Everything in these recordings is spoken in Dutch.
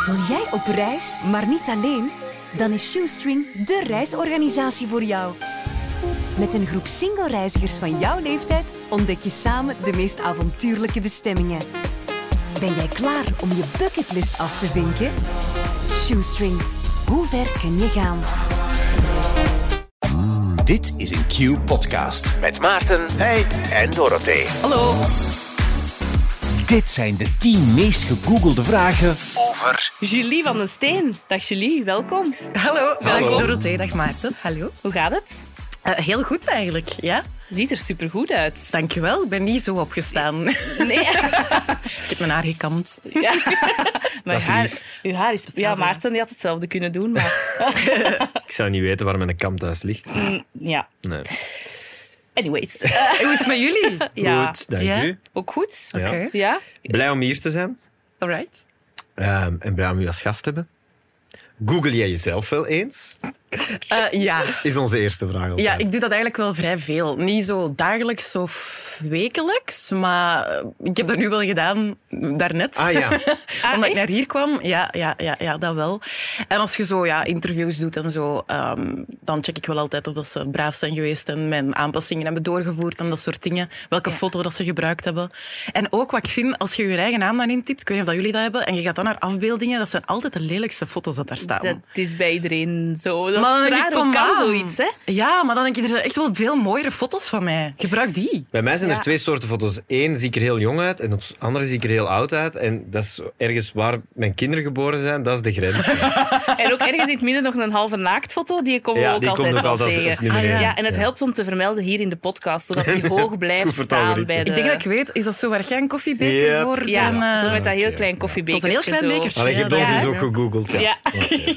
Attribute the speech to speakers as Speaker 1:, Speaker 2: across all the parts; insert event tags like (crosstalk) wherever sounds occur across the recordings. Speaker 1: Wil jij op reis, maar niet alleen? Dan is Shoestring de reisorganisatie voor jou. Met een groep single reizigers van jouw leeftijd ontdek je samen de meest avontuurlijke bestemmingen. Ben jij klaar om je bucketlist af te vinken? Shoestring, hoe ver kun je gaan?
Speaker 2: Dit is een Q-podcast met Maarten hey. en Dorothee. Hallo. Dit zijn de 10 meest gegoogelde vragen over...
Speaker 3: Julie van den Steen. Dag Julie, welkom.
Speaker 4: Hallo,
Speaker 3: Hallo.
Speaker 4: dag Dorothee, dag Maarten. Hallo.
Speaker 3: Hoe gaat het?
Speaker 4: Eh, heel goed eigenlijk, ja.
Speaker 3: Ziet er supergoed uit.
Speaker 4: Dankjewel, ik ben niet zo opgestaan. (laughs) ik
Speaker 5: (laughs)
Speaker 3: Nee,
Speaker 4: heb mijn haar gekamd.
Speaker 3: ja. Maar
Speaker 5: is
Speaker 3: je haar,
Speaker 5: lief.
Speaker 3: uw haar is... Ja, Maarten die had hetzelfde kunnen doen,
Speaker 5: (laughs)
Speaker 3: maar...
Speaker 5: Ik zou niet weten waar mijn kam thuis ligt.
Speaker 3: Ja.
Speaker 5: Nee. (laughs)
Speaker 3: Anyways.
Speaker 4: Hoe is het met jullie? Oké,
Speaker 3: Ja.
Speaker 5: Goed, dank
Speaker 4: Ja?
Speaker 5: u.
Speaker 3: Ook goed?
Speaker 5: Ja.
Speaker 3: Ja?
Speaker 5: Blij om hier te zijn
Speaker 4: alright.
Speaker 5: Ehm, en blij om u als gast te hebben. Google jij jezelf wel eens?
Speaker 4: Eh, ja.
Speaker 5: Is onze eerste vraag altijd.
Speaker 4: ja, ik doe dat eigenlijk wel vrij veel. Niet zo dagelijks of wekelijks, maar eh, ik heb dat nu wel gedaan, daarnet.
Speaker 5: Ah ja,
Speaker 3: Ah,
Speaker 4: Omdat
Speaker 3: echt?
Speaker 4: ik naar hier kwam, ja, ja, ja, ja, dat wel. En als je zo ja, interviews doet en zo, ehm, dan check ik wel altijd of dat ze braaf zijn geweest en mijn aanpassingen hebben doorgevoerd en dat soort dingen. Welke foto dat ze gebruikt hebben. En ook wat ik vind, als je je eigen naam dan intypt, ik weet niet of dat jullie dat hebben, en je gaat dan naar afbeeldingen, dat zijn altijd de lelijkste foto's dat daar staan.
Speaker 3: Dat is bij iedereen zo. Dat
Speaker 4: Maar
Speaker 3: is
Speaker 4: je
Speaker 3: raar, hoe
Speaker 4: komt
Speaker 3: kan
Speaker 4: aan.
Speaker 3: zoiets, hè?
Speaker 4: Ja, maar dan denk je, er zijn echt wel veel mooiere foto's van mij. Gebruik die.
Speaker 5: bij mij zijn er
Speaker 3: Ja.
Speaker 5: twee soorten foto's. Eén zie ik er heel jong uit en op de andere zie ik er heel oud uit. En dat is ergens waar mijn kinderen geboren zijn, dat is de grens.
Speaker 3: En (laughs) ook ergens in het midden nog een halve naaktfoto, die komen we
Speaker 5: Ja,
Speaker 3: ook
Speaker 5: die
Speaker 3: altijd
Speaker 5: komt ook
Speaker 3: wel
Speaker 5: altijd
Speaker 3: tegen.
Speaker 5: opnieuw
Speaker 4: Ah, ja.
Speaker 5: beneden.
Speaker 3: Ja, en het helpt om te vermelden hier in de podcast, zodat
Speaker 5: (laughs)
Speaker 3: die hoog blijft
Speaker 5: Goed voor het
Speaker 3: staan
Speaker 5: algoritme.
Speaker 3: bij de...
Speaker 4: Ik denk dat ik weet, is dat zo waar jij een koffiebeker
Speaker 5: Yep.
Speaker 4: voor
Speaker 3: Ja,
Speaker 4: zijn... eh,
Speaker 3: zo met dat heel
Speaker 5: Oké,
Speaker 3: klein
Speaker 5: ja.
Speaker 3: koffiebeker.
Speaker 4: Tot een heel klein bekertje.
Speaker 5: Allee, je hebt ons
Speaker 4: Ja,
Speaker 5: dus
Speaker 4: hè?
Speaker 5: ook gegoogeld. Ja.
Speaker 3: Ja.
Speaker 5: Oké.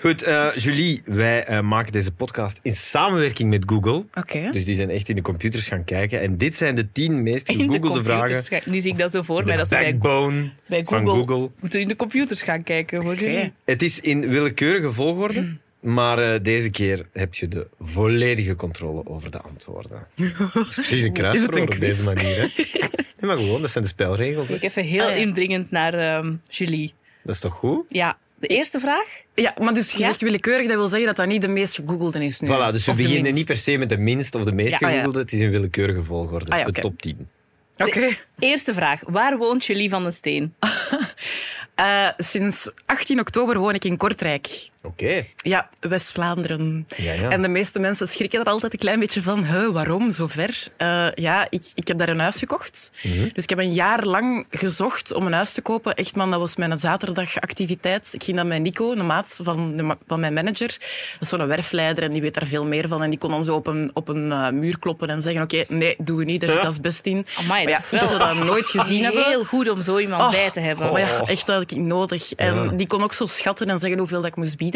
Speaker 5: Goed, eh, Julie, wij eh, maken deze podcast in samenwerking met Google.
Speaker 4: Oké.
Speaker 5: Dus die zijn echt in de computers gaan kijken. En dit zijn de tien
Speaker 3: (laughs)
Speaker 5: meest
Speaker 3: In de
Speaker 5: gegoogelde
Speaker 3: computers
Speaker 5: vragen.
Speaker 3: ga- Nu zie ik dat zo voor mij.
Speaker 5: De
Speaker 3: Dat ze bij,
Speaker 5: backbone
Speaker 3: bij Google,
Speaker 5: van Google.
Speaker 3: moeten in de computers gaan kijken. Hoor.
Speaker 4: Oké.
Speaker 5: Het is in willekeurige volgorde. Maar eh, deze keer heb je de volledige controle over de antwoorden. Dat is precies een kruiswoord op
Speaker 4: quiz?
Speaker 5: deze manier. Hè? Nee, maar gewoon, dat zijn de spelregels. hè.
Speaker 3: Ik even heel
Speaker 4: Ah, ja.
Speaker 3: indringend naar ehm, Julie.
Speaker 5: Dat is toch goed?
Speaker 3: Ja, de eerste vraag.
Speaker 4: Ja, maar dus je
Speaker 3: Ja?
Speaker 4: zegt willekeurig, dat wil zeggen dat dat niet de meest gegoogelde is nu.
Speaker 5: Voilà, dus we
Speaker 4: Of de
Speaker 5: beginnen
Speaker 4: minst.
Speaker 5: niet per se met de minst of de meest
Speaker 4: Ja, ah, ja.
Speaker 5: gegoogelde. Het is in willekeurige volgorde.
Speaker 4: Ah, ja,
Speaker 5: De
Speaker 4: oké.
Speaker 5: top 10.
Speaker 4: Oké.
Speaker 3: Eerste vraag. Waar woont Julie van den Steen?
Speaker 4: Eh, sinds 18 oktober woon ik in Kortrijk.
Speaker 5: Oké.
Speaker 4: Ja, West-Vlaanderen.
Speaker 5: Ja, ja.
Speaker 4: En de meeste mensen schrikken er altijd een klein beetje van. Huh, waarom zo ver? Eh, ja, ik, ik heb daar een huis gekocht.
Speaker 5: Mhm.
Speaker 4: Dus ik heb een jaar lang gezocht om een huis te kopen. Echt man, dat was mijn zaterdagactiviteit. Ik ging dan met Nico, een maat van, de ma- van mijn manager. Dat is zo'n werfleider en die weet daar veel meer van. En die kon dan zo op een, op een eh, muur kloppen en zeggen... Oké, nee, doen we niet. Dus Daar zit asbest in.
Speaker 3: Amai,
Speaker 4: Maar ja,
Speaker 3: dat is wel-
Speaker 4: ik zou dat
Speaker 3: (laughs)
Speaker 4: nooit gezien hebben.
Speaker 3: Heel goed om zo iemand
Speaker 4: Oh,
Speaker 3: bij te hebben.
Speaker 4: Maar
Speaker 3: Oké.
Speaker 4: ja, echt dat had ik nodig. En
Speaker 5: Ja.
Speaker 4: die kon ook zo schatten en zeggen hoeveel dat ik moest bieden.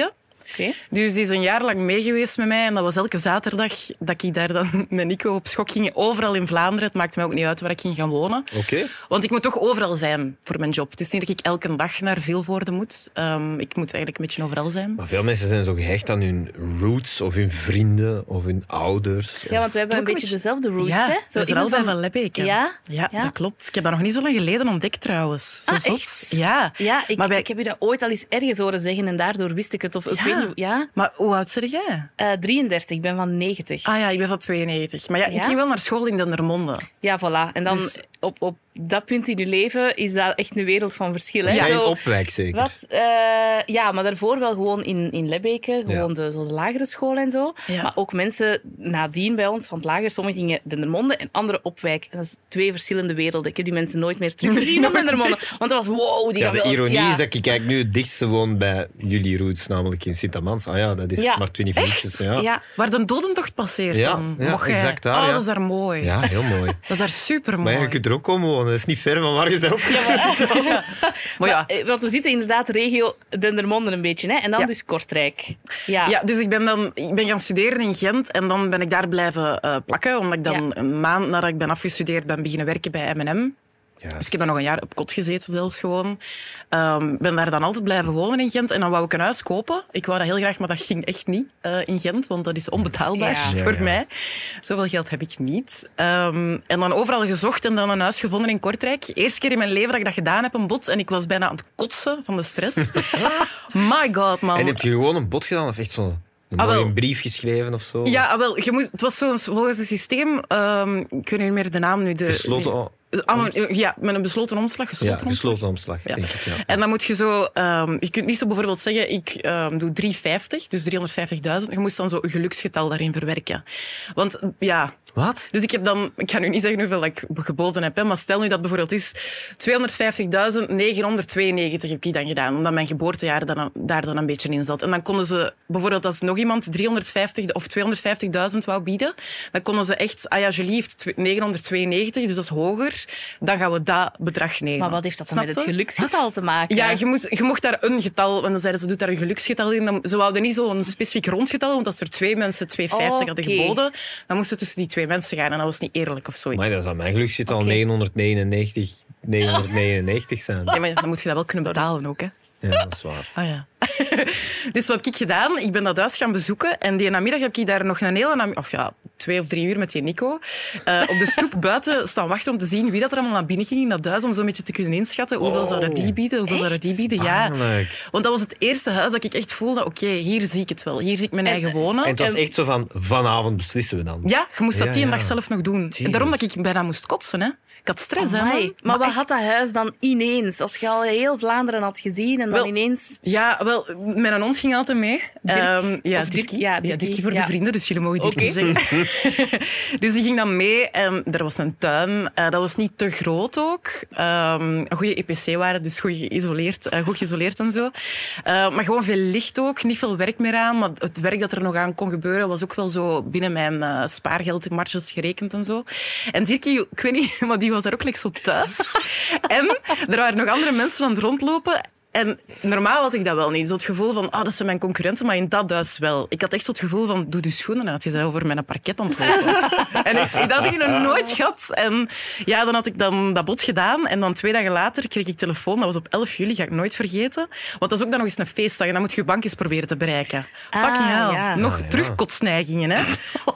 Speaker 4: Dus die is een jaar lang meegeweest met mij. En dat was elke zaterdag dat ik daar dan (laughs) met Nico op schok ging. Overal in Vlaanderen. Het maakte mij ook niet uit waar ik ging gaan wonen.
Speaker 5: Oké.
Speaker 4: Want ik moet toch overal zijn voor mijn job. Het is niet dat ik elke dag naar Vilvoorde moet. Ehm, ik moet eigenlijk een beetje overal zijn.
Speaker 5: Maar veel mensen zijn zo gehecht aan hun roots of hun vrienden of hun ouders.
Speaker 3: Ja, want we hebben een
Speaker 4: Ook een
Speaker 3: beetje dezelfde roots,
Speaker 4: ja,
Speaker 3: hè?
Speaker 4: dat is er
Speaker 3: iemand
Speaker 4: al bij Van Lebbeke.
Speaker 3: Ja?
Speaker 4: ja?
Speaker 3: Ja?
Speaker 4: dat klopt. Ik heb dat nog niet zo lang geleden ontdekt trouwens. Zo
Speaker 3: Ah,
Speaker 4: zot.
Speaker 3: echt?
Speaker 4: Ja.
Speaker 3: Ja, ik,
Speaker 4: Maar wij-
Speaker 3: ik heb u dat ooit al eens ergens horen zeggen en daardoor wist ik het. Of ik
Speaker 4: Ja.
Speaker 3: weet niet... hoe- Ja?
Speaker 4: Maar hoe oud ben jij?
Speaker 3: Eh, 33, ik ben van 90.
Speaker 4: Ah ja, ik ben van 92. Maar ja,
Speaker 3: Ja?
Speaker 4: ik ging wel naar school in Dendermonde.
Speaker 3: Ja, voilà. En dan
Speaker 4: Dus-
Speaker 3: op, op dat punt in je leven is dat echt een wereld van verschil. Hè?
Speaker 5: Jij in
Speaker 3: Zo,
Speaker 5: opwijk zeker.
Speaker 3: wat, eh, ja, maar daarvoor wel gewoon in, in Lebbeke, gewoon
Speaker 5: Ja.
Speaker 3: de, zo de lagere school en zo.
Speaker 4: Ja.
Speaker 3: Maar ook mensen nadien bij ons van het lager, sommigen gingen Dendermonde en anderen Opwijk. En dat is twee verschillende werelden. Ik heb die mensen (laughs) nooit meer teruggezien van Dendermonde. Want dat was wow, die
Speaker 5: Ja,
Speaker 3: gaan
Speaker 5: de
Speaker 3: wel-
Speaker 5: ironie
Speaker 3: ja.
Speaker 5: is dat ik eigenlijk nu het dichtste woon bij jullie roots, namelijk in Sint-Amans. Ah ja, dat is
Speaker 3: Ja.
Speaker 5: maar 20 minuutjes. Ja.
Speaker 3: Ja,
Speaker 4: Waar de dodentocht passeert
Speaker 5: Ja,
Speaker 4: dan.
Speaker 5: ja,
Speaker 4: Mocht jij-
Speaker 5: exact daar,
Speaker 4: Oh,
Speaker 5: ja.
Speaker 4: dat is daar mooi.
Speaker 5: Ja, heel mooi.
Speaker 4: (laughs) Dat is daar
Speaker 5: Maar
Speaker 4: supermooi.
Speaker 5: ja, je kunt er ook komen wonen, dat is niet ver van waar je zelf
Speaker 4: Maar ja,
Speaker 3: Eh, want we zitten inderdaad regio Dendermonde een beetje. Hè? En dan
Speaker 4: Ja.
Speaker 3: dus Kortrijk. Ja.
Speaker 4: ja, dus ik ben, dan, ik ben gaan studeren in Gent en dan ben ik daar blijven eh, plakken. Omdat ik dan
Speaker 3: Ja.
Speaker 4: een maand nadat ik ben afgestudeerd ben beginnen werken bij M&M.
Speaker 5: Juist.
Speaker 4: Dus ik heb dan nog een jaar op kot gezeten zelfs gewoon. Ehm, ben daar dan altijd blijven wonen in Gent. En dan wou ik een huis kopen. Ik wou dat heel graag, maar dat ging echt niet eh, in Gent. Want dat is onbetaalbaar
Speaker 3: Ja.
Speaker 5: Ja,
Speaker 4: voor
Speaker 5: ja.
Speaker 4: mij. Zoveel geld heb ik niet. Ehm, en dan overal gezocht en dan een huis gevonden in Kortrijk. Eerste keer in mijn leven dat ik dat gedaan heb, een bot. En ik was bijna aan het kotsen van de
Speaker 5: (laughs)
Speaker 4: stress. My god, man.
Speaker 5: En heb je gewoon een bod gedaan of echt zo'n een
Speaker 4: Ah, wel.
Speaker 5: mooie brief geschreven of zo?
Speaker 4: Ja, ah, wel, je moest, het was zo'n volgens het systeem. ehm ik weet niet meer de naam nu. De,
Speaker 5: Gesloten
Speaker 4: nee.
Speaker 5: o-
Speaker 4: Ah, maar, ja, met een besloten omslag.
Speaker 5: Ja,
Speaker 4: Gesloten omslag.
Speaker 5: gesloten omslag,
Speaker 4: Ja.
Speaker 5: denk ik. Ja.
Speaker 4: En dan moet je zo... ehm, je kunt niet zo bijvoorbeeld zeggen, ik ehm, doe 350, dus 350.000. Je moest dan zo een geluksgetal daarin verwerken. Want ja...
Speaker 5: Wat?
Speaker 4: Dus ik heb dan... Ik ga nu niet zeggen hoeveel dat ik geboden heb, hè, maar stel nu dat bijvoorbeeld is 250.992 heb ik dan gedaan, omdat mijn geboortejaar dan, daar dan een beetje in zat. En dan konden ze bijvoorbeeld als nog iemand 350 of 250.000 wou bieden, dan konden ze echt... Ah ja, Julie heeft tw- 992, dus dat is hoger. Dan gaan we dat bedrag nemen.
Speaker 3: Maar wat heeft dat dan
Speaker 4: Snap
Speaker 3: met het
Speaker 4: je?
Speaker 3: geluksgetal te maken?
Speaker 4: Ja, je, moest, je mocht daar een getal, en dan zeiden ze, doet daar een geluksgetal in. Dan, ze wouden niet zo'n specifiek rond getal, want als er twee mensen 2,50 hadden
Speaker 3: Oké.
Speaker 4: geboden, dan moesten tussen die twee mensen gaan en dat was niet eerlijk of zoiets.
Speaker 5: Maar dat is aan mijn geluk zit al
Speaker 3: Oké.
Speaker 5: 999, 999 zijn.
Speaker 4: Ja, maar dan moet je dat wel kunnen betalen ook, hè.
Speaker 5: Ja, dat is waar.
Speaker 4: Ah ja. (laughs) dus wat heb ik gedaan? Ik ben dat huis gaan bezoeken en die namiddag heb ik daar nog een hele namiddag, of ja, twee of drie uur met die Nico, eh, op de
Speaker 5: (laughs)
Speaker 4: stoep buiten staan wachten om te zien wie dat er allemaal naar binnen ging in dat huis, om zo'n beetje te kunnen inschatten hoeveel zou dat die bieden, hoeveel zou dat die bieden. Ja.
Speaker 5: Oh, Pijnlijk.
Speaker 4: Want dat was het eerste huis dat ik echt voelde, oké, hier zie ik het wel. Hier zie ik mijn eigen wonen.
Speaker 5: En het was echt zo van, vanavond beslissen we dan.
Speaker 4: Ja, je moest dat
Speaker 5: Ja,
Speaker 4: die een
Speaker 5: ja.
Speaker 4: dag zelf nog doen.
Speaker 5: Jezus.
Speaker 4: Daarom dat ik bijna moest kotsen, hè. Ik had stress, hè.
Speaker 3: Amai.
Speaker 4: man.
Speaker 3: Maar, wat
Speaker 4: echt.
Speaker 3: had dat huis dan ineens? Als je al heel Vlaanderen had gezien en dan
Speaker 4: Wel,
Speaker 3: ineens...
Speaker 4: Ja, wel, mijn hond ging altijd mee. Ehm, ja,
Speaker 3: Of Dirkie.
Speaker 4: Dirkie.
Speaker 3: Ja,
Speaker 4: Ja,
Speaker 3: Dirkie.
Speaker 4: Dirkie voor
Speaker 3: Ja.
Speaker 4: de vrienden, dus jullie mogen Dirkie
Speaker 3: Oké.
Speaker 4: zeggen. (laughs) dus die ging dan mee en er was een tuin. Eh, dat was niet te groot ook. Ehm, een goede EPC waren, dus goed geïsoleerd, eh, goed geïsoleerd en zo. Eh, maar gewoon veel licht ook, niet veel werk meer aan. Maar het werk dat er nog aan kon gebeuren was ook wel zo binnen mijn eh, spaargeld in marges gerekend en zo. En Dirkie, ik weet niet, (laughs) maar die was daar ook like zo thuis. (laughs) en er waren nog andere mensen aan het rondlopen. En normaal had ik dat wel niet. Zo het gevoel van, ah, dat zijn mijn concurrenten, maar in dat huis wel. Ik had echt zo het gevoel van, doe de schoenen uit, je bent over mijn parket aan het
Speaker 5: (laughs)
Speaker 4: lopen. en ik, dat had ik nog nooit gehad. En ja, dan had ik dan dat bod gedaan. En dan twee dagen later kreeg ik telefoon, dat was op 11 juli, ga ik nooit vergeten. Want dat is ook dan nog eens een feestdag en dan moet je je bank eens proberen te bereiken.
Speaker 3: Ah,
Speaker 4: Fucking hell.
Speaker 3: ja.
Speaker 4: Nog
Speaker 5: Ah, ja.
Speaker 4: terug kotsneigingen,
Speaker 3: (laughs)
Speaker 4: hè.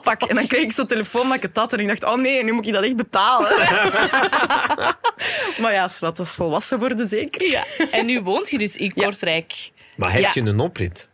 Speaker 4: Fuck. En dan kreeg ik zo'n telefoon dat ik het had en ik dacht, oh nee, nu moet ik dat echt
Speaker 5: (laughs)
Speaker 4: betalen. maar ja, schat, dat is volwassen worden zeker.
Speaker 3: Ja. En nu woont je dus in Kortrijk.
Speaker 5: Maar heb
Speaker 4: Ja.
Speaker 5: je een oprit?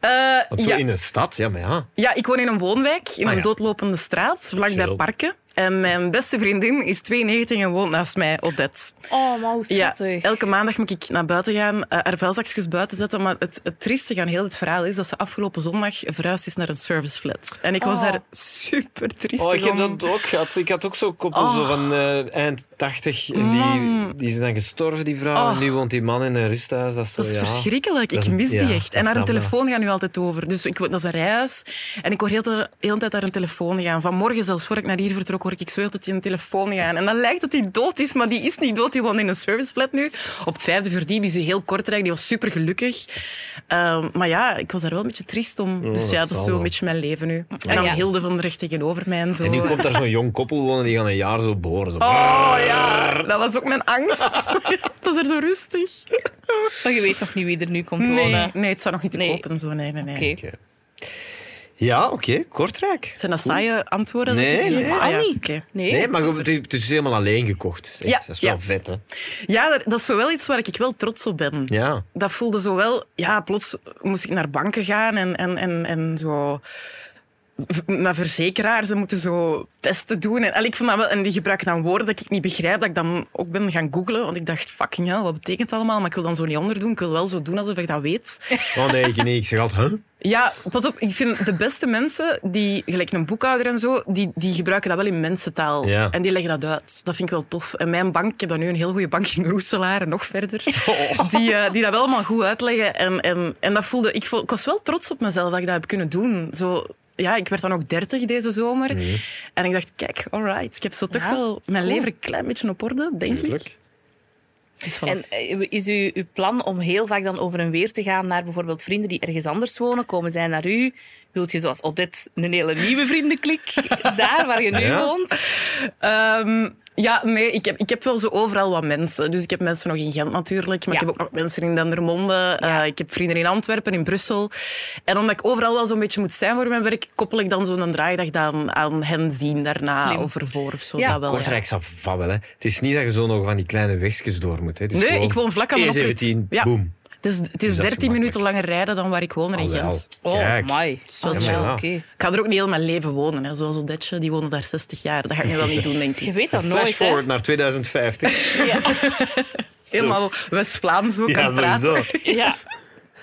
Speaker 4: Eh,
Speaker 5: Want zo
Speaker 4: ja.
Speaker 5: in een stad, ja, maar ja.
Speaker 4: ja, ik woon in een woonwijk, in
Speaker 5: Ah,
Speaker 4: een
Speaker 5: ja.
Speaker 4: doodlopende straat, vlakbij
Speaker 5: Chill.
Speaker 4: parken. En mijn beste vriendin is 92 en woont naast mij, Odette.
Speaker 3: Oh, maar hoe
Speaker 4: Ja,
Speaker 3: schattig.
Speaker 4: elke maandag moet ik naar buiten gaan, eh, haar vuilzakjes buiten zetten. Maar het, het triestige aan heel het verhaal is dat ze afgelopen zondag verhuisd is naar een serviceflat. En ik was
Speaker 3: Oh.
Speaker 4: daar super triestig
Speaker 5: Oh,
Speaker 4: om.
Speaker 5: ook gehad. Ik had ook zo'n koppel
Speaker 4: Oh. zo
Speaker 5: van eh, eind 80. En
Speaker 4: Man.
Speaker 5: die is dan gestorven, die vrouw.
Speaker 4: Oh. En nu
Speaker 5: woont die man in een rusthuis. Dat is,
Speaker 4: Dat is verschrikkelijk.
Speaker 5: Dat
Speaker 4: Ik
Speaker 5: is-
Speaker 4: mis
Speaker 5: ja,
Speaker 4: die echt.
Speaker 5: dat
Speaker 4: En haar
Speaker 5: snap ik.
Speaker 4: telefoon gaat nu altijd over. Dus ik, dat is een rijhuis. En ik hoor heel de hele tijd haar een telefoon gaan. Vanmorgen zelfs, voor ik naar hier vertrok, hoor ik, ik zo heel dat die een telefoon gaan. En dan lijkt dat die dood is, maar die is niet dood. Die woont in een serviceflat nu. Op het vijfde verdiep is die heel kortrijk. Die was super gelukkig. maar ja, ik was daar wel een beetje triest om. dus
Speaker 5: dat
Speaker 4: ja, dat
Speaker 5: zal
Speaker 4: is zo
Speaker 5: wel.
Speaker 4: een beetje mijn leven nu. En
Speaker 3: Ah,
Speaker 4: dan
Speaker 3: ja.
Speaker 4: Hilde van de Recht tegenover mij en zo.
Speaker 5: En nu komt daar zo'n jong koppel wonen, die gaan een jaar zo boren. Zo.
Speaker 4: Oh ja, dat was ook mijn angst. (laughs) Het was er zo rustig.
Speaker 3: Maar je weet nog niet wie er nu komt
Speaker 4: Nee,
Speaker 3: wonen.
Speaker 4: nee, het staat nog niet te
Speaker 3: Nee.
Speaker 4: kopen. en Zo. Nee, nee, nee.
Speaker 3: Oké.
Speaker 5: Oké. Ja, oké, Kortrijk.
Speaker 4: Zijn dat saaie antwoorden?
Speaker 5: Nee,
Speaker 4: Dus-
Speaker 5: nee.
Speaker 4: Ah, ja.
Speaker 3: Annie.
Speaker 4: Oké.
Speaker 3: Nee,
Speaker 5: Nee, maar goed, het is, het is helemaal alleen gekocht. Echt,
Speaker 4: Ja,
Speaker 5: dat is wel
Speaker 4: ja.
Speaker 5: vet, hè?
Speaker 4: Ja, dat- dat is zo wel iets waar ik wel trots op ben.
Speaker 5: Ja.
Speaker 4: Dat voelde zo wel... Ja, plots moest ik naar banken gaan en, en, en, en zo... v- Naar verzekeraars, ze moeten zo testen doen. En, allee, ik vond dat wel, en die gebruiken dan woorden dat ik niet begrijp, dat ik dan ook ben gaan googlen. Want ik dacht, fucking hell, wat betekent dat allemaal? Maar ik wil dan zo niet onderdoen. Ik wil wel zo doen alsof ik dat weet.
Speaker 5: Oh nee, ik niet. Ik zeg altijd, huh?
Speaker 4: Ja, pas op. Ik vind de beste mensen, die, gelijk een boekhouder en zo, die, die gebruiken dat wel in mensentaal.
Speaker 5: Ja.
Speaker 4: En die leggen dat uit. Dat vind ik wel tof. En mijn bank, ik heb dan nu een heel goede bank in Roeselaar en nog verder, die, eh, die dat wel allemaal goed uitleggen. En, en, en dat voelde, ik, vo- ik was wel trots op mezelf dat ik dat heb kunnen doen. Zo, ja, ik werd dan ook dertig deze zomer. En ik dacht, kijk, alright, ik heb zo toch
Speaker 3: Ja,
Speaker 4: wel mijn
Speaker 3: cool.
Speaker 4: leven een klein beetje op orde, denk ik. Dus voilà.
Speaker 3: En eh, is u, uw plan om heel vaak dan over en weer te gaan naar bijvoorbeeld vrienden die ergens anders wonen? Komen zij naar u? Wilt je zoals Odette een hele nieuwe vriendenklik daar waar je nu
Speaker 5: Ja.
Speaker 3: woont?
Speaker 4: Ehm, ja, nee, ik heb, ik heb wel zo overal wat mensen. Dus ik heb mensen nog in Gent natuurlijk, maar
Speaker 3: Ja.
Speaker 4: ik heb ook nog mensen in Dendermonde. Eh, ik heb vrienden in Antwerpen, in Brussel. En omdat ik overal wel zo'n beetje moet zijn voor mijn werk, koppel ik dan zo'n draaidag dan aan hen zien daarna
Speaker 3: Slim.
Speaker 4: of ervoor of zo.
Speaker 3: Ja.
Speaker 4: dat (laughs) wel, ja.
Speaker 5: Kortrijk zal van wel, hè. Het is niet dat je zo nog van die kleine wegjes door moet. Hè. Het is
Speaker 4: Nee,
Speaker 5: gewoon
Speaker 4: ik woon vlak aan de oprit.
Speaker 5: E17,
Speaker 4: Ja. Dus
Speaker 5: E boem.
Speaker 4: Het is, het
Speaker 5: is
Speaker 4: is 13
Speaker 5: gemakkelijk.
Speaker 4: minuten langer rijden dan waar ik woon in
Speaker 5: Alhoewel.
Speaker 4: Gent.
Speaker 3: Oh,
Speaker 5: Kijk.
Speaker 3: mooi.
Speaker 4: is wel
Speaker 3: Oh,
Speaker 4: chill.
Speaker 3: ja, oké.
Speaker 4: Ik ga er ook niet heel mijn leven wonen, hè. zoals Odetje. Die wonen daar 60 jaar. Dat ga ik nu wel niet doen, denk
Speaker 3: Je
Speaker 4: ik.
Speaker 3: weet dat
Speaker 5: Flash
Speaker 3: nooit, hè?
Speaker 5: forward
Speaker 4: (laughs)
Speaker 5: naar 2050.
Speaker 4: Helemaal West-Vlaams ook aan
Speaker 5: ja,
Speaker 4: het praten.
Speaker 5: sowieso.
Speaker 3: Ja.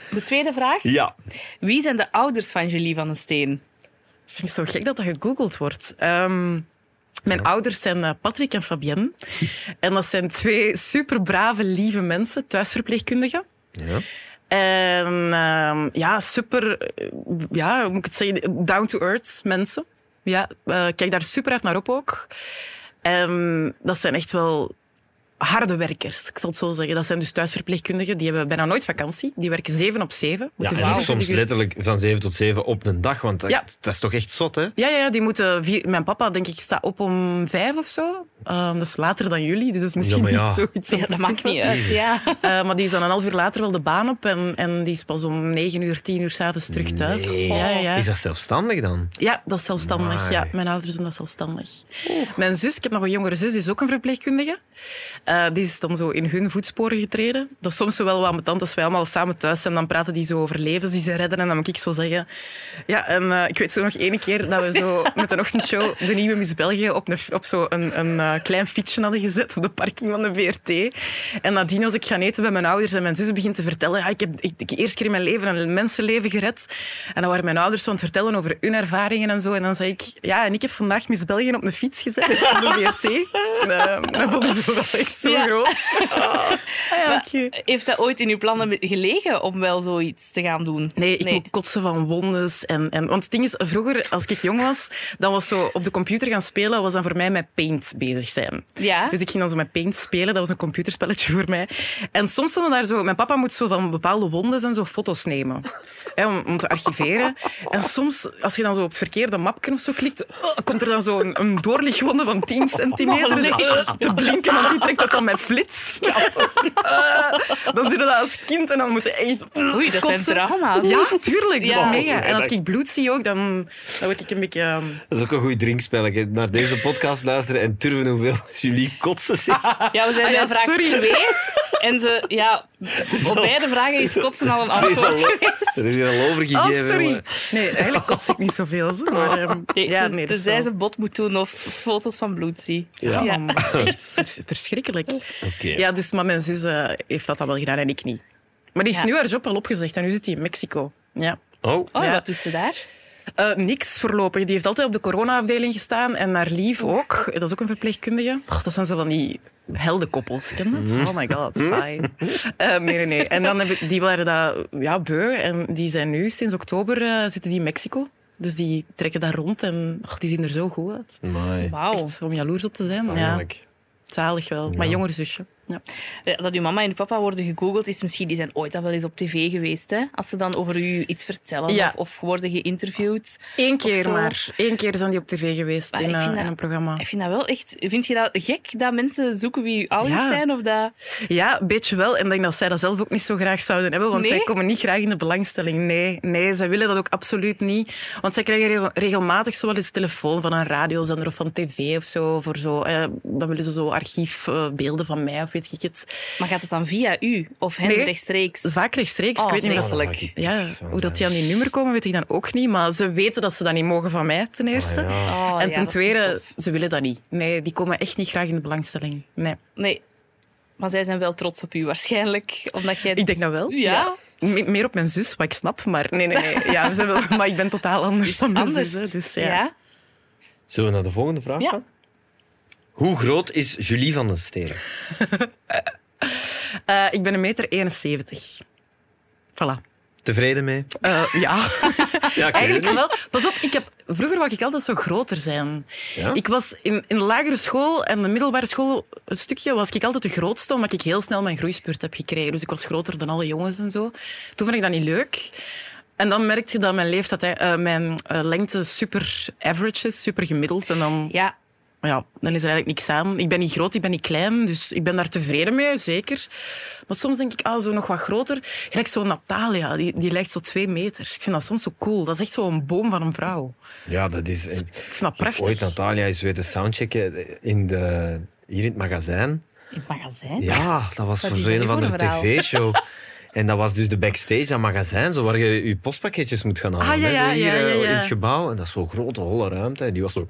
Speaker 3: De tweede vraag.
Speaker 5: Ja.
Speaker 3: Wie zijn de ouders van Julie van den Steen?
Speaker 4: Vind ik zo gek dat dat gegoogeld wordt. Ehm, mijn ouders zijn eh, Patrick en
Speaker 5: (laughs)
Speaker 4: Fabienne. en dat zijn twee superbrave, lieve mensen, thuisverpleegkundigen.
Speaker 5: Ja.
Speaker 4: En ehm, ja, super, eh, ja, hoe moet ik het zeggen, down-to-earth mensen. Ja, eh, ik kijk daar super hard naar op ook. Ehm, dat zijn echt wel harde werkers, ik zal het zo zeggen. Dat zijn dus thuisverpleegkundigen, die hebben bijna nooit vakantie. Die werken zeven op zeven.
Speaker 5: Ja,
Speaker 4: moeten
Speaker 5: en ook
Speaker 4: 24
Speaker 5: soms
Speaker 4: uur
Speaker 5: letterlijk van 7 tot 7 op een dag, want dat,
Speaker 4: Ja.
Speaker 5: dat is toch echt zot, hè?
Speaker 4: Ja, ja, ja, die moeten vier... Mijn papa, denk ik, staat op om vijf of zo. Ehm, dat is later dan jullie, dus dat is misschien
Speaker 5: maar ja.
Speaker 4: niet zoiets.
Speaker 3: Ja, dat maakt niet uit. Ja.
Speaker 4: Eh, maar die is dan een half uur later wel de baan op en, en die is pas om negen uur, tien uur s'avonds terug thuis.
Speaker 5: Nee.
Speaker 4: Ja, ja, ja.
Speaker 5: Is dat zelfstandig dan?
Speaker 4: ja, dat is zelfstandig.
Speaker 5: Amai.
Speaker 4: Ja, mijn ouders doen dat zelfstandig. Mijn zus, ik heb nog een jongere zus, die is ook een verpleegkundige. Eh, die is dan zo in hun voetsporen getreden. Dat is soms zo wel wat tante als wij allemaal samen thuis zijn. Dan praten die zo over levens die ze redden. En dan moet ik zo zeggen... Ja, en eh, ik weet zo nog één keer dat we zo met een ochtendshow de nieuwe Miss België op, een, op zo een, een eh, klein fietsje hadden gezet op de parking van de VRT. En nadien als ik gaan eten bij mijn ouders en mijn zus begint te vertellen... Ja, ik heb ik, ik, eerst keer in mijn leven een mensenleven gered. En dan waren mijn ouders zo aan het vertellen over hun ervaringen en zo. En dan zei ik... Ja, en ik heb vandaag Miss België op een fiets gezet op de VRT. En, eh, dat voelde ze wel echt zo
Speaker 3: Ja.
Speaker 4: (laughs) groot. Ah ja,
Speaker 3: Maar
Speaker 4: oké.
Speaker 3: Heeft dat ooit in uw plannen gelegen om wel zoiets te gaan doen?
Speaker 4: Nee, ik moet kotsen van wondes. En, en, want het ding is, vroeger, als ik jong was, dan was zo op de computer gaan spelen, was dan voor mij met Paint bezig zijn.
Speaker 3: Ja?
Speaker 4: Dus ik ging dan zo met Paint spelen, dat was een computerspelletje voor mij. En soms stonden daar zo... Mijn papa moet zo van bepaalde wondes en zo foto's nemen. hè, om, om te archiveren. En soms, als je dan zo op het verkeerde mapje of zo klikt, oh, komt er dan zo een, een doorlichtwonde van 10 centimeter
Speaker 3: Oh, nee.
Speaker 4: eh, te blinken, want die trekt dat dan met flits. Eh, dan zit je dat als kind en dan moet je echt
Speaker 3: Oei, dat zijn
Speaker 4: kotsen.
Speaker 3: trauma's.
Speaker 4: Ja, tuurlijk. Dat
Speaker 3: Ja.
Speaker 4: is mega. En als ik bloed zie ook, dan, dan word ik een beetje... ehm,
Speaker 5: Dat is ook een goed drinkspelletje. Naar deze podcast luisteren en turven hoeveel (laughs) jullie kotsen zich.
Speaker 3: Ja, we zijn
Speaker 4: Ah ja,
Speaker 3: bij vraag
Speaker 4: sorry.
Speaker 3: 2. En ze, ja, op beide vragen is kotsen al een antwoord geweest.
Speaker 5: Er is hier al overgegeven.
Speaker 4: Oh, sorry.
Speaker 5: jongen.
Speaker 4: Nee, eigenlijk kots ik niet zoveel. zo, Maar, ehm,
Speaker 3: Nee,
Speaker 4: ja,
Speaker 3: te-
Speaker 4: nee, dat is
Speaker 3: tenzij
Speaker 4: wel-
Speaker 3: ze bot moet doen of foto's van bloed zie.
Speaker 4: Ah, Ja,
Speaker 3: Ja.
Speaker 4: man, dat is echt vers- verschrikkelijk.
Speaker 5: Oké.
Speaker 4: Ja, dus, maar mijn zus eh, heeft dat dan wel gedaan en ik niet. Maar die heeft
Speaker 3: Ja.
Speaker 4: nu haar job al opgezegd en nu zit hij in Mexico. Ja.
Speaker 5: Oh,
Speaker 3: Oh,
Speaker 4: Ja.
Speaker 3: wat doet ze daar?
Speaker 4: Eh, niks voorlopig. Die heeft altijd op de corona-afdeling gestaan. En haar lief ook. Dat is ook een verpleegkundige. Och, dat zijn zo van die heldenkoppels. Ken je
Speaker 3: Mhm.
Speaker 4: dat? Oh my god, saai. Eh, nee, nee, nee. En dan hebben, die waren dat ja, beu. En die zijn nu, sinds oktober, eh, zitten die in Mexico. Dus die trekken daar rond en och, die zien er zo goed uit.
Speaker 5: mooi.
Speaker 3: Wauw.
Speaker 4: Echt om jaloers op te zijn. Ja,
Speaker 5: Eigenlijk.
Speaker 4: zalig wel. Mijn jongere zusje. Ja.
Speaker 3: Ja, Dat uw mama en uw papa worden gegoogeld is misschien, die zijn ooit al wel eens op tv geweest. Hè? Als ze dan over u iets vertellen
Speaker 4: Ja.
Speaker 3: of, of worden geïnterviewd.
Speaker 4: Eén
Speaker 3: Of
Speaker 4: keer
Speaker 3: zo.
Speaker 4: maar. Eén keer zijn die op tv geweest
Speaker 3: Maar
Speaker 4: in,
Speaker 3: ik
Speaker 4: eh,
Speaker 3: vind dat-
Speaker 4: in een programma.
Speaker 3: Ik vind dat wel echt... Vind je dat gek dat mensen zoeken wie uw ouders
Speaker 4: Ja.
Speaker 3: zijn? Of dat...
Speaker 4: Ja, een beetje wel. En ik denk dat zij dat zelf ook niet zo graag zouden hebben, want
Speaker 3: Nee?
Speaker 4: zij komen niet graag in de belangstelling. Nee, nee, zij willen dat ook absoluut niet. Want zij krijgen regel- regelmatig zo wel eens telefoon van een radiozender of van tv of zo. Voor zo eh, dan willen ze zo archiefbeelden van mij of weet ik het.
Speaker 3: Maar gaat het dan via u of hen
Speaker 4: Nee.
Speaker 3: rechtstreeks?
Speaker 4: Vaak rechtstreeks.
Speaker 3: Oh,
Speaker 4: ik weet niet meer
Speaker 5: Oh,
Speaker 4: dat
Speaker 5: dat
Speaker 4: ze...
Speaker 5: zou ik echt
Speaker 4: Ja,
Speaker 5: zo zijn.
Speaker 4: hoe dat die aan die nummer komen, weet ik dan ook niet. Maar ze weten dat ze dat niet mogen van mij, ten eerste.
Speaker 5: Ah, ja.
Speaker 3: Oh, ja,
Speaker 4: en
Speaker 3: dat is
Speaker 4: ten
Speaker 3: niet
Speaker 4: tweede,
Speaker 3: tof.
Speaker 4: ze willen dat niet. Nee, die komen echt niet graag in de belangstelling. Nee.
Speaker 3: Nee. Maar zij zijn wel trots op u waarschijnlijk. Omdat jij...
Speaker 4: Ik denk dat wel.
Speaker 3: Ja?
Speaker 4: Me- meer op mijn zus, wat ik snap. Maar nee, nee, nee. Ja, we zijn wel, maar ik ben totaal anders dan mijn
Speaker 3: anders.
Speaker 4: zus. hè. Dus ja.
Speaker 3: ja?
Speaker 5: Zullen we naar de volgende vraag
Speaker 3: Ja.
Speaker 5: gaan? Hoe groot is Julie van den Steren?
Speaker 4: Eh, ik ben een meter 71. Voilà.
Speaker 5: Tevreden mee?
Speaker 4: Eh, ja.
Speaker 5: Ja, ik weet het
Speaker 4: (laughs) Eigenlijk
Speaker 5: niet.
Speaker 4: wel. Pas op, ik heb, vroeger wou ik altijd zo groter zijn.
Speaker 5: Ja?
Speaker 4: Ik was in, in de lagere school en de middelbare school een stukje was ik altijd de grootste, omdat ik heel snel mijn groeispurt heb gekregen. Dus ik was groter dan alle jongens en zo. Toen vond ik dat niet leuk. En dan merkte je dat mijn leeftijd, hè, eh, mijn eh, lengte super average is, super gemiddeld. En dan,
Speaker 3: Ja,
Speaker 4: ja, dan is er eigenlijk niks aan. Ik ben niet groot, ik ben niet klein, dus ik ben daar tevreden mee, zeker. Maar soms denk ik, ah, zo nog wat groter. Gelijk zo'n Natalia, die, die lijkt zo twee meter. Ik vind dat soms zo cool. Dat is echt zo'n boom van een vrouw.
Speaker 5: Ja, dat is... Ik
Speaker 4: vind dat
Speaker 5: heb
Speaker 4: prachtig.
Speaker 5: Ooit Natalia is weten soundchecken in de, hier in het magazijn.
Speaker 3: in het magazijn. (laughs)
Speaker 5: Ja, dat was
Speaker 3: Wat
Speaker 5: voor
Speaker 3: is
Speaker 5: zo'n
Speaker 3: er
Speaker 5: een
Speaker 3: nu
Speaker 5: of
Speaker 3: voor
Speaker 5: andere
Speaker 3: een verhaal?
Speaker 4: (laughs)
Speaker 5: tv-show. En dat was dus de backstage aan magazijn, zo waar je je postpakketjes moet gaan halen.
Speaker 4: Ah, ja,
Speaker 5: hè, zo
Speaker 4: ja,
Speaker 5: hier
Speaker 4: ja,
Speaker 5: eh,
Speaker 4: ja,
Speaker 5: in
Speaker 4: ja.
Speaker 5: het gebouw. En dat is zo'n grote, holle ruimte. En die
Speaker 4: (laughs)
Speaker 5: was zo... zo.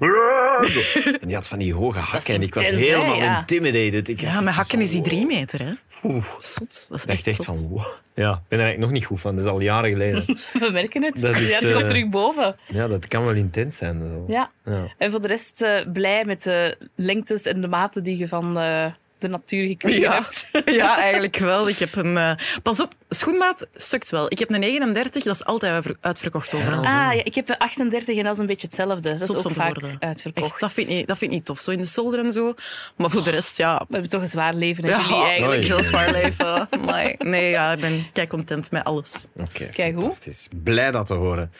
Speaker 5: En die had van die hoge hakken. En ik was
Speaker 3: intens, hè,
Speaker 5: helemaal
Speaker 3: ja.
Speaker 5: intimidated. Ik had
Speaker 4: Ja,
Speaker 5: zoiets
Speaker 4: met
Speaker 5: van
Speaker 4: hakken is die
Speaker 5: wow.
Speaker 4: drie meter, hè.
Speaker 5: Oeh.
Speaker 4: Zot, dat is
Speaker 5: Ik dacht
Speaker 4: echt,
Speaker 5: echt van...
Speaker 4: zot.
Speaker 5: Wow. Ja, ik ben er eigenlijk nog niet goed van. Dat is al jaren
Speaker 4: (laughs)
Speaker 5: geleden.
Speaker 3: We merken het.
Speaker 5: Dat is,
Speaker 3: ja, het
Speaker 5: eh,
Speaker 3: komt terug boven.
Speaker 5: Ja, dat kan wel intens zijn. Zo.
Speaker 3: Ja.
Speaker 5: Ja.
Speaker 3: En voor de rest eh, blij met de lengtes en de maten die je van eh, de natuur gekregen
Speaker 4: Ja.
Speaker 3: hebt. (laughs)
Speaker 4: ja, eigenlijk wel. Ik heb een... eh, Pas op, schoenmaat stukt wel. Ik heb een 39, dat is altijd uitver- uitverkocht overal.
Speaker 3: Ah, ja, ik heb een 38 en dat is een beetje hetzelfde. Dat
Speaker 4: Zot
Speaker 3: is ook
Speaker 4: van te
Speaker 3: vaak
Speaker 4: worden.
Speaker 3: uitverkocht.
Speaker 4: Echt, dat vind, ik, dat vind ik niet tof. Zo in de zolder en zo. Maar voor de rest, ja...
Speaker 3: We hebben toch een zwaar leven, hè,
Speaker 4: Ja,
Speaker 3: jullie eigenlijk.
Speaker 5: Oei.
Speaker 4: heel zwaar leven. Amai. Nee, ja, ik ben kei content met alles.
Speaker 5: Oké,
Speaker 3: Kijk, hoe?
Speaker 5: fantastisch. Blij dat te horen.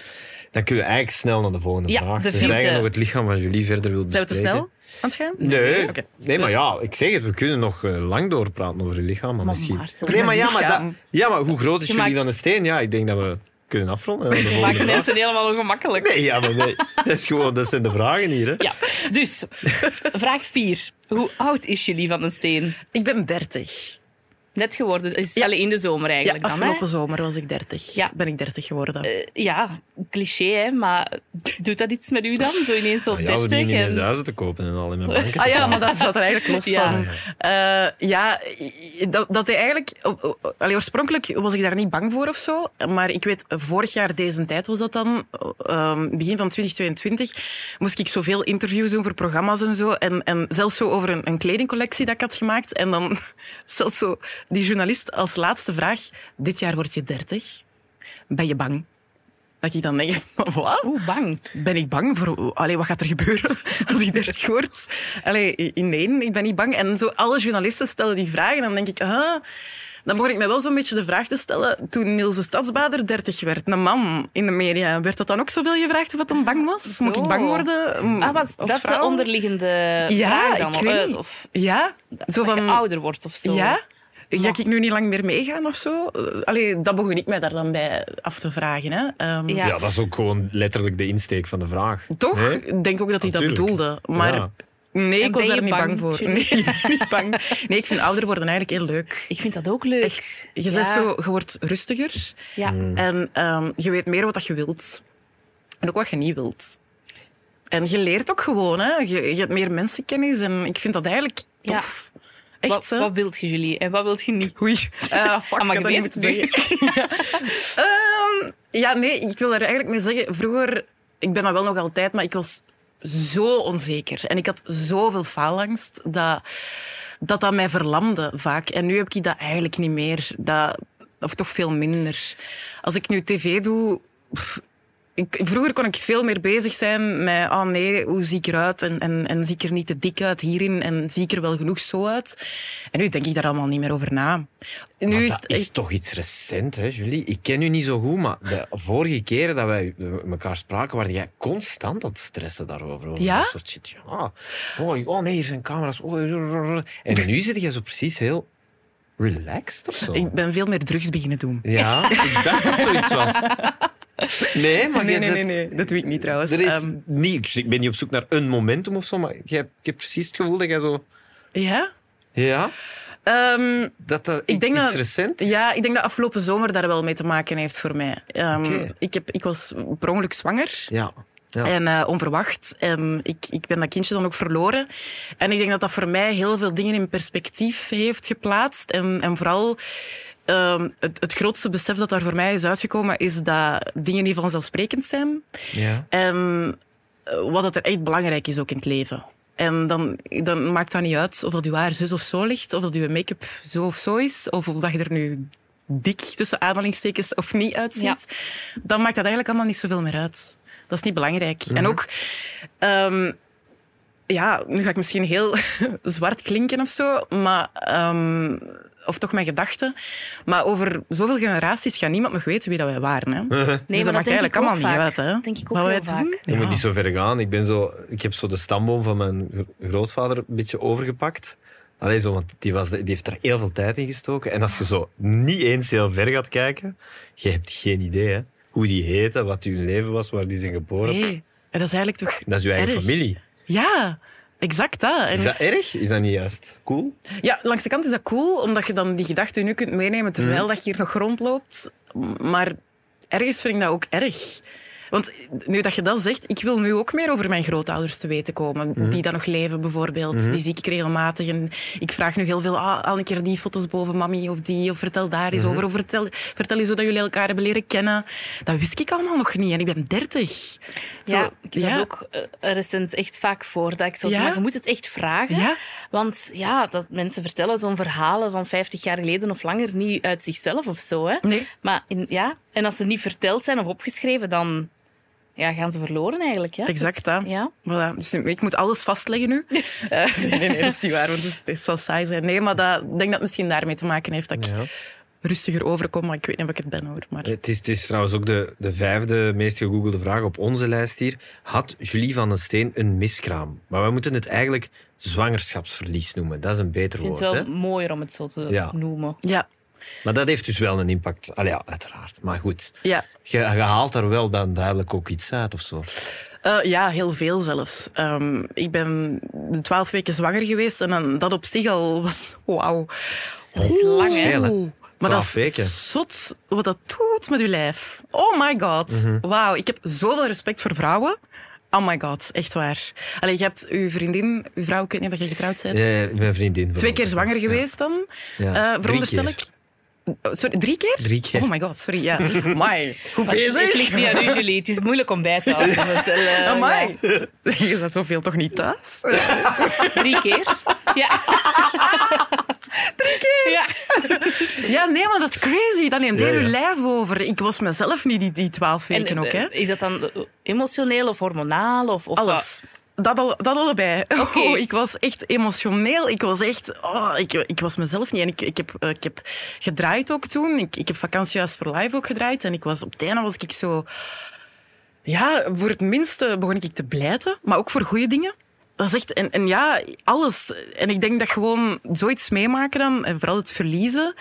Speaker 5: Dan kunnen we eigenlijk snel naar de volgende
Speaker 3: Ja,
Speaker 5: vraag.
Speaker 3: de
Speaker 5: Dus
Speaker 3: vierde.
Speaker 5: eigenlijk nog het lichaam van jullie verder wil
Speaker 4: Zijn
Speaker 5: bespreken.
Speaker 4: we te snel aan het gaan?
Speaker 5: Nee.
Speaker 4: Oké.
Speaker 5: nee, maar ja, ik zeg het, we kunnen nog eh, lang doorpraten over je lichaam, maar, misschien...
Speaker 3: Marcel,
Speaker 5: nee, maar ja, maar,
Speaker 4: lichaam.
Speaker 5: dat- ja, maar hoe groot is
Speaker 3: Je
Speaker 5: jullie
Speaker 3: maakt-
Speaker 5: van de steen? Ja, ik denk dat we kunnen afronden. aan de volgende
Speaker 3: Maakt
Speaker 5: vraag.
Speaker 3: mensen helemaal ongemakkelijk.
Speaker 5: Nee, ja, maar nee. Dat, is gewoon, dat zijn de vragen hier. Hè.
Speaker 3: Ja, dus vraag 4. Hoe oud is jullie van een steen?
Speaker 4: Ik ben 30.
Speaker 3: Net geworden, is
Speaker 4: Ja.
Speaker 3: alleen in de zomer
Speaker 4: Ja,
Speaker 3: eigenlijk dan. Hè?
Speaker 4: afgelopen zomer was ik 30.
Speaker 3: Ja.
Speaker 4: Ben ik 30 geworden.
Speaker 3: Eh, ja, cliché, hè, maar doet dat iets met u dan? Zo ineens op
Speaker 5: Nou ja, we
Speaker 3: 30
Speaker 5: beginnen ineens
Speaker 3: en
Speaker 5: huizen te kopen en al in mijn banken.
Speaker 4: Ah ja, maar dat zat er eigenlijk los
Speaker 3: Ja.
Speaker 4: van. Eh, ja, i- dat, dat hij eigenlijk... o- o- allee, oorspronkelijk was ik daar niet bang voor of zo. Maar ik weet, vorig jaar deze tijd was dat dan. ehm, begin van 2022 moest ik zoveel interviews doen voor programma's en zo. En, en zelfs zo over een, een kledingcollectie dat ik had gemaakt. En dan (laughs) stelt zo die journalist als laatste vraag... Dit jaar word je 30. Ben je bang? Dat ik dan denk, (laughs) wat?
Speaker 3: Oeh, bang.
Speaker 4: ben ik bang voor... Allee, wat gaat er gebeuren (laughs) als ik 30 word? Allee, i- nee, ik ben niet bang. En zo alle journalisten stellen die vragen. Dan denk ik, ah... Dan begon ik mij wel zo'n beetje de vraag te stellen... Toen Niels de Stadsbader 30 werd, een man in de media... Werd dat dan ook zoveel gevraagd of wat hem bang was? Moet
Speaker 3: Zo.
Speaker 4: ik bang worden mm,
Speaker 3: Ah, was
Speaker 4: als
Speaker 3: dat
Speaker 4: vrouw?
Speaker 3: de onderliggende
Speaker 4: Ja,
Speaker 3: vraag dan?
Speaker 4: ik weet
Speaker 3: Eh,
Speaker 4: niet.
Speaker 3: Of
Speaker 4: Ja, zo
Speaker 3: dat
Speaker 4: van...
Speaker 3: je ouder wordt of zo?
Speaker 4: Ja? Ga
Speaker 3: Maar-
Speaker 4: ik nu niet lang meer meegaan of zo? Eh, Allee, dat begon ik mij daar dan bij af te vragen. Hè. Ehm,
Speaker 3: Ja.
Speaker 5: Ja. dat is ook gewoon letterlijk de insteek van de vraag.
Speaker 4: Toch?
Speaker 5: Nee?
Speaker 4: Ik denk ook dat hij dat
Speaker 5: Natuurlijk.
Speaker 4: bedoelde. Maar
Speaker 5: Ja.
Speaker 4: nee,
Speaker 3: En
Speaker 4: ik was
Speaker 3: ben je
Speaker 4: daar niet
Speaker 3: bang,
Speaker 4: bang voor.
Speaker 3: Julie?
Speaker 4: Nee, (laughs) ik ben niet bang. Nee, ik vind ouder worden eigenlijk heel leuk.
Speaker 3: Ik vind dat ook leuk.
Speaker 4: Echt. Je,
Speaker 3: Ja.
Speaker 4: bent zo, je wordt rustiger
Speaker 3: Ja.
Speaker 4: en ehm, je weet meer wat dat je wilt. En ook wat je niet wilt. En je leert ook gewoon. Hè. Je, je hebt meer mensenkennis en ik vind dat eigenlijk
Speaker 3: Ja.
Speaker 4: tof. Echt,
Speaker 3: wat,
Speaker 4: hè?
Speaker 3: wat wilt je, Julie? En wat wilt je niet?
Speaker 4: Oei. Eh, fuck,
Speaker 3: Ah, maar
Speaker 4: ik
Speaker 3: je
Speaker 4: had dat niet
Speaker 3: weet
Speaker 4: moeten
Speaker 3: het nu.
Speaker 4: zeggen. ja. Ehm, ja, nee, ik wil daar eigenlijk mee zeggen... Vroeger, ik ben dat wel nog altijd, maar ik was zo onzeker. En ik had zoveel faalangst dat dat, dat mij verlamde vaak. En nu heb ik dat eigenlijk niet meer. Dat, of toch veel minder. Als ik nu tv doe... pff, ik, vroeger kon ik veel meer bezig zijn met, ah nee, hoe zie ik eruit? En, en, en zie ik er niet te dik uit hierin? En zie ik er wel genoeg zo uit? En nu denk ik daar allemaal niet meer over na. Nu
Speaker 5: Maar
Speaker 4: is
Speaker 5: dat
Speaker 4: het
Speaker 5: is
Speaker 4: echt-
Speaker 5: toch iets recent, hè, Julie? Ik ken u niet zo goed, maar de vorige keren dat wij eh, elkaar spraken, waren jij constant aan het stressen daarover. Over
Speaker 4: Ja?
Speaker 5: Dat soort shit. Ja. Oh, oh nee, hier zijn camera's. Oh, rrrr. en nu zit jij zo precies heel relaxed of zo.
Speaker 4: Ik ben veel meer drugs beginnen doen. (laughs)
Speaker 5: Ja, ik dacht dat zoiets was. Nee, maar jij Oh, zit-
Speaker 4: Dat doe ik niet trouwens.
Speaker 5: Er is
Speaker 4: Ehm,
Speaker 5: niet, ik ben niet op zoek naar een momentum of zo, maar jij, ik heb precies het gevoel dat jij zo...
Speaker 4: ja?
Speaker 5: Ja,
Speaker 4: Ehm,
Speaker 5: dat dat
Speaker 4: Ik denk
Speaker 5: iets
Speaker 4: dat-
Speaker 5: recent is.
Speaker 4: ja, ik denk dat afgelopen zomer daar wel mee te maken heeft voor mij. Ehm,
Speaker 5: Oké.
Speaker 4: ik, heb, ik was per ongeluk zwanger.
Speaker 5: Ja. Ja.
Speaker 4: En eh, onverwacht. En ik, ik ben dat kindje dan ook verloren. En ik denk dat dat voor mij heel veel dingen in perspectief heeft geplaatst. En, en vooral ehm, het, het grootste besef dat daar voor mij is uitgekomen, is dat dingen niet vanzelfsprekend zijn.
Speaker 5: ja.
Speaker 4: En eh, wat dat er echt belangrijk is ook in het leven. En dan, dan maakt dat niet uit of dat je haar zus of zo ligt, of dat je make-up zo of zo is, of of dat je er nu dik tussen aanhalingstekens of niet uitziet, dan maakt dat eigenlijk allemaal niet zoveel meer uit. Dat is niet belangrijk.
Speaker 3: Mhm.
Speaker 4: En ook, ehm, ja, nu ga ik misschien heel (laughs) zwart klinken of zo, maar, ehm, of toch mijn gedachten. Maar over zoveel generaties gaat niemand nog weten wie dat wij
Speaker 3: (laughs)
Speaker 4: waren. Hè? dus dat,
Speaker 3: maar dat
Speaker 4: maakt
Speaker 3: denk
Speaker 4: eigenlijk
Speaker 3: ik
Speaker 4: allemaal
Speaker 3: ook
Speaker 4: niet
Speaker 3: vaak.
Speaker 4: uit. Hè?
Speaker 3: Dat denk ik ook
Speaker 4: Wat wij
Speaker 3: heel vaak.
Speaker 4: doen,
Speaker 5: Je
Speaker 4: ja.
Speaker 5: moet niet zo ver gaan. Ik, ben zo, ik heb zo de stamboom van mijn gro- grootvader een beetje overgepakt. Alleen zo, want die, was, de- die heeft er heel veel tijd in gestoken. En als je zo niet eens heel ver gaat kijken, je hebt geen idee hè, hoe die heten, wat hun leven was, waar die zijn geboren.
Speaker 4: Nee, en dat is eigenlijk toch.
Speaker 5: Dat is je eigen
Speaker 4: erg.
Speaker 5: familie.
Speaker 4: Ja, exact dat. En-
Speaker 5: Is dat erg? Is dat niet juist cool?
Speaker 4: Ja, langs de kant is dat cool, omdat je dan die gedachten nu kunt
Speaker 5: Mhm.
Speaker 4: meenemen terwijl dat je hier nog rondloopt. Maar ergens vind ik dat ook erg. Want nu dat je dat zegt, ik wil nu ook meer over mijn grootouders te weten komen.
Speaker 5: Mhm.
Speaker 4: Die dan nog leven bijvoorbeeld. Die zie ik regelmatig. En ik vraag nu heel veel, ah, al een keer die foto's boven mami of die. Of vertel daar eens
Speaker 5: Mhm.
Speaker 4: over. Of vertel, vertel eens hoe dat jullie elkaar hebben leren kennen. Dat wist ik allemaal nog niet. En ik ben dertig.
Speaker 3: ja, ik heb dat ook eh, recent echt vaak voor. Dat ik zo,
Speaker 4: Ja?
Speaker 3: maar je moet het echt vragen.
Speaker 4: Ja.
Speaker 3: Want ja, dat mensen vertellen zo'n verhalen van 50 jaar geleden of langer niet uit zichzelf of zo. Hè.
Speaker 4: Nee.
Speaker 3: Maar in, ja, en als ze niet verteld zijn of opgeschreven, dan ja, gaan ze verloren eigenlijk. Hè.
Speaker 4: Exact,
Speaker 3: Dus,
Speaker 4: hè.
Speaker 3: ja.
Speaker 4: Voilà. Dus ik moet alles vastleggen nu. Eh, nee, nee, nee, dat is niet waar, want het, het zou saai zijn. Nee, maar dat, ik denk dat het misschien daarmee te maken heeft dat ik
Speaker 5: Ja. Eh,
Speaker 4: rustiger overkom. Maar ik weet niet of ik het ben, hoor. Maar
Speaker 5: Het is, het is trouwens ook de, de vijfde meest gegoogelde vraag op onze lijst hier. Had Julie van den Steen een miskraam? Maar wij moeten het eigenlijk zwangerschapsverlies noemen. Dat is een beter
Speaker 3: Ik vind
Speaker 5: woord.
Speaker 3: het wel
Speaker 5: hè?
Speaker 3: mooier om het zo te
Speaker 5: Ja.
Speaker 3: noemen.
Speaker 4: ja,
Speaker 5: Maar dat heeft dus wel een impact. Allee, ja, uiteraard. Maar goed,
Speaker 4: ja.
Speaker 5: je, je haalt er wel dan duidelijk ook iets uit of zo.
Speaker 4: Eh, ja, heel veel zelfs. Ehm, ik ben twaalf weken zwanger geweest en dan, dat op zich al was... Wauw.
Speaker 3: Dat is lang, hè.
Speaker 5: Veel, hè?
Speaker 4: Maar dat is
Speaker 5: 12 weken.
Speaker 4: zot wat dat doet met uw lijf. Oh my god.
Speaker 5: Mhm.
Speaker 4: Wauw, ik heb zoveel respect voor vrouwen. Oh my god, echt waar. Allee, je hebt uw vriendin, uw vrouw, ik weet niet of je getrouwd bent.
Speaker 5: Eh, mijn vriendin.
Speaker 4: Twee keer zwanger geweest dan,
Speaker 5: Ja.
Speaker 4: eh,
Speaker 5: Drie
Speaker 4: veronderstel
Speaker 5: keer.
Speaker 4: ik. Oh, Sorry, drie keer?
Speaker 5: Drie keer.
Speaker 4: Oh my god, sorry.
Speaker 5: (laughs)
Speaker 4: Ja. Amai. Goed
Speaker 3: Maar het, het ligt niet aan u, Julie. Het is moeilijk om bij te houden. Het, eh,
Speaker 4: Amai. (laughs) Je zat zoveel toch niet thuis?
Speaker 3: Drie keer. Ja. Drie keer? Ja.
Speaker 4: Ja, nee, maar dat is crazy. Dan neemt heel
Speaker 5: Ja, ja.
Speaker 4: uw lijf over. Ik was mezelf niet die- die twaalf
Speaker 3: En,
Speaker 4: weken ook, hè.
Speaker 3: eh, Is dat dan eh, emotioneel of hormonaal? Of, of wat?
Speaker 4: Alles. Dat, al, dat allebei. (laughs)
Speaker 3: Oké.
Speaker 4: Oh, ik was echt emotioneel. Ik was echt... Oh, ik, ik was mezelf niet. En ik, ik, heb, eh, ik heb gedraaid ook toen. Ik, ik heb vakantiehuis voor live ook gedraaid. En ik was, op het einde was ik zo... Ja, voor het minste begon ik te blijten. Maar ook voor goede dingen. Dat is echt... En, en ja, alles. En ik denk dat gewoon zoiets meemaken dan... En vooral het verliezen...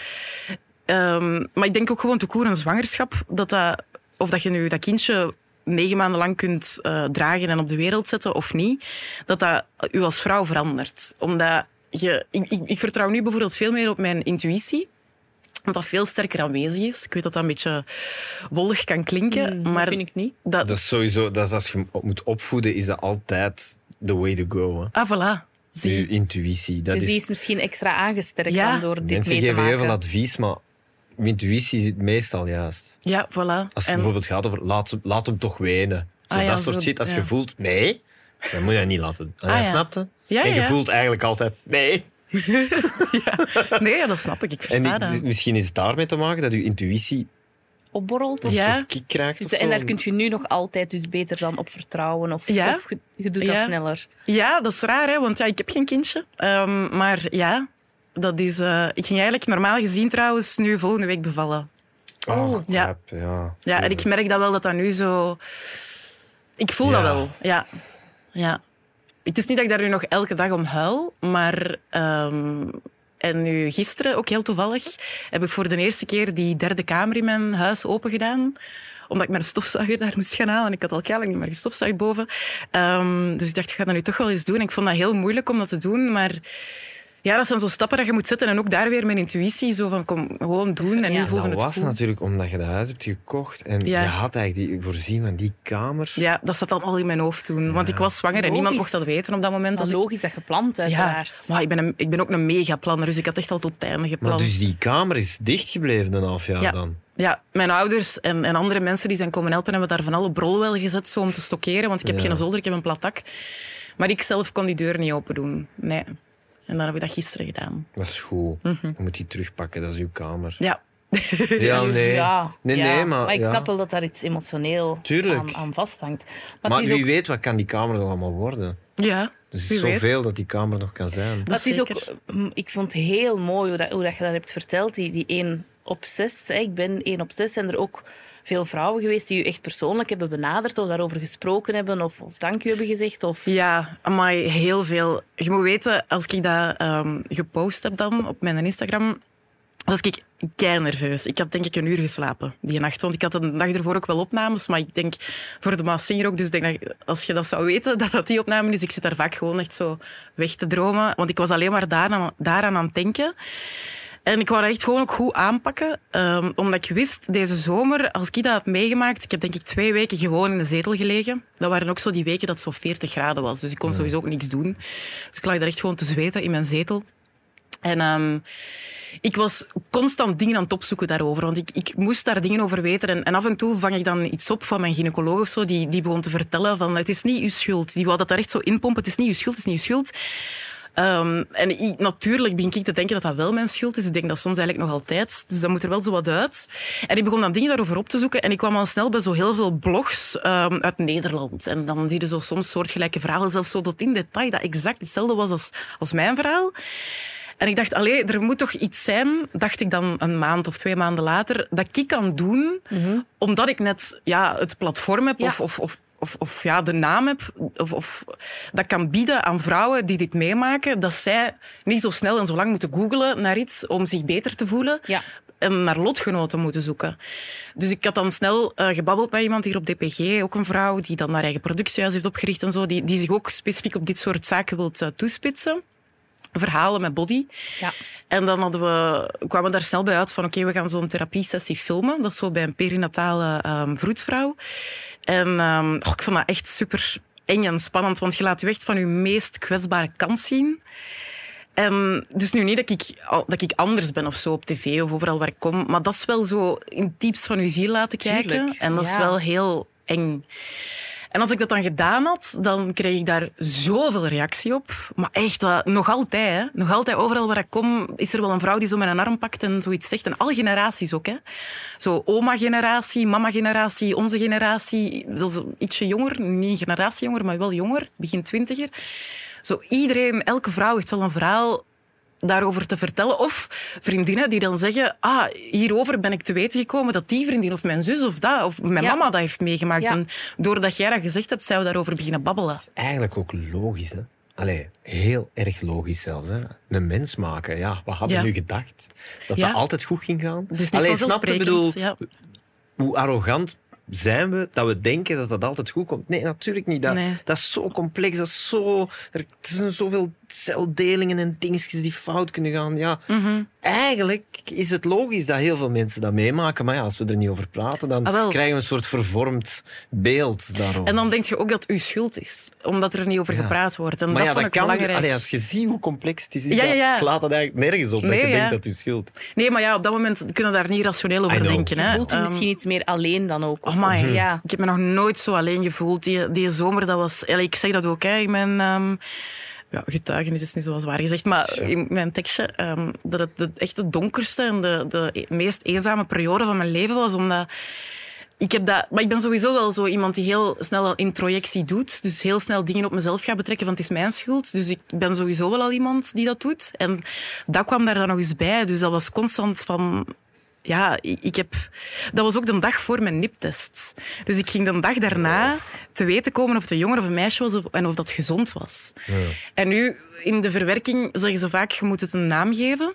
Speaker 4: Ehm, maar ik denk ook gewoon te koer een zwangerschap. Dat dat, of dat je nu dat kindje negen maanden lang kunt eh, dragen en op de wereld zetten of niet. Dat dat u als vrouw verandert. Omdat je, ik, ik, ik vertrouw nu bijvoorbeeld veel meer op mijn intuïtie. Omdat dat veel sterker aanwezig is. Ik weet dat dat een beetje wollig kan klinken. maar
Speaker 3: Mm, vind ik niet.
Speaker 4: Hmm, Dat,
Speaker 5: Dat is sowieso, dat is als je op moet opvoeden, is dat altijd the way to go. Hè.
Speaker 4: Ah, voilà. Zie.
Speaker 5: Je intuïtie. Dat
Speaker 3: Dus die
Speaker 5: is,
Speaker 3: is misschien extra aangesterkt
Speaker 4: Ja.
Speaker 3: dan door dit
Speaker 5: mensen
Speaker 3: mee te
Speaker 5: geven
Speaker 3: maken.
Speaker 5: heel veel advies, maar je intuïtie zit meestal juist.
Speaker 4: Ja, voilà.
Speaker 5: Als het
Speaker 4: En-
Speaker 5: bijvoorbeeld gaat over laat, hem- laat hem toch wenen. Zo,
Speaker 4: Ah ja,
Speaker 5: dat soort
Speaker 4: zo,
Speaker 5: shit. Als je
Speaker 4: ja.
Speaker 5: voelt nee, dan moet je dat niet laten. En
Speaker 4: Ah
Speaker 5: hij
Speaker 4: ja.
Speaker 5: snapte.
Speaker 4: Ja,
Speaker 5: en je
Speaker 4: ja.
Speaker 5: voelt eigenlijk altijd nee.
Speaker 4: Nee, ja, dat snap ik. Ik
Speaker 5: En
Speaker 4: versta
Speaker 5: die-
Speaker 4: dat.
Speaker 5: misschien is het daarmee te maken dat je intuïtie
Speaker 3: Opborrelt of
Speaker 5: een
Speaker 4: Ja.
Speaker 5: soort kick krijgt.
Speaker 3: Dus-
Speaker 5: of
Speaker 3: en
Speaker 5: zo.
Speaker 3: daar kun je nu nog altijd dus beter dan op vertrouwen. Of,
Speaker 4: Ja.
Speaker 3: of je, je doet dat
Speaker 4: Ja.
Speaker 3: sneller.
Speaker 4: Ja, dat is raar, hè, want ja, ik heb geen kindje. Ehm, maar ja, dat is. eh, ik ging eigenlijk normaal gezien trouwens nu volgende week bevallen.
Speaker 5: Oh,
Speaker 4: ja.
Speaker 5: crap, ja.
Speaker 4: Ja, en ik merk dat wel dat dat nu zo. Ik voel dat
Speaker 5: Ja.
Speaker 4: wel. Ja. ja. Het is niet dat ik daar nu nog elke dag om huil, maar. ehm, en nu gisteren, ook heel toevallig, heb ik voor de eerste keer die derde kamer in mijn huis open gedaan. Omdat ik mijn stofzuiger daar moest gaan halen. En ik had al keilang niet meer gestofzuigd boven. Ehm, dus ik dacht, ik ga dat nu toch wel eens doen. En ik vond dat heel moeilijk om dat te doen, maar... Ja, dat zijn zo stappen dat je moet zetten. En ook daar weer mijn intuïtie, zo van, kom, gewoon doen. En
Speaker 3: Ja.
Speaker 4: nu voelde
Speaker 5: dat
Speaker 4: het
Speaker 5: was
Speaker 4: goed.
Speaker 5: natuurlijk omdat je dat huis hebt gekocht en
Speaker 4: Ja.
Speaker 5: je had eigenlijk die, voorzien van die kamer.
Speaker 4: Ja, dat zat allemaal in mijn hoofd toen. Want ik was zwanger en niemand mocht
Speaker 3: Logisch.
Speaker 4: dat weten op dat moment.
Speaker 3: Dat
Speaker 4: Als
Speaker 3: is
Speaker 4: ik-
Speaker 3: logisch dat je plant,
Speaker 4: ja,
Speaker 3: uiteraard.
Speaker 4: maar ik ben, een- ik ben ook een megaplanner, dus ik had echt al tot het einde
Speaker 5: Maar
Speaker 4: gepland.
Speaker 5: dus die kamer is dichtgebleven een half jaar
Speaker 4: Ja.
Speaker 5: dan.
Speaker 4: Ja, mijn ouders en, en andere mensen die zijn komen helpen hebben daar van alle brol wel gezet zo om te stockeren. Want ik heb
Speaker 5: Ja.
Speaker 4: geen zolder, ik heb een platak. Maar ik zelf kon die deur niet open doen. Nee. En dan heb ik dat gisteren gedaan.
Speaker 5: Dat is goed. Je moet die terugpakken, dat is uw kamer.
Speaker 4: Ja,
Speaker 5: Ja, nee.
Speaker 3: Ja,
Speaker 5: nee,
Speaker 3: ja.
Speaker 5: nee, maar...
Speaker 3: ik
Speaker 5: ja.
Speaker 3: snap wel dat daar iets emotioneel
Speaker 5: Tuurlijk.
Speaker 3: aan, aan vasthangt. Maar,
Speaker 5: Maar
Speaker 3: het is
Speaker 5: wie
Speaker 3: ook,
Speaker 5: weet, wat kan die kamer nog allemaal worden?
Speaker 4: Ja,
Speaker 5: Er is
Speaker 4: wie weet.
Speaker 5: Dus zoveel dat die kamer nog kan zijn.
Speaker 3: maar het is ook
Speaker 4: Zeker.
Speaker 3: mm, ik vond het heel mooi hoe, dat, hoe dat je dat hebt verteld, die, die 1 op 6. Ik ben 1 op 6 en er ook veel vrouwen geweest die u echt persoonlijk hebben benaderd of daarover gesproken hebben of, of dank u hebben gezegd. Of...
Speaker 4: Ja, maar heel veel. Je moet weten, als ik dat ehm, gepost heb dan op mijn Instagram, was ik kei nerveus. Ik had denk ik een uur geslapen die nacht. Want ik had een dag ervoor ook wel opnames, maar ik denk voor de Maas Singer ook. Dus ik denk dat als je dat zou weten, (laughs) dat dat die opname is. Ik zit daar vaak gewoon echt zo weg te dromen. Want ik was alleen maar daaraan, daaraan aan het denken. En ik wou dat echt gewoon ook goed aanpakken. ehm, omdat ik wist, deze zomer, als ik dat had meegemaakt... Ik heb denk ik twee weken gewoon in de zetel gelegen. Dat waren ook zo die weken dat het zo 40 graden was. Dus ik kon sowieso ook niks doen. Dus ik lag daar echt gewoon te zweten in mijn zetel. En ehm, ik was constant dingen aan het opzoeken daarover. Want ik, ik moest daar dingen over weten. En, en af en toe vang ik dan iets op van mijn gynaecoloog of zo. Die, die begon te vertellen van, het is niet uw schuld. Die wou dat daar echt zo inpompen. Het is niet uw schuld, het is niet uw schuld. Ehm, en ik- natuurlijk begin ik te denken dat dat wel mijn schuld is. Ik denk dat soms eigenlijk nog altijd. Dus dat moet er wel zo wat uit. En ik begon dan dingen daarover op te zoeken. En ik kwam al snel bij zo heel veel blogs ehm, uit Nederland. En dan zie je zo soms soortgelijke verhalen, zelfs zo tot in detail, dat exact hetzelfde was als, als mijn verhaal. En ik dacht, allee, er moet toch iets zijn, dacht ik dan een maand of twee maanden later, dat ik kan doen, omdat ik net ja, het platform heb
Speaker 3: Ja.
Speaker 4: of, of, of, of, of, ja, de naam heb, of, of dat kan bieden aan vrouwen die dit meemaken, dat zij niet zo snel en zo lang moeten googlen naar iets om zich beter te voelen
Speaker 3: Ja.
Speaker 4: en naar lotgenoten moeten zoeken. Dus ik had dan snel eh, gebabbeld met iemand hier op DPG, ook een vrouw die dan haar eigen productiehuis heeft opgericht en zo, die, die zich ook specifiek op dit soort zaken wilt eh, toespitsen. Verhalen met body.
Speaker 3: Ja.
Speaker 4: En dan hadden we, kwamen we daar snel bij uit van oké, we gaan zo'n therapiesessie filmen. Dat is zo bij een perinatale ehm, vroedvrouw. En ehm, oh, ik vond dat echt super eng en spannend, want je laat je echt van je meest kwetsbare kant zien. En dus nu niet dat ik, al- dat ik anders ben of zo op tv of overal waar ik kom, maar dat is wel zo in het diepst van je ziel laten kijken.
Speaker 3: Tuurlijk,
Speaker 4: en dat is
Speaker 3: ja.
Speaker 4: wel heel eng. En als ik dat dan gedaan had, dan kreeg ik daar zoveel reactie op. Maar echt, dat- nog altijd. Hè. Nog altijd, overal waar ik kom, is er wel een vrouw die zo met een arm pakt en zoiets zegt. En alle generaties ook. Hè. Zo oma-generatie, mama-generatie, onze generatie. Dat is ietsje jonger, niet een generatie jonger, maar wel jonger. Begin twintiger. Zo iedereen, elke vrouw heeft wel een verhaal daarover te vertellen. Of vriendinnen die dan zeggen, ah, hierover ben ik te weten gekomen dat die vriendin of mijn zus of dat, of mijn
Speaker 3: Ja.
Speaker 4: mama dat heeft meegemaakt.
Speaker 3: Ja.
Speaker 4: En doordat jij dat gezegd hebt, zijn we daarover beginnen babbelen.
Speaker 5: Eigenlijk ook logisch, hè? Allee, heel erg logisch zelfs. Hè? Een mens maken, ja. We hadden
Speaker 4: Ja.
Speaker 5: nu gedacht dat
Speaker 4: Ja.
Speaker 5: dat altijd goed ging gaan.
Speaker 4: Het is niet
Speaker 5: Allee, snap je?
Speaker 4: vanzelfsprekend.
Speaker 5: Ik bedoel,
Speaker 4: ja.
Speaker 5: hoe arrogant zijn we dat we denken dat dat altijd goed komt? Nee, natuurlijk niet. Dat,
Speaker 4: Nee.
Speaker 5: dat is zo complex. Dat is zo, er er zijn zoveel celdelingen en dingetjes die fout kunnen gaan. Ja.
Speaker 4: Mhm.
Speaker 5: Eigenlijk is het logisch dat heel veel mensen dat meemaken. Maar ja, als we er niet over praten, dan
Speaker 4: Ah, wel.
Speaker 5: krijgen we een soort vervormd beeld daarover.
Speaker 4: En dan denk je ook dat het uw schuld is, omdat er niet over
Speaker 5: Ja.
Speaker 4: gepraat wordt. En
Speaker 5: maar
Speaker 4: dat
Speaker 5: ja,
Speaker 4: vond
Speaker 5: dat
Speaker 4: ik
Speaker 5: kan niet.
Speaker 4: belangrijk.
Speaker 5: Allee, als je ziet hoe complex het is, is
Speaker 4: Ja,
Speaker 5: dat-
Speaker 4: ja, ja.
Speaker 5: slaat dat eigenlijk nergens op. dat
Speaker 4: Nee,
Speaker 5: je
Speaker 4: ja.
Speaker 5: denkt dat je schuld.
Speaker 4: Nee, maar ja, op dat moment kunnen we daar niet rationeel
Speaker 5: I
Speaker 4: over
Speaker 5: know.
Speaker 4: denken.
Speaker 3: Je
Speaker 4: Hè.
Speaker 3: voelt je
Speaker 4: Ehm,
Speaker 3: misschien iets meer alleen dan ook.
Speaker 4: Oh my.
Speaker 3: Ja.
Speaker 4: Ik heb me nog nooit zo alleen gevoeld. Die, die zomer, dat was... Allee, ik zeg dat ook, hè. In mijn... ehm, ja, getuigenis is nu zoals waar gezegd, maar in mijn tekstje... ehm, dat het de, echt de donkerste en de, de meest eenzame periode van mijn leven was, omdat... Ik heb dat, maar ik ben sowieso wel zo iemand die heel snel al introjectie doet. Dus heel snel dingen op mezelf gaat betrekken, want het is mijn schuld. Dus ik ben sowieso wel al iemand die dat doet. En dat kwam daar dan nog eens bij. Dus dat was constant van... Ja, ik ik heb... Dat was ook de dag voor mijn niptest. Dus ik ging de dag
Speaker 5: Oh.
Speaker 4: daarna te weten komen of de jongen of een meisje was of- en of dat gezond was. En nu, in de verwerking zeggen ze vaak, je moet het een naam geven.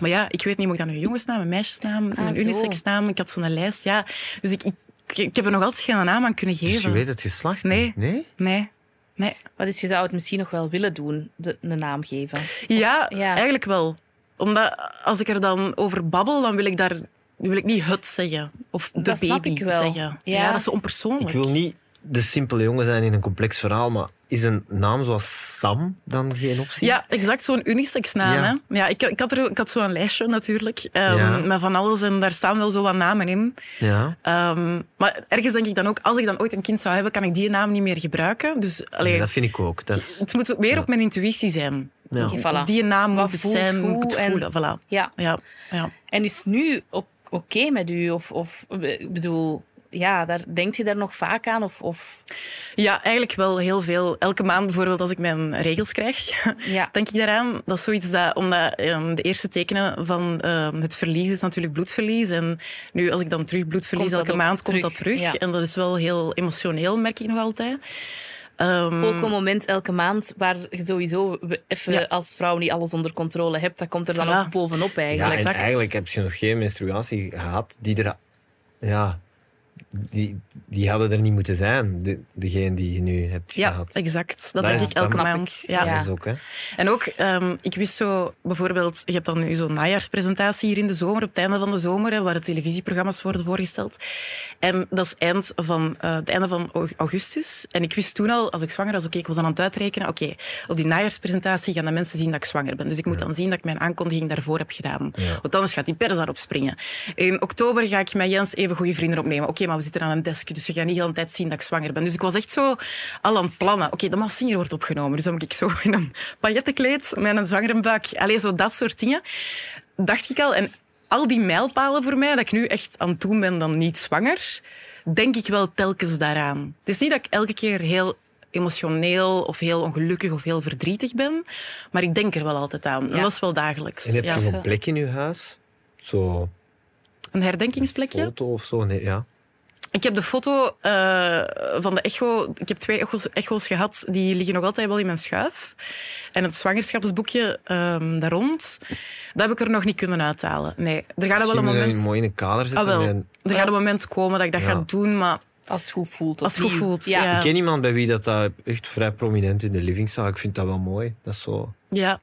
Speaker 4: Maar ja, ik weet niet, moet ik dat nu een jongensnaam, een meisjesnaam,
Speaker 3: Ah,
Speaker 4: een
Speaker 3: zo.
Speaker 4: unisexnaam? Ik had zo'n lijst, ja. Dus ik, ik, ik heb er nog altijd geen naam aan kunnen geven.
Speaker 5: Dus je weet het geslacht
Speaker 4: Nee.
Speaker 5: niet? Nee?
Speaker 4: Nee. Nee.
Speaker 3: Maar dus je zou het misschien nog wel willen doen, de, een naam geven.
Speaker 4: Ja,
Speaker 3: ja.
Speaker 4: eigenlijk wel. Omdat als ik er dan over babbel, dan wil ik daar wil ik niet het zeggen. Of de
Speaker 3: Dat
Speaker 4: baby
Speaker 3: snap ik wel.
Speaker 4: zeggen. Ja.
Speaker 3: Ja.
Speaker 4: dat is zo onpersoonlijk.
Speaker 5: Ik wil niet de simpele jongen zijn in een complex verhaal, maar is een naam zoals Sam dan geen optie?
Speaker 4: Ja, exact zo'n unisex-naam.
Speaker 5: Ja.
Speaker 4: Hè? Ja, ik, ik had, er, ik had zo'n lijstje natuurlijk, ehm,
Speaker 5: Ja.
Speaker 4: met van alles. En daar staan wel zo wat namen in.
Speaker 5: Ja.
Speaker 4: Ehm, maar ergens denk ik dan ook, als ik dan ooit een kind zou hebben, kan ik die naam niet meer gebruiken. Dus allee,
Speaker 5: dat vind ik ook. Dat is-
Speaker 4: het moet meer op mijn intuïtie zijn.
Speaker 5: Ja.
Speaker 3: Oké, voilà.
Speaker 4: Die naam
Speaker 3: Wat
Speaker 4: moet het
Speaker 3: voelt
Speaker 4: zijn, moet
Speaker 3: goed
Speaker 4: het
Speaker 3: en-
Speaker 4: voelen. Voilà.
Speaker 3: Ja.
Speaker 4: Ja, ja.
Speaker 3: En is nu ook oké met u? Of, of eh, ik bedoel, ja, daar, denkt je daar nog vaak aan? Of, of
Speaker 4: ja, eigenlijk wel heel veel. Elke maand bijvoorbeeld, als ik mijn regels krijg, (laughs)
Speaker 3: ja.
Speaker 4: denk ik daaraan. Dat is zoiets dat, omdat ehm, de eerste tekenen van ehm, het verlies is natuurlijk bloedverlies. En nu, als ik dan terug bloedverlies
Speaker 3: Komt dat
Speaker 4: elke
Speaker 3: ook
Speaker 4: maand, komt
Speaker 3: terug,
Speaker 4: dat terug.
Speaker 3: ja.
Speaker 4: En dat is wel heel emotioneel, merk ik nog altijd. Ehm,
Speaker 3: Ook een moment elke maand waar je sowieso we- even
Speaker 4: Ja.
Speaker 3: als vrouw niet alles onder controle hebt. Dat komt er dan
Speaker 4: Voilà.
Speaker 3: ook bovenop
Speaker 5: Ja,
Speaker 3: eigenlijk.
Speaker 5: en
Speaker 4: exact.
Speaker 5: eigenlijk heb je nog geen menstruatie gehad die er... Ja, die, die hadden er niet moeten zijn, de, degene die je nu hebt
Speaker 4: ja,
Speaker 5: gehad.
Speaker 4: exact. Dat
Speaker 5: Dat
Speaker 4: denk
Speaker 5: is-
Speaker 4: ik elke
Speaker 5: dat-
Speaker 4: maand.
Speaker 3: Ja.
Speaker 5: Dat is ook, hè.
Speaker 4: En ook, ehm, ik wist zo bijvoorbeeld, je hebt dan nu zo'n najaarspresentatie hier in de zomer, op het einde van de zomer, hè, waar de televisieprogramma's worden voorgesteld. En dat is eind van, eh, het einde van au- augustus. En ik wist toen al, als ik zwanger was, oké, ik was dan aan het uitrekenen, oké, op die najaarspresentatie gaan de mensen zien dat ik zwanger ben. Dus ik moet dan zien dat ik mijn aankondiging daarvoor heb gedaan. Want anders gaat die pers daarop springen. In oktober ga ik met Jens even goede vrienden opnemen. Oké, maar we zitten aan een desk, dus je gaat niet de hele tijd zien dat ik zwanger ben. Dus ik was echt zo al aan het plannen. Oké, de Massinger wordt opgenomen, dus dan moet ik zo in een paillettenkleed met een zwangere buik. Allee, zo dat soort dingen. Dacht ik al. En al die mijlpalen voor mij, dat ik nu echt aan het doen ben dan niet zwanger, denk ik wel telkens daaraan. Het is niet dat ik elke keer heel emotioneel of heel ongelukkig of heel verdrietig ben, maar ik denk er wel altijd aan. En
Speaker 3: Ja.
Speaker 4: dat is wel dagelijks.
Speaker 5: En heb je
Speaker 4: Ja.
Speaker 5: nog een plek in je huis? Zo
Speaker 4: Een
Speaker 5: een
Speaker 4: herdenkingsplekje.
Speaker 5: foto of zo? Nee, ja.
Speaker 4: Ik heb de foto eh, van de echo. Ik heb twee echo's, echo's gehad. Die liggen nog altijd wel in mijn schuif. En het zwangerschapsboekje ehm, daar rond. Dat heb ik er nog niet kunnen uithalen. Nee, er gaat er wel een
Speaker 5: Misschien moet je dat
Speaker 4: moment.
Speaker 5: mooi in een kader
Speaker 4: Ah,
Speaker 5: zetten.
Speaker 4: wel.
Speaker 5: en-
Speaker 4: Er gaat een moment komen dat ik dat
Speaker 5: Ja.
Speaker 4: ga doen. Maar
Speaker 3: Als het goed voelt.
Speaker 4: Als het goed
Speaker 3: opnieuw.
Speaker 4: voelt, ja.
Speaker 5: Ik ken iemand bij wie dat, dat echt vrij prominent in de living staat. Ik vind dat wel mooi. Dat is zo...
Speaker 4: ja,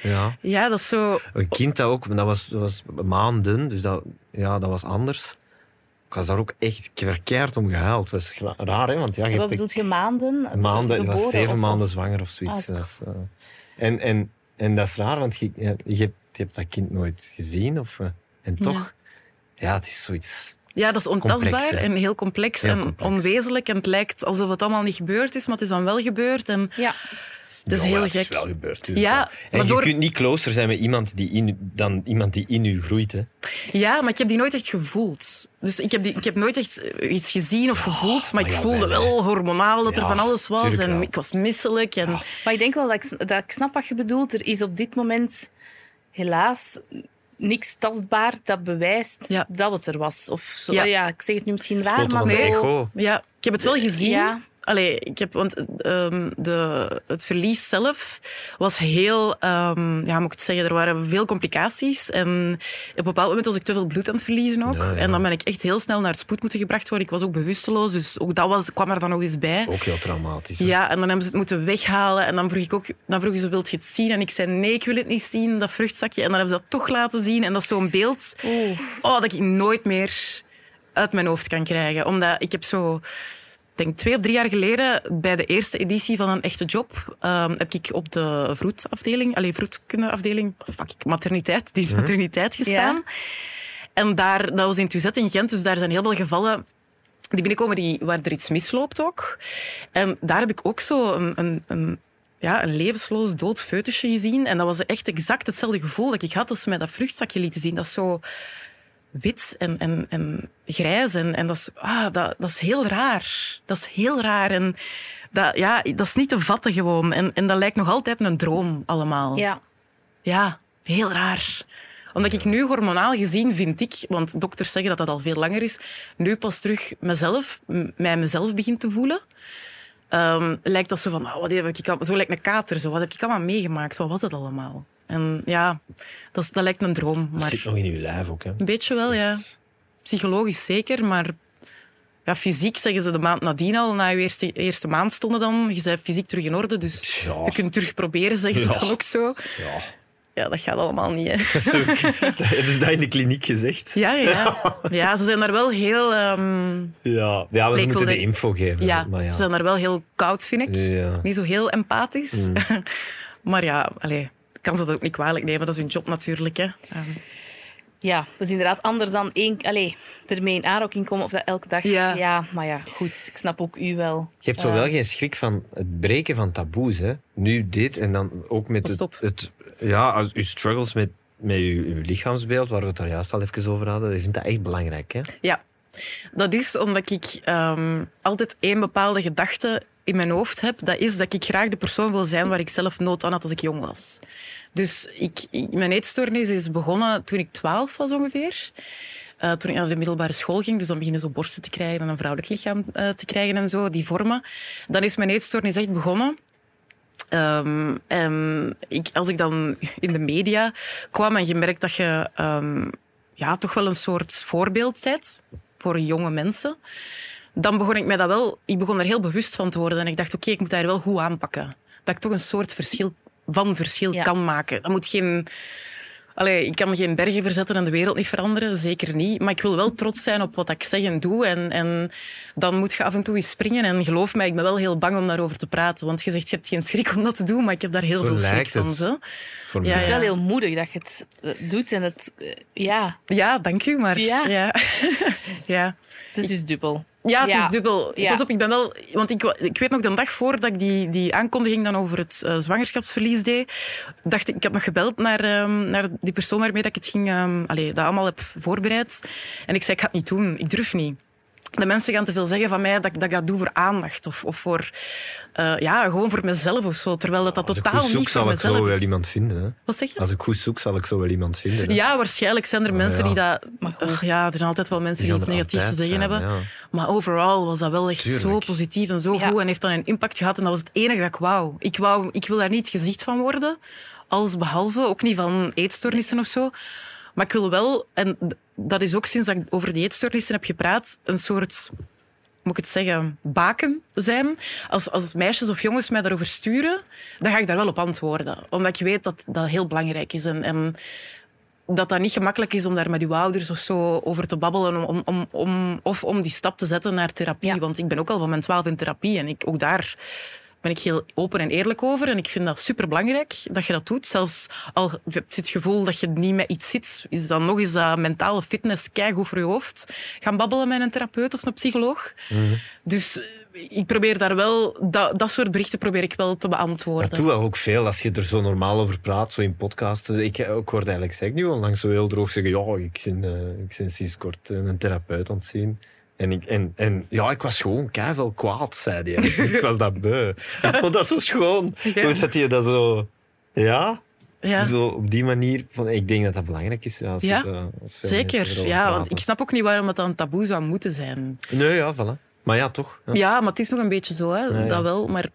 Speaker 5: Ja.
Speaker 4: ja dat is zo.
Speaker 5: Een kind dat ook... maar Dat was, dat was maanden, dus dat, ja, dat was anders. Ik was daar ook echt verkeerd om gehaald. Dat is gra- raar, hè? Want ja, je
Speaker 3: Wat
Speaker 5: hebt
Speaker 3: bedoelt je maanden?
Speaker 5: maanden... Ik was
Speaker 3: Geboren
Speaker 5: zeven
Speaker 3: of-
Speaker 5: maanden
Speaker 3: of-
Speaker 5: zwanger of zoiets.
Speaker 3: Ah.
Speaker 5: Dat is, eh, en, en, en dat is raar, want je, ja, je, hebt, je hebt dat kind nooit gezien. Of, eh, en toch... Ja. het is zoiets...
Speaker 4: Ja, dat is ontastbaar
Speaker 5: Complex, hè?
Speaker 4: en heel complex
Speaker 5: Heel
Speaker 4: en
Speaker 5: complex.
Speaker 4: onwezenlijk. En het lijkt alsof het allemaal niet gebeurd is, maar het is dan wel gebeurd. En
Speaker 3: Ja,
Speaker 4: het is
Speaker 5: Ja, maar
Speaker 4: heel
Speaker 5: dat
Speaker 4: gek.
Speaker 5: is wel gebeurd. dus
Speaker 4: Ja,
Speaker 5: wel. en
Speaker 4: maar door-
Speaker 5: je kunt niet closer zijn met iemand die in, dan iemand die in u groeit. Hè.
Speaker 4: Ah, Ja, maar ik heb die nooit echt gevoeld. Dus ik heb, die, ik heb nooit echt eh, iets gezien of gevoeld, maar
Speaker 5: maar
Speaker 4: ik
Speaker 5: ja,
Speaker 4: voelde
Speaker 5: wel,
Speaker 4: wel hormonaal dat
Speaker 5: Ja,
Speaker 4: er van alles was.
Speaker 5: tuurlijk
Speaker 4: En
Speaker 5: wel.
Speaker 4: ik was misselijk. En,
Speaker 3: maar ik denk wel dat ik, dat ik snap wat je bedoelt. Er is op dit moment helaas niks tastbaar dat bewijst
Speaker 4: Ja.
Speaker 3: dat het er was. Of zo.
Speaker 4: Ja.
Speaker 3: Ja. ik zeg het nu misschien raar,
Speaker 5: Foto
Speaker 3: maar
Speaker 5: van de
Speaker 3: zo-
Speaker 5: echo.
Speaker 4: ja, ik heb het wel gezien.
Speaker 3: ja.
Speaker 4: Allee, ik heb, want ehm, de, het verlies zelf was heel, ehm, ja, moet ik het zeggen, er waren veel complicaties. En op een bepaald moment was ik te veel bloed aan het verliezen ook.
Speaker 5: Ja, ja.
Speaker 4: En dan ben ik echt heel snel naar het spoed moeten gebracht worden. Ik was ook bewusteloos, dus ook dat was, kwam er dan nog eens bij.
Speaker 5: Ook heel traumatisch. hè.
Speaker 4: Ja, en dan hebben ze het moeten weghalen. En dan vroeg ik ook, dan vroegen ze, wilt je het zien? En ik zei, nee, ik wil het niet zien, dat vruchtzakje. En dan hebben ze dat toch laten zien. En dat is zo'n beeld oh, dat ik nooit meer uit mijn hoofd kan krijgen. Omdat ik heb zo, ik denk twee of drie jaar geleden, bij de eerste editie van Een Echte Job, ehm, heb ik op de vroedafdeling, alleen vroedkundeafdeling, oh, fuck ik, materniteit, die is materniteit gestaan. En daar, dat was in Tuzet in Gent, dus daar zijn heel veel gevallen die binnenkomen die, waar er iets misloopt ook. En daar heb ik ook zo een, een, een, ja, een levensloos dood foetusje gezien. En dat was echt exact hetzelfde gevoel dat ik had als ze mij dat vruchtzakje lieten zien. Dat is zo wit en, en, en grijs. En, en dat, is, ah, dat, dat is heel raar. Dat is heel raar. En dat, ja, dat is niet te vatten gewoon. En, en dat lijkt nog altijd een droom allemaal.
Speaker 3: Ja.
Speaker 4: Ja, heel raar. Omdat ik nu hormonaal gezien vind ik, want dokters zeggen dat dat al veel langer is, nu pas terug mezelf, m- mij mezelf begin te voelen. Ehm, lijkt dat zo van, ah, wat heb ik al, zo lijkt een kater, zo, wat heb ik allemaal meegemaakt, wat was dat allemaal? En ja, dat, is- dat lijkt een droom,
Speaker 5: Dat
Speaker 4: maar
Speaker 5: zit nog in uw lijf ook. Hè.
Speaker 4: een beetje wel, ja. Psychologisch zeker, maar ja, fysiek zeggen ze de maand nadien al, na je eerste, eerste maand stonden dan, je bent fysiek terug in orde, dus
Speaker 5: Ja.
Speaker 4: je kunt terug proberen, zeggen ze
Speaker 5: Ja.
Speaker 4: dan ook zo.
Speaker 5: Ja.
Speaker 4: Ja, dat gaat allemaal niet, hè.
Speaker 5: (laughs) Zo, hebben ze dat in de kliniek gezegd?
Speaker 4: Ja, ja, ja. ja ze zijn daar wel heel... ehm,
Speaker 5: Ja, ja maar
Speaker 4: Nee,
Speaker 5: ze
Speaker 4: ik
Speaker 5: moeten de
Speaker 4: wilde-
Speaker 5: info geven.
Speaker 4: ja,
Speaker 5: maar ja.
Speaker 4: ze zijn daar wel heel koud, vind ik.
Speaker 5: Ja. Mm.
Speaker 4: Niet zo heel empathisch. (laughs) maar ja, allee, ik kan ze dat ook niet kwalijk nemen. Dat is hun job natuurlijk, hè. Ehm,
Speaker 3: Ja, dat is inderdaad anders dan één allee, ermee in aanraking komen of dat elke dag.
Speaker 4: Ja.
Speaker 3: maar ja, goed. Ik snap ook u wel.
Speaker 5: Je hebt zo
Speaker 3: Eh,
Speaker 5: wel geen schrik van het breken van taboes. Hè? Nu dit en dan ook met het,
Speaker 4: Stop.
Speaker 5: het... Ja, als- uw struggles met, met uw, uw lichaamsbeeld, waar we het daar juist al even over hadden. Ik vind dat echt belangrijk. Hè?
Speaker 4: Ja, dat is omdat ik ehm, altijd één bepaalde gedachte in mijn hoofd heb. Dat is dat ik graag de persoon wil zijn waar ik zelf nood aan had als ik jong was. Dus ik, ik- mijn eetstoornis is begonnen toen ik twaalf was ongeveer. Eh, toen ik naar de middelbare school ging, dus dan beginnen zo borsten te krijgen en een vrouwelijk lichaam eh, te krijgen en zo, die vormen. Dan is mijn eetstoornis echt begonnen. Ehm, en ik, als ik dan in de media kwam en gemerkt dat je ehm, ja, toch wel een soort voorbeeld bent voor jonge mensen, dan begon ik mij dat wel, ik begon er heel bewust van te worden. En ik dacht, oké, ik moet daar wel goed aanpakken. Dat ik toch een soort verschil van verschil
Speaker 3: Ja.
Speaker 4: kan maken. Dat moet geen. Allee, ik kan geen bergen verzetten en de wereld niet veranderen, zeker niet. Maar ik wil wel trots zijn op wat ik zeg en doe. En, en dan moet je af en toe eens springen. En geloof mij, ik ben wel heel bang om daarover te praten. Want je zegt, je hebt geen schrik om dat te doen, maar ik heb daar heel
Speaker 5: Zo
Speaker 4: veel schrik
Speaker 5: lijkt
Speaker 4: van.
Speaker 5: het.
Speaker 4: Zo.
Speaker 5: Voor
Speaker 4: Ja,
Speaker 5: mij.
Speaker 3: Het is wel heel moedig dat je het eh, doet en het... eh, ja,
Speaker 4: Ja, dank u, maar...
Speaker 3: Ja.
Speaker 4: Ja. (laughs) ja.
Speaker 3: het is dus dubbel.
Speaker 4: Ja, het
Speaker 3: Ja.
Speaker 4: is dubbel.
Speaker 3: Ja.
Speaker 4: Pas op, ik ben wel... Want ik, wa- ik weet nog, de dag voordat ik die, die aankondiging dan over het eh, zwangerschapsverlies deed, dacht ik... Ik had nog gebeld naar, ehm, naar die persoon waarmee dat ik het ging... ehm allee, dat allemaal heb voorbereid. En ik zei, ik ga het niet doen. Ik durf niet. De mensen gaan te veel zeggen van mij dat, ik- dat ik dat doe voor aandacht. Of, of voor... eh, ja, gewoon voor mezelf of zo. Terwijl dat, dat
Speaker 5: Als ik goed
Speaker 4: totaal
Speaker 5: zoek,
Speaker 4: niet voor
Speaker 5: zal ik zo
Speaker 4: mezelf
Speaker 5: wel
Speaker 4: is.
Speaker 5: iemand vinden. Hè?
Speaker 4: Wat zeg je?
Speaker 5: Als ik goed zoek, zal ik zo wel iemand vinden. hè.
Speaker 4: Ja, waarschijnlijk zijn er mensen
Speaker 5: Oh, ja.
Speaker 4: die dat...
Speaker 3: Maar goed.
Speaker 4: Ach, ja, er zijn altijd wel mensen
Speaker 5: Die
Speaker 4: die,
Speaker 5: gaan
Speaker 4: iets
Speaker 5: er
Speaker 4: negatiefs te
Speaker 5: altijd
Speaker 4: zeggen
Speaker 5: zijn,
Speaker 4: hebben.
Speaker 5: ja.
Speaker 4: Maar overal was dat wel echt zo
Speaker 5: Tuurlijk.
Speaker 4: positief en zo
Speaker 3: Ja.
Speaker 4: goed. En heeft dan een impact gehad. En dat was het enige dat ik wou. Ik, wou, ik wil daar niet het gezicht van worden. Alles behalve. Ook niet van eetstoornissen of zo. Maar ik wil wel... En d- dat is ook sinds dat ik over die eetstoornissen heb gepraat... Een soort moet ik het zeggen, baken zijn. Als, als meisjes of jongens mij daarover sturen, dan ga ik daar wel op antwoorden. Omdat ik weet dat dat heel belangrijk is. En, en dat dat niet gemakkelijk is om daar met uw ouders of zo over te babbelen. Om, om, om, of om die stap te zetten naar therapie.
Speaker 3: Ja.
Speaker 4: Want ik ben ook al van mijn twaalf in therapie. En ik, ook daar ben ik heel open en eerlijk over. En ik vind dat superbelangrijk dat je dat doet. Zelfs al heb je het gevoel dat je niet met iets zit, is dan nog eens dat mentale fitness keigoed voor je hoofd. Gaan babbelen met een therapeut of een psycholoog.
Speaker 5: Mhm.
Speaker 4: Dus eh, ik probeer daar wel... Dat, dat soort berichten probeer ik wel te beantwoorden.
Speaker 5: Dat doet wel ook veel als je er zo normaal over praat, zo in podcasts. Dus Ik, ik hoorde eigenlijk zeg ik nu onlangs zo heel droog zeggen: Ja, ik ben, eh, ik ben sinds kort eh, een therapeut aan het zien. En, ik, en, en ja, ik was gewoon keivel kwaad, zei hij.
Speaker 4: (laughs)
Speaker 5: eigenlijk. ik was dat beu. Ik vond dat zo schoon. Hoe dat je dat zo. Ja,
Speaker 4: ja.
Speaker 5: zo op die manier. Van, ik denk dat dat belangrijk is. Ja, als
Speaker 4: Ja,
Speaker 5: het, eh, als veel mensen
Speaker 4: Zeker,
Speaker 5: erover
Speaker 4: ja, want
Speaker 5: praten.
Speaker 4: ik snap ook niet waarom dat een taboe zou moeten zijn.
Speaker 5: Nee, ja, voilà. Maar ja, toch. Ja.
Speaker 4: Ja, maar het is nog een beetje zo, hè,
Speaker 5: ja.
Speaker 4: dat wel. Maar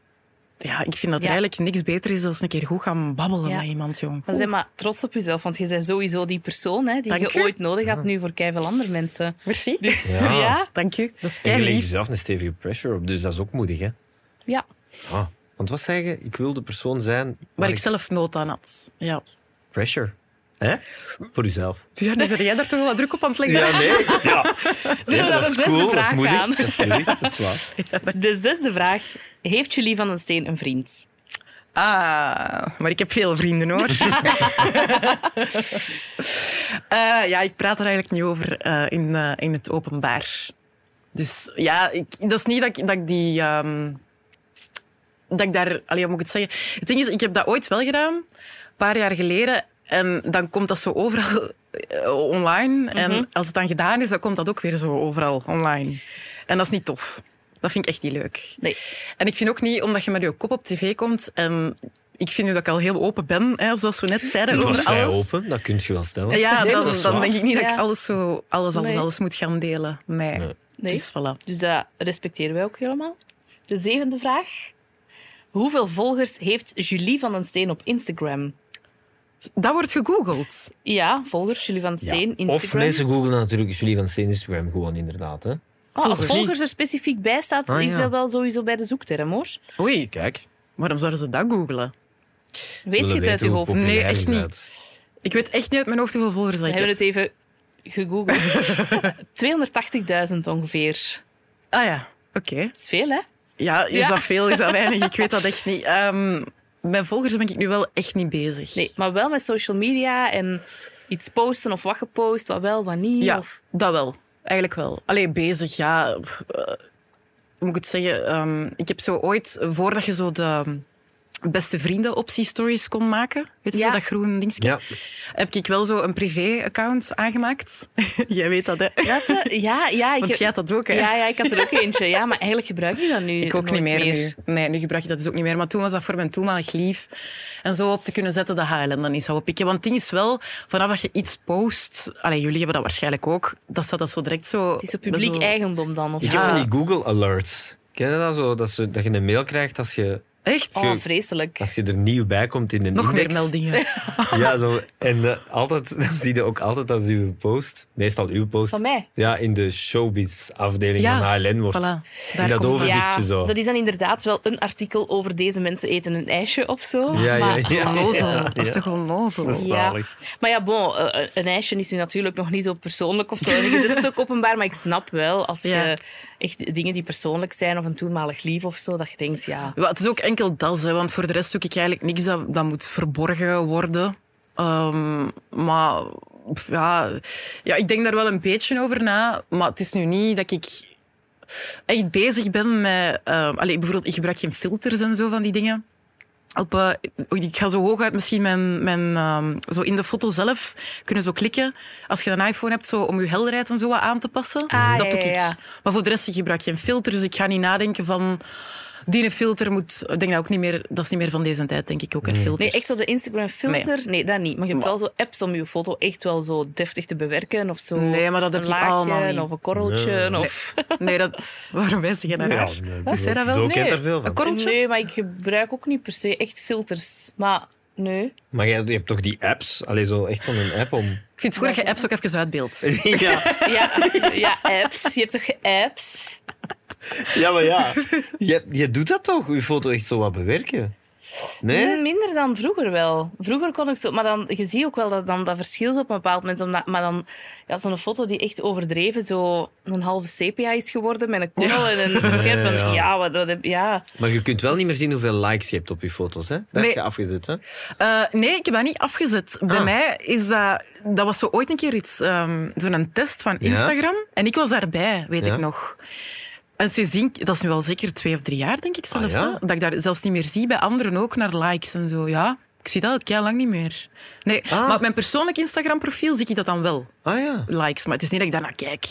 Speaker 4: ja, ik vind dat
Speaker 3: Ja.
Speaker 4: er eigenlijk niks beter is dan eens een keer goed gaan babbelen
Speaker 3: Ja.
Speaker 4: met iemand, jong.
Speaker 3: Maar zijn maar trots op jezelf, want je bent sowieso die persoon hè, die
Speaker 4: Dank
Speaker 3: je
Speaker 4: u.
Speaker 3: ooit nodig had nu voor keiveel andere mensen.
Speaker 4: Merci.
Speaker 3: Dus
Speaker 5: Ja.
Speaker 3: ja, (laughs) ja.
Speaker 4: Dank u. Dat is
Speaker 5: En je
Speaker 4: kei
Speaker 5: legt
Speaker 4: lief.
Speaker 5: jezelf een stevige pressure op, dus dat is ook moedig, hè? Ah, want wat zeg je? Ik wil de persoon zijn waar,
Speaker 4: Waar ik zelf nood aan had. Ja.
Speaker 5: Pressure. Hè? Voor uzelf.
Speaker 4: Ja, nu zet jij daar toch wel wat druk op aan het (laughs) leggen.
Speaker 5: nee. Ja.
Speaker 3: Zullen we naar de zesde vraag gaan?
Speaker 5: Dat is moedig, dat is waar.
Speaker 3: De zesde vraag. Heeft Julie van den Steen een vriend?
Speaker 4: Ah, maar ik heb veel vrienden
Speaker 5: (laughs)
Speaker 4: hoor. Eh, ja, ik praat er eigenlijk niet over eh, in, eh, in het openbaar. Dus ja, ik, dat is niet dat ik, dat ik die. ehm, dat ik daar. Allee, hoe moet ik het zeggen? Het ding is, ik heb dat ooit wel gedaan, een paar jaar geleden. En dan komt dat zo overal eh, online. En als het dan gedaan is, dan komt dat ook weer zo overal online. En dat is niet tof. Dat vind ik echt niet leuk.
Speaker 3: Nee.
Speaker 4: En ik vind ook niet, omdat je met je kop op tv komt... En ik vind nu dat ik al heel open ben, hè, zoals we net zeiden.
Speaker 5: Het
Speaker 4: over
Speaker 5: was vrij
Speaker 4: alles.
Speaker 5: open, dat kun je wel
Speaker 4: (laughs)
Speaker 5: stellen.
Speaker 4: Ja,
Speaker 5: Nee,
Speaker 4: dan,
Speaker 5: dat is
Speaker 4: dan
Speaker 5: waar.
Speaker 4: denk ik niet dat
Speaker 3: Ja.
Speaker 4: ik alles, zo, alles, alles,
Speaker 3: Nee.
Speaker 4: alles moet gaan delen. Nee.
Speaker 5: Nee.
Speaker 3: Nee.
Speaker 4: Dus voilà.
Speaker 3: Dus dat respecteren wij ook helemaal. De zevende vraag. Hoeveel volgers heeft Julie van den Steen op Instagram?
Speaker 4: Dat wordt gegoogeld.
Speaker 3: Ja, volgers Julie van den
Speaker 5: Ja.
Speaker 3: Steen, Instagram.
Speaker 5: Of mensen googelen natuurlijk Julie van Steen Instagram gewoon inderdaad. Hè?
Speaker 3: Ah, als
Speaker 4: volgers.
Speaker 3: volgers er specifiek bij staat,
Speaker 5: Ah,
Speaker 3: is
Speaker 5: ja.
Speaker 3: dat wel sowieso bij de zoekterm, hoor.
Speaker 4: Oei,
Speaker 5: Kijk.
Speaker 4: waarom zouden ze dat googelen?
Speaker 3: Weet je het uit je hoofd?
Speaker 4: populair Nee, echt niet. Ik weet echt niet uit mijn hoofd hoeveel volgers dat
Speaker 3: We
Speaker 4: ik
Speaker 3: hebben
Speaker 4: heb.
Speaker 3: het even
Speaker 5: (laughs)
Speaker 3: (laughs) gegoogeld. 280.000 ongeveer.
Speaker 4: Ah ja, oké.
Speaker 3: Dat is veel, hè?
Speaker 4: Ja, is
Speaker 3: Ja.
Speaker 4: dat veel? Is dat weinig? Ik
Speaker 3: (laughs)
Speaker 4: weet dat echt niet. Ehm, mijn volgers ben ik nu wel echt niet bezig.
Speaker 3: Nee, maar wel met social media en iets posten of wat gepost, wat wel, wat niet.
Speaker 4: Ja,
Speaker 3: Of,
Speaker 4: dat wel. Eigenlijk wel. Allee, bezig, ja. pff, eh, hoe moet ik het zeggen? Ehm, ik heb zo ooit, eh, voordat je zo de beste vrienden optie stories kon maken, weet je
Speaker 3: Ja.
Speaker 4: zo, dat groene dingetje,
Speaker 5: Ja,
Speaker 4: heb ik wel zo een privé-account aangemaakt. Jij weet dat, hè?
Speaker 3: Ja, te-
Speaker 4: (laughs)
Speaker 3: ja, ja, ik,
Speaker 4: Want jij had dat ook, hè?
Speaker 3: ja, ja, ik had er ook eentje. Ja, maar eigenlijk gebruik ik dat nu
Speaker 4: Ik ook niet
Speaker 3: nooit
Speaker 4: meer, nu. Nee, nu gebruik je dat dus ook niet meer. Maar toen was dat voor mijn toenmalig lief. En zo op te kunnen zetten, dat HLN dan niet zou oppikken. Want het ding is wel, vanaf dat je iets post... Allee, jullie hebben dat waarschijnlijk ook. Dat staat dat zo direct zo...
Speaker 3: Het is op publiek
Speaker 4: zo-
Speaker 3: eigendom dan. Of
Speaker 5: ik heb
Speaker 3: zo.
Speaker 5: van die Google Alerts. Ken je dat zo? Dat, ze, dat je een mail krijgt als je,
Speaker 4: Echt?
Speaker 3: Oh, vreselijk.
Speaker 5: als je er nieuw bij komt in de
Speaker 4: Nog meer
Speaker 5: index.
Speaker 4: meldingen.
Speaker 5: Ja, zo. En eh, altijd, (laughs) dan zie je ook altijd als uw post, meestal uw post,
Speaker 3: Van mij.
Speaker 5: ja, in de showbiz-afdeling
Speaker 4: Ja,
Speaker 5: van HLN wordt.
Speaker 4: Voilà, daar
Speaker 5: in dat
Speaker 4: komt het.
Speaker 5: overzichtje
Speaker 3: Ja,
Speaker 5: zo.
Speaker 3: dat is dan inderdaad wel een artikel over deze mensen eten een ijsje of zo.
Speaker 5: Ja, ja,
Speaker 3: maar, (laughs)
Speaker 5: (laughs) ja.
Speaker 4: Onnozel.
Speaker 5: Ja,
Speaker 4: Dat
Speaker 5: ja.
Speaker 4: is toch onnozel?
Speaker 5: is
Speaker 3: Ja.
Speaker 5: zalig.
Speaker 3: Maar ja, bon, eh, een ijsje is nu natuurlijk nog niet zo persoonlijk of zo. En Je zet het ook openbaar, maar ik snap wel als
Speaker 4: Ja.
Speaker 3: je echt dingen die persoonlijk zijn of een toenmalig lief of zo, dat je denkt, ja.
Speaker 4: Wel, Het is ook enkel dat, hè, want voor de rest zoek ik eigenlijk niks dat, dat moet verborgen worden. Ehm, maar pff, ja, ja, ik denk daar wel een beetje over na. Maar het is nu niet dat ik echt bezig ben met... ehm allee, bijvoorbeeld, ik gebruik geen filters en zo van die dingen. Op, eh, ik ga zo hooguit misschien mijn... mijn ehm, zo in de foto zelf kunnen zo klikken. Als je een iPhone hebt, zo om je helderheid en zo wat aan te passen.
Speaker 3: Ah,
Speaker 4: dat
Speaker 3: ja,
Speaker 4: doe
Speaker 3: ja,
Speaker 4: ik.
Speaker 3: ja.
Speaker 4: Maar voor de rest, ik gebruik geen filter. Dus ik ga niet nadenken van... Die een filter moet... Ik denk dat ook niet meer... Dat is niet meer van deze tijd, denk ik ook, een filter.
Speaker 3: Nee, echt zo de Instagram-filter, nee. dat niet. Maar je hebt wel zo apps om je foto echt wel zo deftig te bewerken of zo.
Speaker 4: Nee, maar dat heb
Speaker 3: een
Speaker 4: ik
Speaker 3: laagje
Speaker 4: allemaal niet.
Speaker 3: of een korreltje.
Speaker 5: Nee.
Speaker 3: Of...
Speaker 4: Nee, dat... Waarom wijs je naar
Speaker 5: Ja,
Speaker 4: haar?
Speaker 5: nee,
Speaker 4: Doe zij dat wel?
Speaker 5: Doe
Speaker 4: Nee.
Speaker 5: kent er veel van.
Speaker 4: Een korreltje?
Speaker 3: Nee, maar ik gebruik ook niet per se echt filters. Maar nee.
Speaker 5: Maar jij, je hebt toch die apps? Allee, zo echt zo'n app (laughs) om...
Speaker 4: Ik vind het goed dat je apps ook even uitbeeldt.
Speaker 5: ja,
Speaker 4: (laughs)
Speaker 3: Ja, ja, apps. Je hebt toch apps?
Speaker 5: ja, maar ja. (laughs) Je, je doet dat toch? Je foto echt zo wat bewerken? Nee?
Speaker 3: Mm, Minder dan vroeger wel. Vroeger kon ik zo... Maar dan, je ziet ook wel dat, dan, dat verschil is op een bepaald moment. Omdat, maar dan... Ja, zo'n foto die echt overdreven zo een halve sepia is geworden met een korrel en een scherp.
Speaker 5: Ja, ja.
Speaker 3: Ja, wat, wat heb... Ja.
Speaker 5: Maar je kunt wel niet meer zien hoeveel likes je hebt op je foto's, hè? Dat heb
Speaker 4: Nee.
Speaker 5: je afgezet, hè?
Speaker 4: Eh, nee, ik heb dat niet afgezet. Bij
Speaker 5: Ah.
Speaker 4: mij is dat... Dat was zo ooit een keer iets... ehm Zo'n test van
Speaker 5: Ja.
Speaker 4: Instagram. En ik was daarbij, weet
Speaker 5: Ja.
Speaker 4: ik nog. En sindsdien... Dat is nu al zeker twee of drie jaar, denk ik zelfs.
Speaker 5: Ah, ja?
Speaker 4: hè, Dat ik daar zelfs niet meer zie. Bij anderen ook, naar likes en zo. Ja, ik zie dat al lang niet meer. Nee,
Speaker 5: Ah.
Speaker 4: maar op mijn persoonlijk Instagram-profiel zie ik dat dan wel.
Speaker 5: Ah ja.
Speaker 4: Likes, maar het is niet dat ik daarnaar kijk.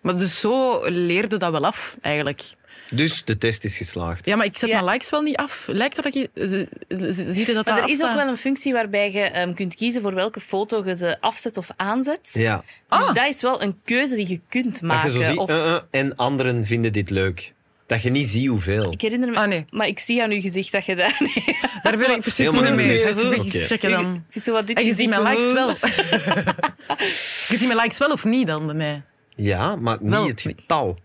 Speaker 4: Maar dus zo leerde dat wel af, eigenlijk.
Speaker 5: Dus de test is geslaagd.
Speaker 4: Ja, maar ik zet
Speaker 3: Ja.
Speaker 4: mijn likes wel niet af. Lijkt dat dat je... z- z- z- Zie je dat
Speaker 3: Maar er
Speaker 4: dat
Speaker 3: is ook
Speaker 4: afstaat?
Speaker 3: wel een functie waarbij je ehm, kunt kiezen voor welke foto je ze afzet of aanzet.
Speaker 5: Ja.
Speaker 3: Dus
Speaker 4: Ah.
Speaker 3: dat is wel een keuze die je kunt
Speaker 5: Dat
Speaker 3: maken.
Speaker 5: je zo ziet,
Speaker 3: of,
Speaker 5: eh, eh, en anderen vinden dit leuk. Dat je niet ziet hoeveel.
Speaker 3: ik herinner me...
Speaker 4: Ah, nee.
Speaker 3: Maar ik zie aan uw gezicht dat je daar... (laughs)
Speaker 4: Daar ben ik precies
Speaker 5: Helemaal
Speaker 4: niet
Speaker 5: niet
Speaker 4: mee.
Speaker 5: mee.
Speaker 4: Dat is een beetje
Speaker 5: Oké.
Speaker 4: checken dan.
Speaker 3: Het is zo wat dit
Speaker 4: En je ziet
Speaker 3: gezicht,
Speaker 4: mijn likes
Speaker 3: oeh.
Speaker 4: wel. (laughs) je ziet mijn likes wel of niet dan bij mij?
Speaker 5: Ja, maar niet
Speaker 4: Wel.
Speaker 5: het getal.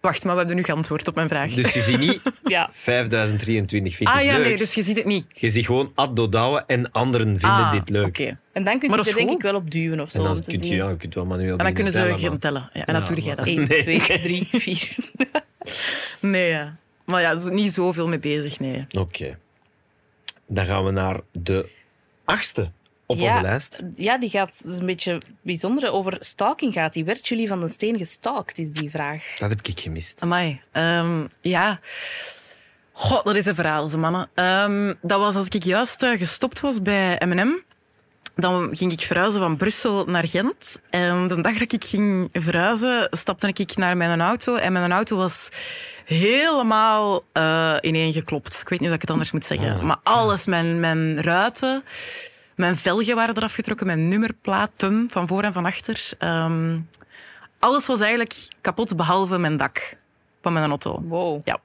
Speaker 4: Wacht, maar we hebben nu geantwoord op mijn vraag.
Speaker 5: Dus je ziet
Speaker 4: (laughs)
Speaker 5: niet
Speaker 3: Ja.
Speaker 5: 5023 vindt
Speaker 4: ah
Speaker 5: dit
Speaker 4: ja,
Speaker 5: leuk.
Speaker 4: nee, dus je ziet het niet.
Speaker 5: Je ziet gewoon Addo Douwe en anderen vinden
Speaker 4: ah,
Speaker 5: dit leuk.
Speaker 4: oké.
Speaker 3: En dan kun
Speaker 4: Maar
Speaker 3: je er
Speaker 4: dat is
Speaker 3: denk
Speaker 4: goed.
Speaker 3: ik wel op duwen of zo.
Speaker 5: En dan
Speaker 3: om te
Speaker 5: kunt je,
Speaker 3: zien.
Speaker 5: ja, je kunt wel manueel
Speaker 4: En dan kunnen ze gaan
Speaker 5: gaan
Speaker 4: tellen. Ja, en
Speaker 5: Ja,
Speaker 4: dat doe jij dan.
Speaker 5: (laughs)
Speaker 3: 1, 2, 3, 4.
Speaker 4: Nee, ja. Maar ja, dus niet zoveel mee bezig, nee.
Speaker 5: Oké. Dan gaan we naar de achtste op onze lijst.
Speaker 3: Ja, die gaat dat is een beetje bijzondere over stalking gaat. Die werd jullie van den steen gestalkt, is die vraag.
Speaker 5: Dat heb ik gemist.
Speaker 4: Amai. Ehm, ja. God, dat is een verhaal, ze mannen. Ehm, dat was als ik juist eh, gestopt was bij M&M. Dan ging ik verhuizen van Brussel naar Gent. En de dag dat ik ging verhuizen, stapte ik naar mijn auto. En mijn auto was helemaal eh ineengeklopt. Ik weet niet hoe ik het anders moet zeggen. maar alles, mijn, mijn ruiten, mijn velgen waren eraf getrokken. Mijn nummerplaten van voor en van achter. Ehm, alles was eigenlijk kapot, behalve mijn dak van mijn auto.
Speaker 3: Wow.
Speaker 4: Ja.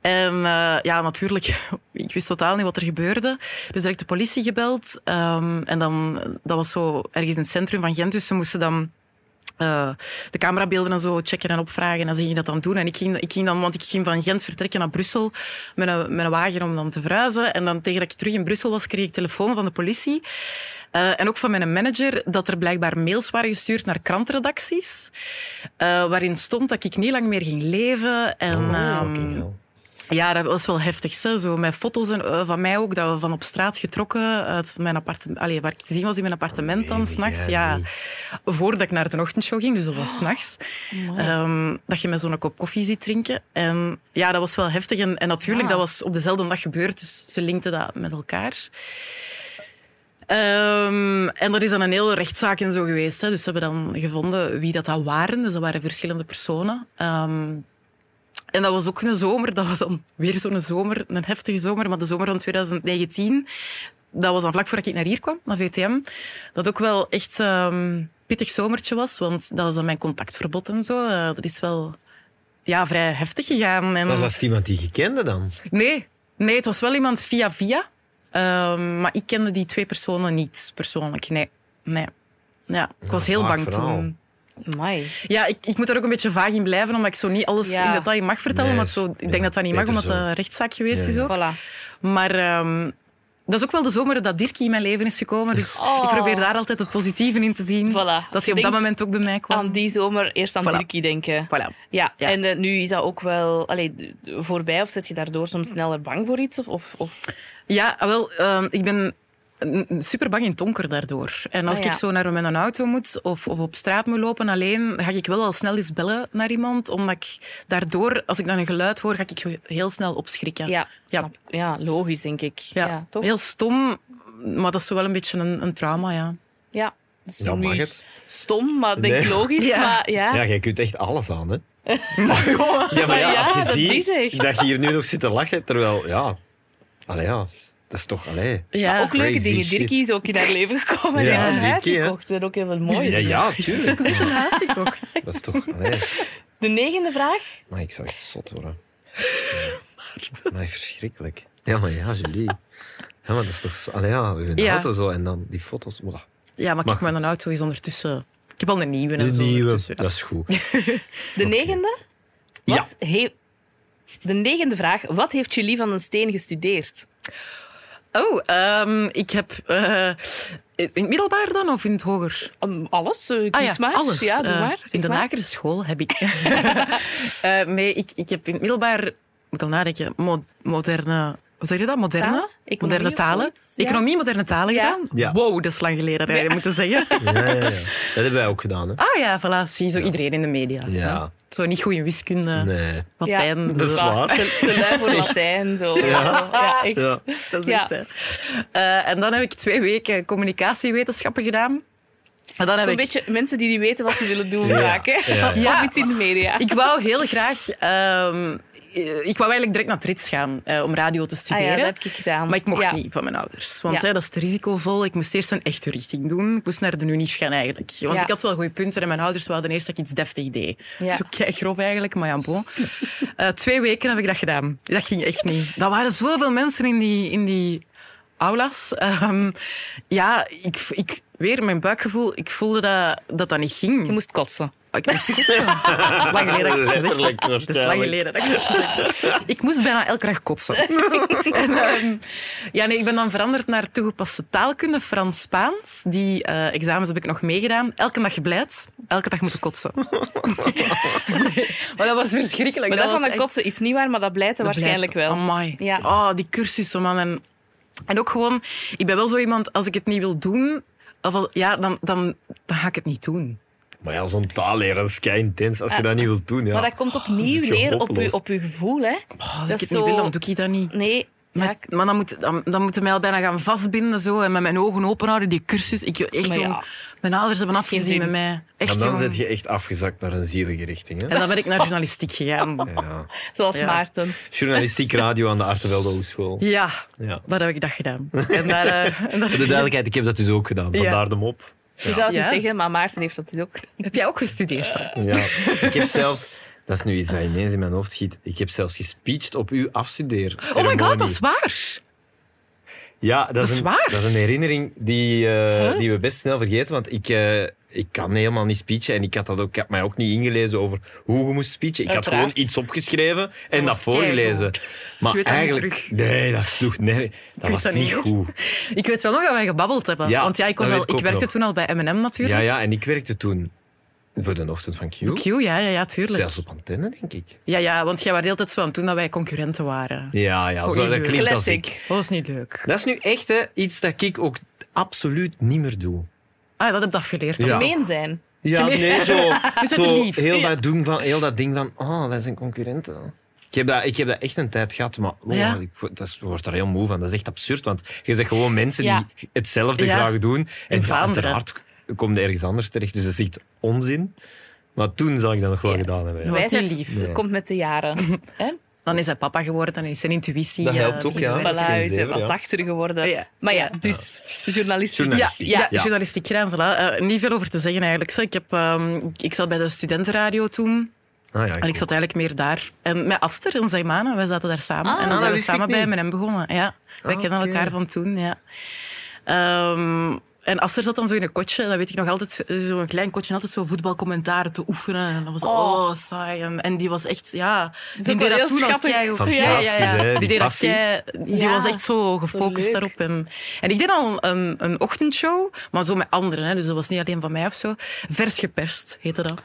Speaker 4: En eh, ja, natuurlijk, (laughs) ik wist totaal niet wat er gebeurde. Dus direct de politie gebeld. Ehm, en dan, dat was zo ergens in het centrum van Gent. Dus ze moesten dan eh, de camerabeelden en zo checken en opvragen. En dan ging je dat dan doen. En ik ging, ik ging dan, want ik ging van Gent vertrekken naar Brussel met een, met een wagen om dan te verhuizen. En dan tegen dat ik terug in Brussel was, kreeg ik telefoon van de politie. Eh, en ook van mijn manager dat er blijkbaar mails waren gestuurd naar krantredacties. eh, waarin stond dat ik niet lang meer ging leven. En,
Speaker 5: Oh,
Speaker 4: ehm,
Speaker 5: fucking hell.
Speaker 4: Ja, dat was wel heftig. Hè? Zo met foto's en, eh, van mij ook, dat we van op straat getrokken uit mijn appartement. Allee, waar ik te zien was in mijn appartement dan,
Speaker 5: Nee,
Speaker 4: s'nachts.
Speaker 5: jij
Speaker 4: Ja,
Speaker 5: niet. Ah,
Speaker 4: voordat ik naar de ochtendshow ging, dus dat was s'nachts. Ehm, dat je met zo'n kop koffie ziet drinken. En ja, dat was wel heftig. En, en
Speaker 5: Ah.
Speaker 3: Ja.
Speaker 4: natuurlijk, dat was op dezelfde dag gebeurd, dus ze linkten dat met elkaar. Ehm, en er is dan een hele rechtszaak en zo geweest. Hè. Dus ze hebben dan gevonden wie dat, dat waren. Dus dat waren verschillende personen. Ehm, en dat was ook een zomer. Dat was dan weer zo'n zomer, een heftige zomer. Maar de zomer van 2019, dat was dan vlak voordat ik naar hier kwam, naar VTM. Dat ook wel echt ehm, een pittig zomertje was. Want dat was dan mijn contactverbod en zo. Eh, dat is wel ja, vrij heftig gegaan. En,
Speaker 5: Was dat iemand die je kende dan?
Speaker 4: Nee, nee, het was wel iemand via via. Ehm, maar ik kende die twee personen niet persoonlijk. Nee, nee. Ja, ik was heel
Speaker 5: vaag
Speaker 4: bang
Speaker 5: verhaal.
Speaker 4: toen.
Speaker 3: Amai.
Speaker 4: Ja, ik, ik moet er ook een beetje vaag in blijven, omdat ik zo niet alles
Speaker 3: Ja.
Speaker 4: in detail mag vertellen.
Speaker 5: Nee,
Speaker 4: want zo, ik
Speaker 5: ja,
Speaker 4: denk dat dat niet mag,
Speaker 5: beter
Speaker 4: omdat het
Speaker 5: zo.
Speaker 4: een rechtszaak geweest
Speaker 5: Ja,
Speaker 4: is
Speaker 5: ja.
Speaker 4: ook.
Speaker 3: Voilà.
Speaker 4: Maar ehm, dat is ook wel de zomer dat Dirkie in mijn leven is gekomen. Dus
Speaker 3: Oh.
Speaker 4: ik probeer daar altijd het positieve in te zien.
Speaker 3: Voilà.
Speaker 4: Dat
Speaker 3: Dus
Speaker 4: hij op
Speaker 3: denk
Speaker 4: dat moment ook bij mij kwam.
Speaker 3: Aan die zomer eerst aan
Speaker 4: Voilà.
Speaker 3: Turkey denken.
Speaker 4: Voilà.
Speaker 3: Ja,
Speaker 4: Ja.
Speaker 3: en eh, nu is dat ook wel allee, d- voorbij of zit je daardoor
Speaker 4: Mm.
Speaker 3: soms sneller bang voor iets? Of, of, of...
Speaker 4: Ja, wel, ehm, ik ben super bang in het donker daardoor. En als
Speaker 3: Ah, ja.
Speaker 4: ik zo naar mijn auto moet of, of op straat moet lopen alleen, ga ik wel al snel eens bellen naar iemand, omdat ik daardoor, als ik dan een geluid hoor, ga ik heel snel opschrikken.
Speaker 3: Ja,
Speaker 4: Ja.
Speaker 3: snap ik. ja, logisch denk ik. Ja,
Speaker 4: Ja,
Speaker 3: toch?
Speaker 4: heel stom, maar dat is wel een beetje een, een trauma, ja.
Speaker 3: Ja, dus
Speaker 5: Ja,
Speaker 3: nu
Speaker 5: mag
Speaker 3: is
Speaker 5: het.
Speaker 3: Stom, maar denk
Speaker 5: Nee.
Speaker 3: logisch.
Speaker 4: Ja.
Speaker 3: Maar ja,
Speaker 5: Ja, jij kunt echt alles aan, hè? ja, maar ja,
Speaker 3: Ja,
Speaker 5: als je
Speaker 3: dat
Speaker 5: ziet
Speaker 3: is echt.
Speaker 5: dat je hier nu nog zit te lachen, terwijl, ja... Allee, ja. Dat is toch, allee...
Speaker 4: ja.
Speaker 3: Maar ook leuke
Speaker 5: crazy
Speaker 3: dingen.
Speaker 5: shit.
Speaker 3: Dirkie is ook in haar leven gekomen en
Speaker 5: Ja,
Speaker 3: heeft een huis
Speaker 5: Dirkie, hè.
Speaker 3: gekocht. En ook heel veel mooie.
Speaker 5: Ja, ja, tuurlijk.
Speaker 4: een huis gekocht.
Speaker 5: (laughs) Dat is toch, allee...
Speaker 3: De negende vraag.
Speaker 5: Maar ik zou echt zot
Speaker 4: (laughs)
Speaker 5: worden. Ja. Maar verschrikkelijk. Ja, maar ja, Julie. Ja, maar dat is toch... zo- Allee, ja, we hebben een
Speaker 4: Ja.
Speaker 5: auto zo en dan die foto's. Wow.
Speaker 4: Ja, maar kijk,
Speaker 5: Maar
Speaker 4: mijn
Speaker 5: goed.
Speaker 4: auto is ondertussen... Ik heb al een nieuwe en zo. ondertussen, ja.
Speaker 5: Dat is goed.
Speaker 3: De negende. Wat heeft... De negende vraag. Wat heeft Julie van den Steen gestudeerd?
Speaker 4: Oh, ehm, ik heb... eh, in het middelbaar dan, of in het hoger?
Speaker 3: Um, alles, eh, kies
Speaker 4: Ah
Speaker 3: maar.
Speaker 4: alles.
Speaker 3: Ja, doe
Speaker 4: Eh,
Speaker 3: maar. zeg
Speaker 4: in de
Speaker 3: maar.
Speaker 4: lagere school
Speaker 3: (laughs)
Speaker 4: heb ik... (laughs) Eh, nee, ik, ik heb in het middelbaar... ik moet al nadenken. mo- moderne... Hoe zeg je dat? Moderne?
Speaker 3: Talen? Economie
Speaker 4: moderne
Speaker 3: of
Speaker 4: talen.
Speaker 3: zoiets, ja.
Speaker 4: Economie, moderne talen
Speaker 3: Ja.
Speaker 4: gedaan.
Speaker 5: Ja.
Speaker 4: Wow, dat is lang geleden, dat je moeten
Speaker 3: (laughs)
Speaker 4: zeggen.
Speaker 5: Ja, ja, ja. Dat hebben wij ook gedaan, hè.
Speaker 4: Ah ja, voilà, zie zo iedereen in de media.
Speaker 5: Ja.
Speaker 4: Zo niet goed in wiskunde,
Speaker 5: Nee.
Speaker 4: Latijn.
Speaker 3: Ja.
Speaker 4: dus-
Speaker 5: Dat is
Speaker 4: zo.
Speaker 5: waar.
Speaker 3: Te, te lui voor Latijn. Zo. Ja. echt.
Speaker 5: Ja.
Speaker 4: Ah, Dat is
Speaker 3: Ja.
Speaker 4: echt, hè. Eh, en dan heb ik twee weken communicatiewetenschappen gedaan. En dan heb
Speaker 3: Zo'n
Speaker 4: ik...
Speaker 3: beetje mensen die niet weten wat ze willen doen
Speaker 5: Ja.
Speaker 3: vaak. Hè?
Speaker 5: Ja.
Speaker 4: Ja.
Speaker 3: Of iets in de media.
Speaker 4: Ik wou heel graag... ehm, eh, ik wou eigenlijk direct naar het Rits gaan eh, om radio te
Speaker 3: Ah
Speaker 4: studeren.
Speaker 3: ja, dat heb ik gedaan.
Speaker 4: Maar ik mocht
Speaker 3: Ja.
Speaker 4: niet van mijn ouders. Want
Speaker 3: Ja.
Speaker 4: hè, dat is te risicovol. Ik moest eerst een echte richting doen. Ik moest naar de UNIF gaan eigenlijk. Want
Speaker 3: Ja.
Speaker 4: ik had wel goede punten en mijn ouders wilden eerst dat ik iets deftig deed.
Speaker 3: Ja.
Speaker 4: Dat is ook kei grof eigenlijk, maar ja, bon. (laughs) Eh, twee weken heb ik dat gedaan. Dat ging echt niet. Dat waren zoveel mensen in die, in die aulas. Ehm, ja, ik, ik, weer mijn buikgevoel. Ik voelde dat dat, dat niet ging.
Speaker 3: Je moest kotsen.
Speaker 4: Ah, Ik
Speaker 3: (laughs)
Speaker 4: moest kotsen. Dat is lang geleden dat ik het gezegd heb.
Speaker 5: Letterlijk,
Speaker 4: Dat is lang geleden dat ik het gezegd heb. Ik moest bijna elke dag (laughs) kotsen. En, ehm, ja, nee, ik ben dan veranderd naar toegepaste taalkunde, Frans-Spaans. Die eh, examens heb ik nog meegedaan. Elke dag gebleid. Elke dag moeten (laughs) kotsen. maar dat was verschrikkelijk.
Speaker 3: Maar dat, van
Speaker 4: was
Speaker 3: dat
Speaker 4: echt-
Speaker 3: kotsen is niet waar, maar dat blijft er
Speaker 4: dat
Speaker 3: waarschijnlijk
Speaker 4: blijft-
Speaker 3: wel.
Speaker 4: Amai.
Speaker 3: Ja.
Speaker 4: Oh, die cursussen, man. En, en ook gewoon, ik ben wel zo iemand, als ik het niet wil doen, of al- ja, dan, dan, dan ga ik het niet doen.
Speaker 5: Maar ja, zo'n taalleraar, dat is kei intens. Als je dat niet wilt doen, ja.
Speaker 3: Maar dat komt
Speaker 5: (laughs)
Speaker 3: opnieuw
Speaker 5: zit je
Speaker 3: neer op
Speaker 5: hopeloos.
Speaker 3: je, op je gevoel, hè?
Speaker 4: Oh, als
Speaker 3: Dat
Speaker 4: ik het
Speaker 3: is
Speaker 4: niet
Speaker 3: zo-
Speaker 4: wil, dan doe ik dat niet.
Speaker 3: Nee. Ja,
Speaker 4: Maar,
Speaker 3: ik-
Speaker 4: maar dan, moet, dan, dan moeten mij al bijna gaan vastbinden zo, en met mijn ogen open houden, die cursus. Ik, echt,
Speaker 3: Maar ja.
Speaker 4: jong, mijn ouders hebben afgezien
Speaker 3: zin.
Speaker 4: met mij. Echt,
Speaker 5: En dan
Speaker 4: jong.
Speaker 5: zit je echt afgezakt naar een zielige richting, hè.
Speaker 4: En dan ben ik naar journalistiek gegaan.
Speaker 5: Ja.
Speaker 3: zoals
Speaker 4: Ja.
Speaker 3: Maarten.
Speaker 5: Journalistiek radio aan de Artevelde Hogeschool.
Speaker 4: Ja,
Speaker 5: Ja.
Speaker 4: daar heb ik dat gedaan. En daar, eh, en daar-
Speaker 5: Voor de duidelijkheid, ik heb dat dus ook gedaan. Vandaar de mop.
Speaker 3: Je zou het
Speaker 4: Ja.
Speaker 3: niet zeggen, maar Maarten heeft dat dus ook.
Speaker 4: Heb jij ook gestudeerd dan?
Speaker 5: Ja. ik heb zelfs... Dat is nu iets dat ineens in mijn hoofd schiet. Ik heb zelfs gespeecht op uw afstudeer.
Speaker 4: Oh my god, dat is waar!
Speaker 5: Ja, dat,
Speaker 4: is
Speaker 5: een,
Speaker 4: waar.
Speaker 5: Dat is een herinnering die, eh, die we best snel vergeten. Want ik, eh, ik kan helemaal niet speechen. En ik had, dat ook, ik had mij ook niet ingelezen over hoe je moest speechen. Ik had
Speaker 3: Uiteraard.
Speaker 5: gewoon iets opgeschreven en dat,
Speaker 4: was
Speaker 5: voorgelezen. Maar
Speaker 4: weet dat niet
Speaker 5: eigenlijk...
Speaker 4: terug.
Speaker 5: Nee, dat sloeg nergens. Dat was
Speaker 4: dat
Speaker 5: niet
Speaker 4: niet.
Speaker 5: goed.
Speaker 4: Ik weet wel nog dat wij gebabbeld hebben.
Speaker 5: Ja,
Speaker 4: Want ja, ik, was
Speaker 5: dat
Speaker 4: al,
Speaker 5: weet
Speaker 4: ik,
Speaker 5: ik ook
Speaker 4: werkte
Speaker 5: nog.
Speaker 4: toen al bij M&M natuurlijk.
Speaker 5: Ja, ja, en ik werkte toen Voor de ochtend van Q.
Speaker 4: De Q, ja, ja, ja, tuurlijk.
Speaker 5: Zelfs op antenne, denk ik.
Speaker 4: Ja, ja, want jij was de hele tijd zo aan het doen dat wij concurrenten waren.
Speaker 5: Ja, ja,
Speaker 4: Voor
Speaker 5: zo,
Speaker 4: u
Speaker 5: dat
Speaker 4: leuk.
Speaker 5: klinkt als
Speaker 3: Classic.
Speaker 5: ik.
Speaker 4: Dat was niet leuk.
Speaker 5: Dat is nu echt hè, iets dat ik ook absoluut niet meer doe.
Speaker 4: Ah, dat heb ik afgeleerd.
Speaker 5: Ja.
Speaker 3: Gemeen zijn.
Speaker 5: Ja,
Speaker 4: (laughs)
Speaker 5: nee, zo,
Speaker 4: het
Speaker 5: zo
Speaker 4: lief?
Speaker 5: heel, dat doen van, heel dat ding van, oh, wij zijn concurrenten. Ik heb, dat, ik heb dat echt een tijd gehad, maar wow,
Speaker 4: Ja.
Speaker 5: ik word- dat is- word daar heel moe van. Dat is echt absurd, want je zegt gewoon mensen
Speaker 3: Ja.
Speaker 5: die hetzelfde
Speaker 4: Ja.
Speaker 5: graag doen. En ja,
Speaker 4: Vlaanderen.
Speaker 5: uiteraard kom je ergens anders terecht, dus dat is echt onzin. Maar toen zal ik dat nog wel
Speaker 3: Ja.
Speaker 5: gedaan hebben. ja.
Speaker 4: was niet
Speaker 3: Wijsheid
Speaker 4: lief.
Speaker 5: Nee.
Speaker 3: komt met de
Speaker 5: (laughs)
Speaker 3: jaren. hè?
Speaker 4: Dan is hij papa geworden, dan is zijn intuïtie...
Speaker 5: Dat
Speaker 4: eh,
Speaker 5: helpt ook,
Speaker 4: beginnen
Speaker 5: ja.
Speaker 4: werken.
Speaker 3: Voilà,
Speaker 5: is geen
Speaker 3: hij is
Speaker 5: zeven,
Speaker 3: wat
Speaker 5: ja.
Speaker 3: zachter geworden.
Speaker 4: Ja.
Speaker 3: Maar ja, dus journalistiek.
Speaker 4: Ja,
Speaker 5: Journalistiek.
Speaker 4: ja,
Speaker 5: Ja.
Speaker 4: journalistiek gedaan, voilà. Eh, niet veel over te zeggen eigenlijk. Zo, Ik, heb, ehm, ik- ik zat bij de studentenradio toen.
Speaker 5: Ah, ja,
Speaker 4: En ik zat eigenlijk meer daar. En met Aster en Zaymana, wij zaten daar samen.
Speaker 3: Ah,
Speaker 4: en dan
Speaker 5: dat
Speaker 4: zijn we
Speaker 5: wist ik
Speaker 4: samen bij
Speaker 5: niet.
Speaker 4: M&M begonnen. Ja, wij
Speaker 5: Ah,
Speaker 4: kennen
Speaker 5: oké.
Speaker 4: elkaar van toen, ja. Ehm, en Aster zat dan zo in een kotje. Dat weet ik nog altijd, zo'n klein kotje. Altijd zo voetbalcommentaren te oefenen. En dat was
Speaker 3: Oh.
Speaker 4: oh, saai. En, en die was echt, ja... Die
Speaker 3: ook wel
Speaker 4: deed dat
Speaker 3: heel
Speaker 4: toen al
Speaker 3: schattig.
Speaker 4: keigoed.
Speaker 5: Fantastisch, hè, die
Speaker 4: Die, deed dat
Speaker 5: passie.
Speaker 4: kei- die
Speaker 3: Ja,
Speaker 4: was echt zo gefocust
Speaker 3: leuk.
Speaker 4: daarop. En, en ik deed al een, een ochtendshow, maar zo met anderen. Hè, dus dat was niet alleen van mij of zo. Vers geperst heette dat.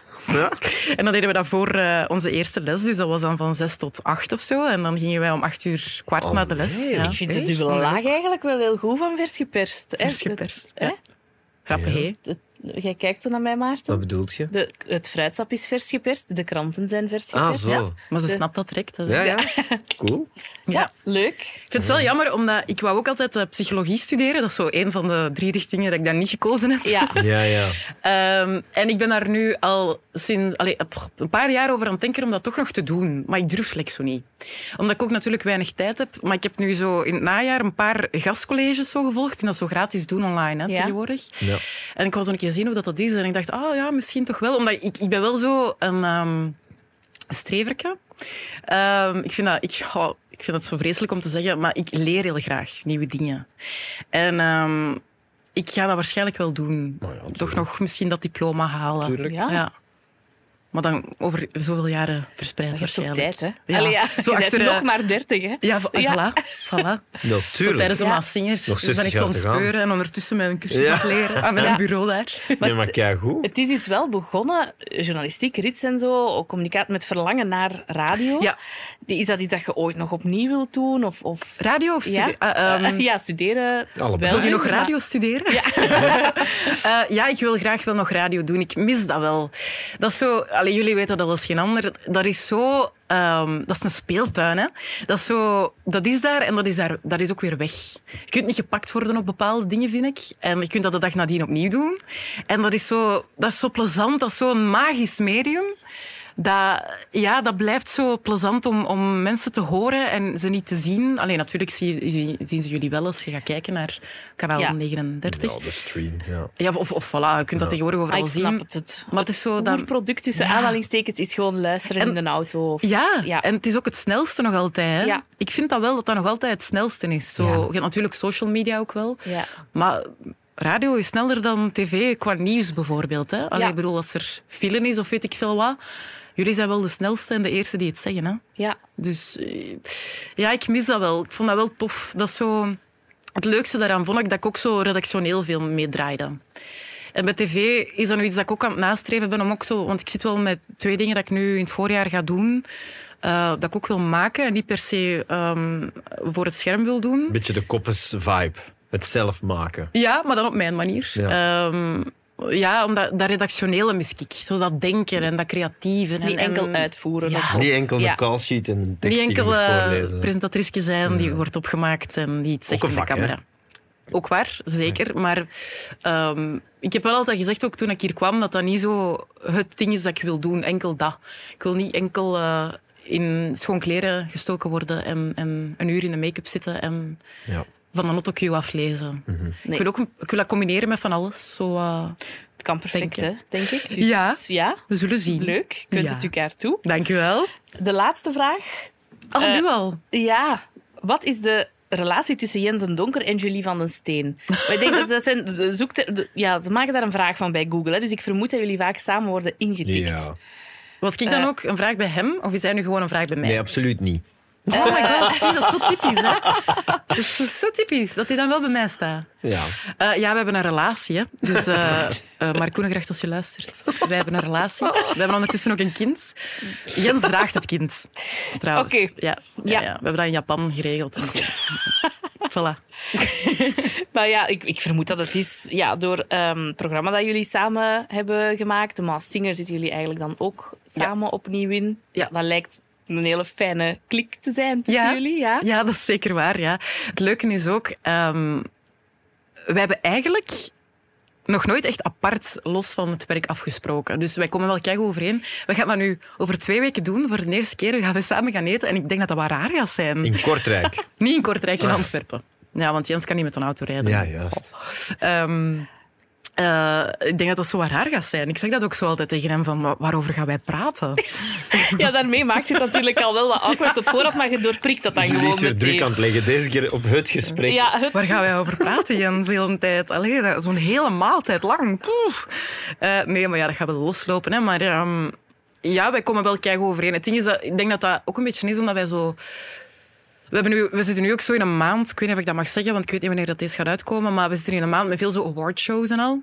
Speaker 4: En dan deden we dat voor eh, onze eerste les. Dus dat was dan van zes tot acht of zo. En dan gingen wij om acht uur kwart
Speaker 5: Oh,
Speaker 4: naar de les.
Speaker 5: nee.
Speaker 4: Ja.
Speaker 3: Ik vind de dubbele laag eigenlijk wel heel goed van vers geperst. hè?
Speaker 4: Vers geperst,
Speaker 3: Het- hè?
Speaker 4: Grappig, hè?
Speaker 3: Het- Jij kijkt zo naar mij, Maarten.
Speaker 5: Wat bedoelt je?
Speaker 3: De, het fruitsap is vers geperst, de kranten zijn vers geperst.
Speaker 5: Ah, zo.
Speaker 4: Maar ze
Speaker 3: De-
Speaker 4: snapt dat direct. Dat is-
Speaker 5: Ja, ja. Cool.
Speaker 4: Ja.
Speaker 3: Leuk.
Speaker 4: Ik vind het wel jammer, omdat ik wou ook altijd eh, psychologie studeren. Dat is zo een van de drie richtingen dat ik dan niet gekozen heb.
Speaker 3: Ja,
Speaker 5: Ja, ja.
Speaker 4: Ehm, en ik ben daar nu al sinds allee, pff, een paar jaar over aan het denken om dat toch nog te doen. Maar ik durf slechts zo niet. Omdat ik ook natuurlijk weinig tijd heb. Maar ik heb nu zo in het najaar een paar gastcolleges zo gevolgd. Je kunt dat zo gratis doen online hè,
Speaker 3: Ja.
Speaker 4: tegenwoordig.
Speaker 5: Ja.
Speaker 4: En ik wou zo een keer zien hoe dat, dat is. En ik dacht, ah ja, misschien toch wel. Omdat ik, ik ben wel zo een ehm streverke. Ehm, ik, vind dat, ik, oh, ik vind dat zo vreselijk om te zeggen, maar ik leer heel graag nieuwe dingen. En ehm, ik ga dat waarschijnlijk wel doen.
Speaker 5: Maar ja,
Speaker 4: toch
Speaker 5: tuurlijk.
Speaker 4: nog misschien dat diploma halen.
Speaker 5: Tuurlijk.
Speaker 3: Ja.
Speaker 4: Ja. Maar dan over zoveel jaren
Speaker 3: je
Speaker 4: verspreid
Speaker 3: hebt op
Speaker 4: waarschijnlijk.
Speaker 3: tijd, hè?
Speaker 4: Ja.
Speaker 3: Allee, ja.
Speaker 4: (laughs) Zo
Speaker 3: je bent
Speaker 4: achter, eh,
Speaker 3: nog maar dertig, hè?
Speaker 4: Ja, vo-
Speaker 3: Ja.
Speaker 4: voilà.
Speaker 5: (laughs)
Speaker 4: voilà. Zo
Speaker 5: Natuurlijk.
Speaker 4: tijdens een
Speaker 3: Ja.
Speaker 4: maatsinger.
Speaker 5: Nog
Speaker 4: Dus ben
Speaker 5: 60
Speaker 4: ik
Speaker 5: jaar
Speaker 4: zo'n
Speaker 5: te gaan.
Speaker 4: speuren en ondertussen mijn cursus
Speaker 5: Ja.
Speaker 4: aan het leren. Aan mijn
Speaker 3: Ja.
Speaker 4: bureau daar.
Speaker 5: Nee, maar kijk goed.
Speaker 3: Het is dus wel begonnen, journalistiek, rits en zo, ook communicatie met verlangen naar radio.
Speaker 4: Ja.
Speaker 3: Is dat iets dat je ooit nog opnieuw wilt doen? Of, of...
Speaker 4: Radio of
Speaker 3: Ja?
Speaker 4: studie? eh, ehm,
Speaker 3: Eh, (laughs) ja, studeren.
Speaker 5: Allebei.
Speaker 3: wel
Speaker 4: Wil je nog
Speaker 3: eens, maar-
Speaker 4: radio studeren? Ja. (laughs) Eh, ja, ik wil graag wel nog radio doen. Ik mis dat wel. Dat is zo... Allee, jullie weten dat als geen ander. Dat is zo... ehm, dat is een speeltuin, hè. Dat is, zo, dat is daar en dat is, daar, dat is ook weer weg. Je kunt niet gepakt worden op bepaalde dingen, vind ik. En je kunt dat de dag nadien opnieuw doen. En dat is zo, dat is zo plezant. Dat is zo'n magisch medium. Dat, ja, dat blijft zo plezant om, om mensen te horen en ze niet te zien. Alleen natuurlijk zie, zie- zien ze jullie wel als je gaat kijken naar kanaal
Speaker 3: Ja.
Speaker 4: 39.
Speaker 5: Ja, Oh, de stream. Ja.
Speaker 4: Ja, of, of voilà, je kunt dat tegenwoordig
Speaker 3: Ah,
Speaker 4: overal
Speaker 3: ik
Speaker 4: zien.
Speaker 3: snap het. het.
Speaker 4: Maar het is zo
Speaker 3: Het
Speaker 4: dat...
Speaker 3: product tussen
Speaker 4: Ja.
Speaker 3: aanhalingstekens is gewoon luisteren
Speaker 4: En-
Speaker 3: in de auto. Of...
Speaker 4: Ja,
Speaker 3: Ja.
Speaker 4: en het is ook het snelste nog altijd. Hè?
Speaker 3: Ja.
Speaker 4: Ik vind dat wel dat dat nog altijd het snelste is. Zo,
Speaker 5: Ja.
Speaker 4: Je hebt natuurlijk social media ook wel.
Speaker 3: Ja.
Speaker 4: Maar radio is sneller dan tv qua nieuws bijvoorbeeld. Hè? Allee,
Speaker 3: Ja.
Speaker 4: Ik bedoel, als er file is of weet ik veel wat. Jullie zijn wel de snelste en de eerste die het zeggen. Hè?
Speaker 3: ja.
Speaker 4: Dus eh, ja, ik mis dat wel. Ik vond dat wel tof. Dat is zo... Het leukste daaraan vond ik dat ik ook zo redactioneel veel meedraaide. En bij tv is dat nu iets dat ik ook aan het nastreven ben om ook zo... Want ik zit wel met twee dingen dat ik nu in het voorjaar ga doen. eh, dat ik ook wil maken en niet per se ehm, voor het scherm wil doen.
Speaker 5: Beetje de koppes vibe. Het zelf maken.
Speaker 4: Ja, maar dan op mijn manier. Ja, ja omdat dat redactionele mis ik. Zo dat denken en dat creatieve. en-
Speaker 3: Niet
Speaker 4: en-
Speaker 3: enkel uitvoeren.
Speaker 4: Ja.
Speaker 3: of-
Speaker 5: Niet enkel de
Speaker 3: Ja.
Speaker 5: callsheet en de tekst
Speaker 4: Niet
Speaker 5: die je
Speaker 4: enkel
Speaker 5: moet
Speaker 4: eh,
Speaker 5: voorlezen.
Speaker 4: presentatrice zijn die wordt opgemaakt en die iets zegt
Speaker 5: een
Speaker 4: in de
Speaker 5: vak, hè?
Speaker 4: camera. Ook waar, zeker. Maar ehm, ik heb wel altijd gezegd, ook toen ik hier kwam, dat dat niet zo het ding is dat ik wil doen. Enkel dat. Ik wil niet enkel eh, in schoon kleren gestoken worden en, en een uur in de make-up zitten en
Speaker 5: Ja.
Speaker 4: van een autocue aflezen.
Speaker 5: Mhm.
Speaker 3: Nee.
Speaker 4: Ik, wil ook, ik wil dat combineren met van alles. Zo, eh,
Speaker 3: Het kan perfect,
Speaker 4: Denk
Speaker 3: hè, denk ik. Dus ja.
Speaker 4: Ja. we zullen zien.
Speaker 3: leuk. Ik wens
Speaker 4: Ja.
Speaker 3: het elkaar toe.
Speaker 4: Dankjewel.
Speaker 3: De laatste vraag.
Speaker 4: Al
Speaker 3: Eh,
Speaker 4: nu al.
Speaker 3: Ja, wat is de relatie tussen Jens en Donker en Julie van den Steen? Maar ik denk dat dat zijn de zoekter- de- ja, ze maken daar een vraag van bij Google. Hè, dus ik vermoed dat jullie vaak samen worden ingetikt.
Speaker 5: Ja.
Speaker 4: Was ik dan
Speaker 3: eh,
Speaker 4: ook een vraag bij hem of is hij nu gewoon een vraag bij mij?
Speaker 5: Nee, absoluut niet.
Speaker 4: Oh my god, zie, dat is zo typisch, hè? Dat is zo- zo typisch, dat hij dan wel bij mij staat.
Speaker 5: Ja.
Speaker 4: Eh, ja, we hebben een relatie, hè. Dus, (laughs) eh eh Mark Koenengracht, als je luistert. Wij hebben een relatie. We hebben ondertussen ook een kind. Jens draagt het kind, trouwens.
Speaker 3: Oké.
Speaker 4: Ja, ja,
Speaker 3: Ja.
Speaker 4: ja. we hebben dat in Japan geregeld. (laughs) voilà.
Speaker 3: (laughs) Maar ja, ik, ik vermoed dat het is ja, door ehm, het programma dat jullie samen hebben gemaakt. De Maas Singer zitten jullie eigenlijk dan ook samen opnieuw in.
Speaker 4: Ja.
Speaker 3: Dat lijkt een hele fijne klik te zijn tussen
Speaker 4: Ja.
Speaker 3: jullie. Ja?
Speaker 4: Ja, dat is zeker waar. Ja. Het leuke is ook, ehm wij hebben eigenlijk nog nooit echt apart los van het werk afgesproken. Dus wij komen wel keigoed overeen. We gaan dat nu over twee weken doen. Voor de eerste keer gaan we samen gaan eten. En ik denk dat dat wel raar gaat zijn.
Speaker 5: In Kortrijk.
Speaker 4: Niet in Kortrijk, in Antwerpen. Ja, want Jens kan niet met een auto rijden.
Speaker 5: ja, juist.
Speaker 4: Ehm, eh, ik denk dat dat zo wat raar gaat zijn. Ik zeg dat ook zo altijd tegen hem, van "Wa- waarover gaan wij praten?
Speaker 3: Ja, daarmee maakt het natuurlijk al wel wat awkward op vooraf, maar je doorprikt dat dan
Speaker 5: Dus jullie
Speaker 3: gewoon
Speaker 5: is weer
Speaker 3: meteen.
Speaker 5: druk aan het leggen. Deze keer op het gesprek.
Speaker 3: Ja, het-
Speaker 4: Waar gaan wij over praten, Jens, de hele tijd? Allee, dat- zo'n hele maaltijd lang. Poef. Eh, nee, maar ja, dat gaat wel loslopen. Hè. Maar ehm, ja, wij komen wel keigoed overeen. Het ding is dat, ik denk dat dat ook een beetje is omdat wij zo... We, hebben nu, we zitten nu ook zo in een maand, ik weet niet of ik dat mag zeggen, want ik weet niet wanneer dat deze gaat uitkomen, maar we zitten in een maand met veel zo awardshows en al.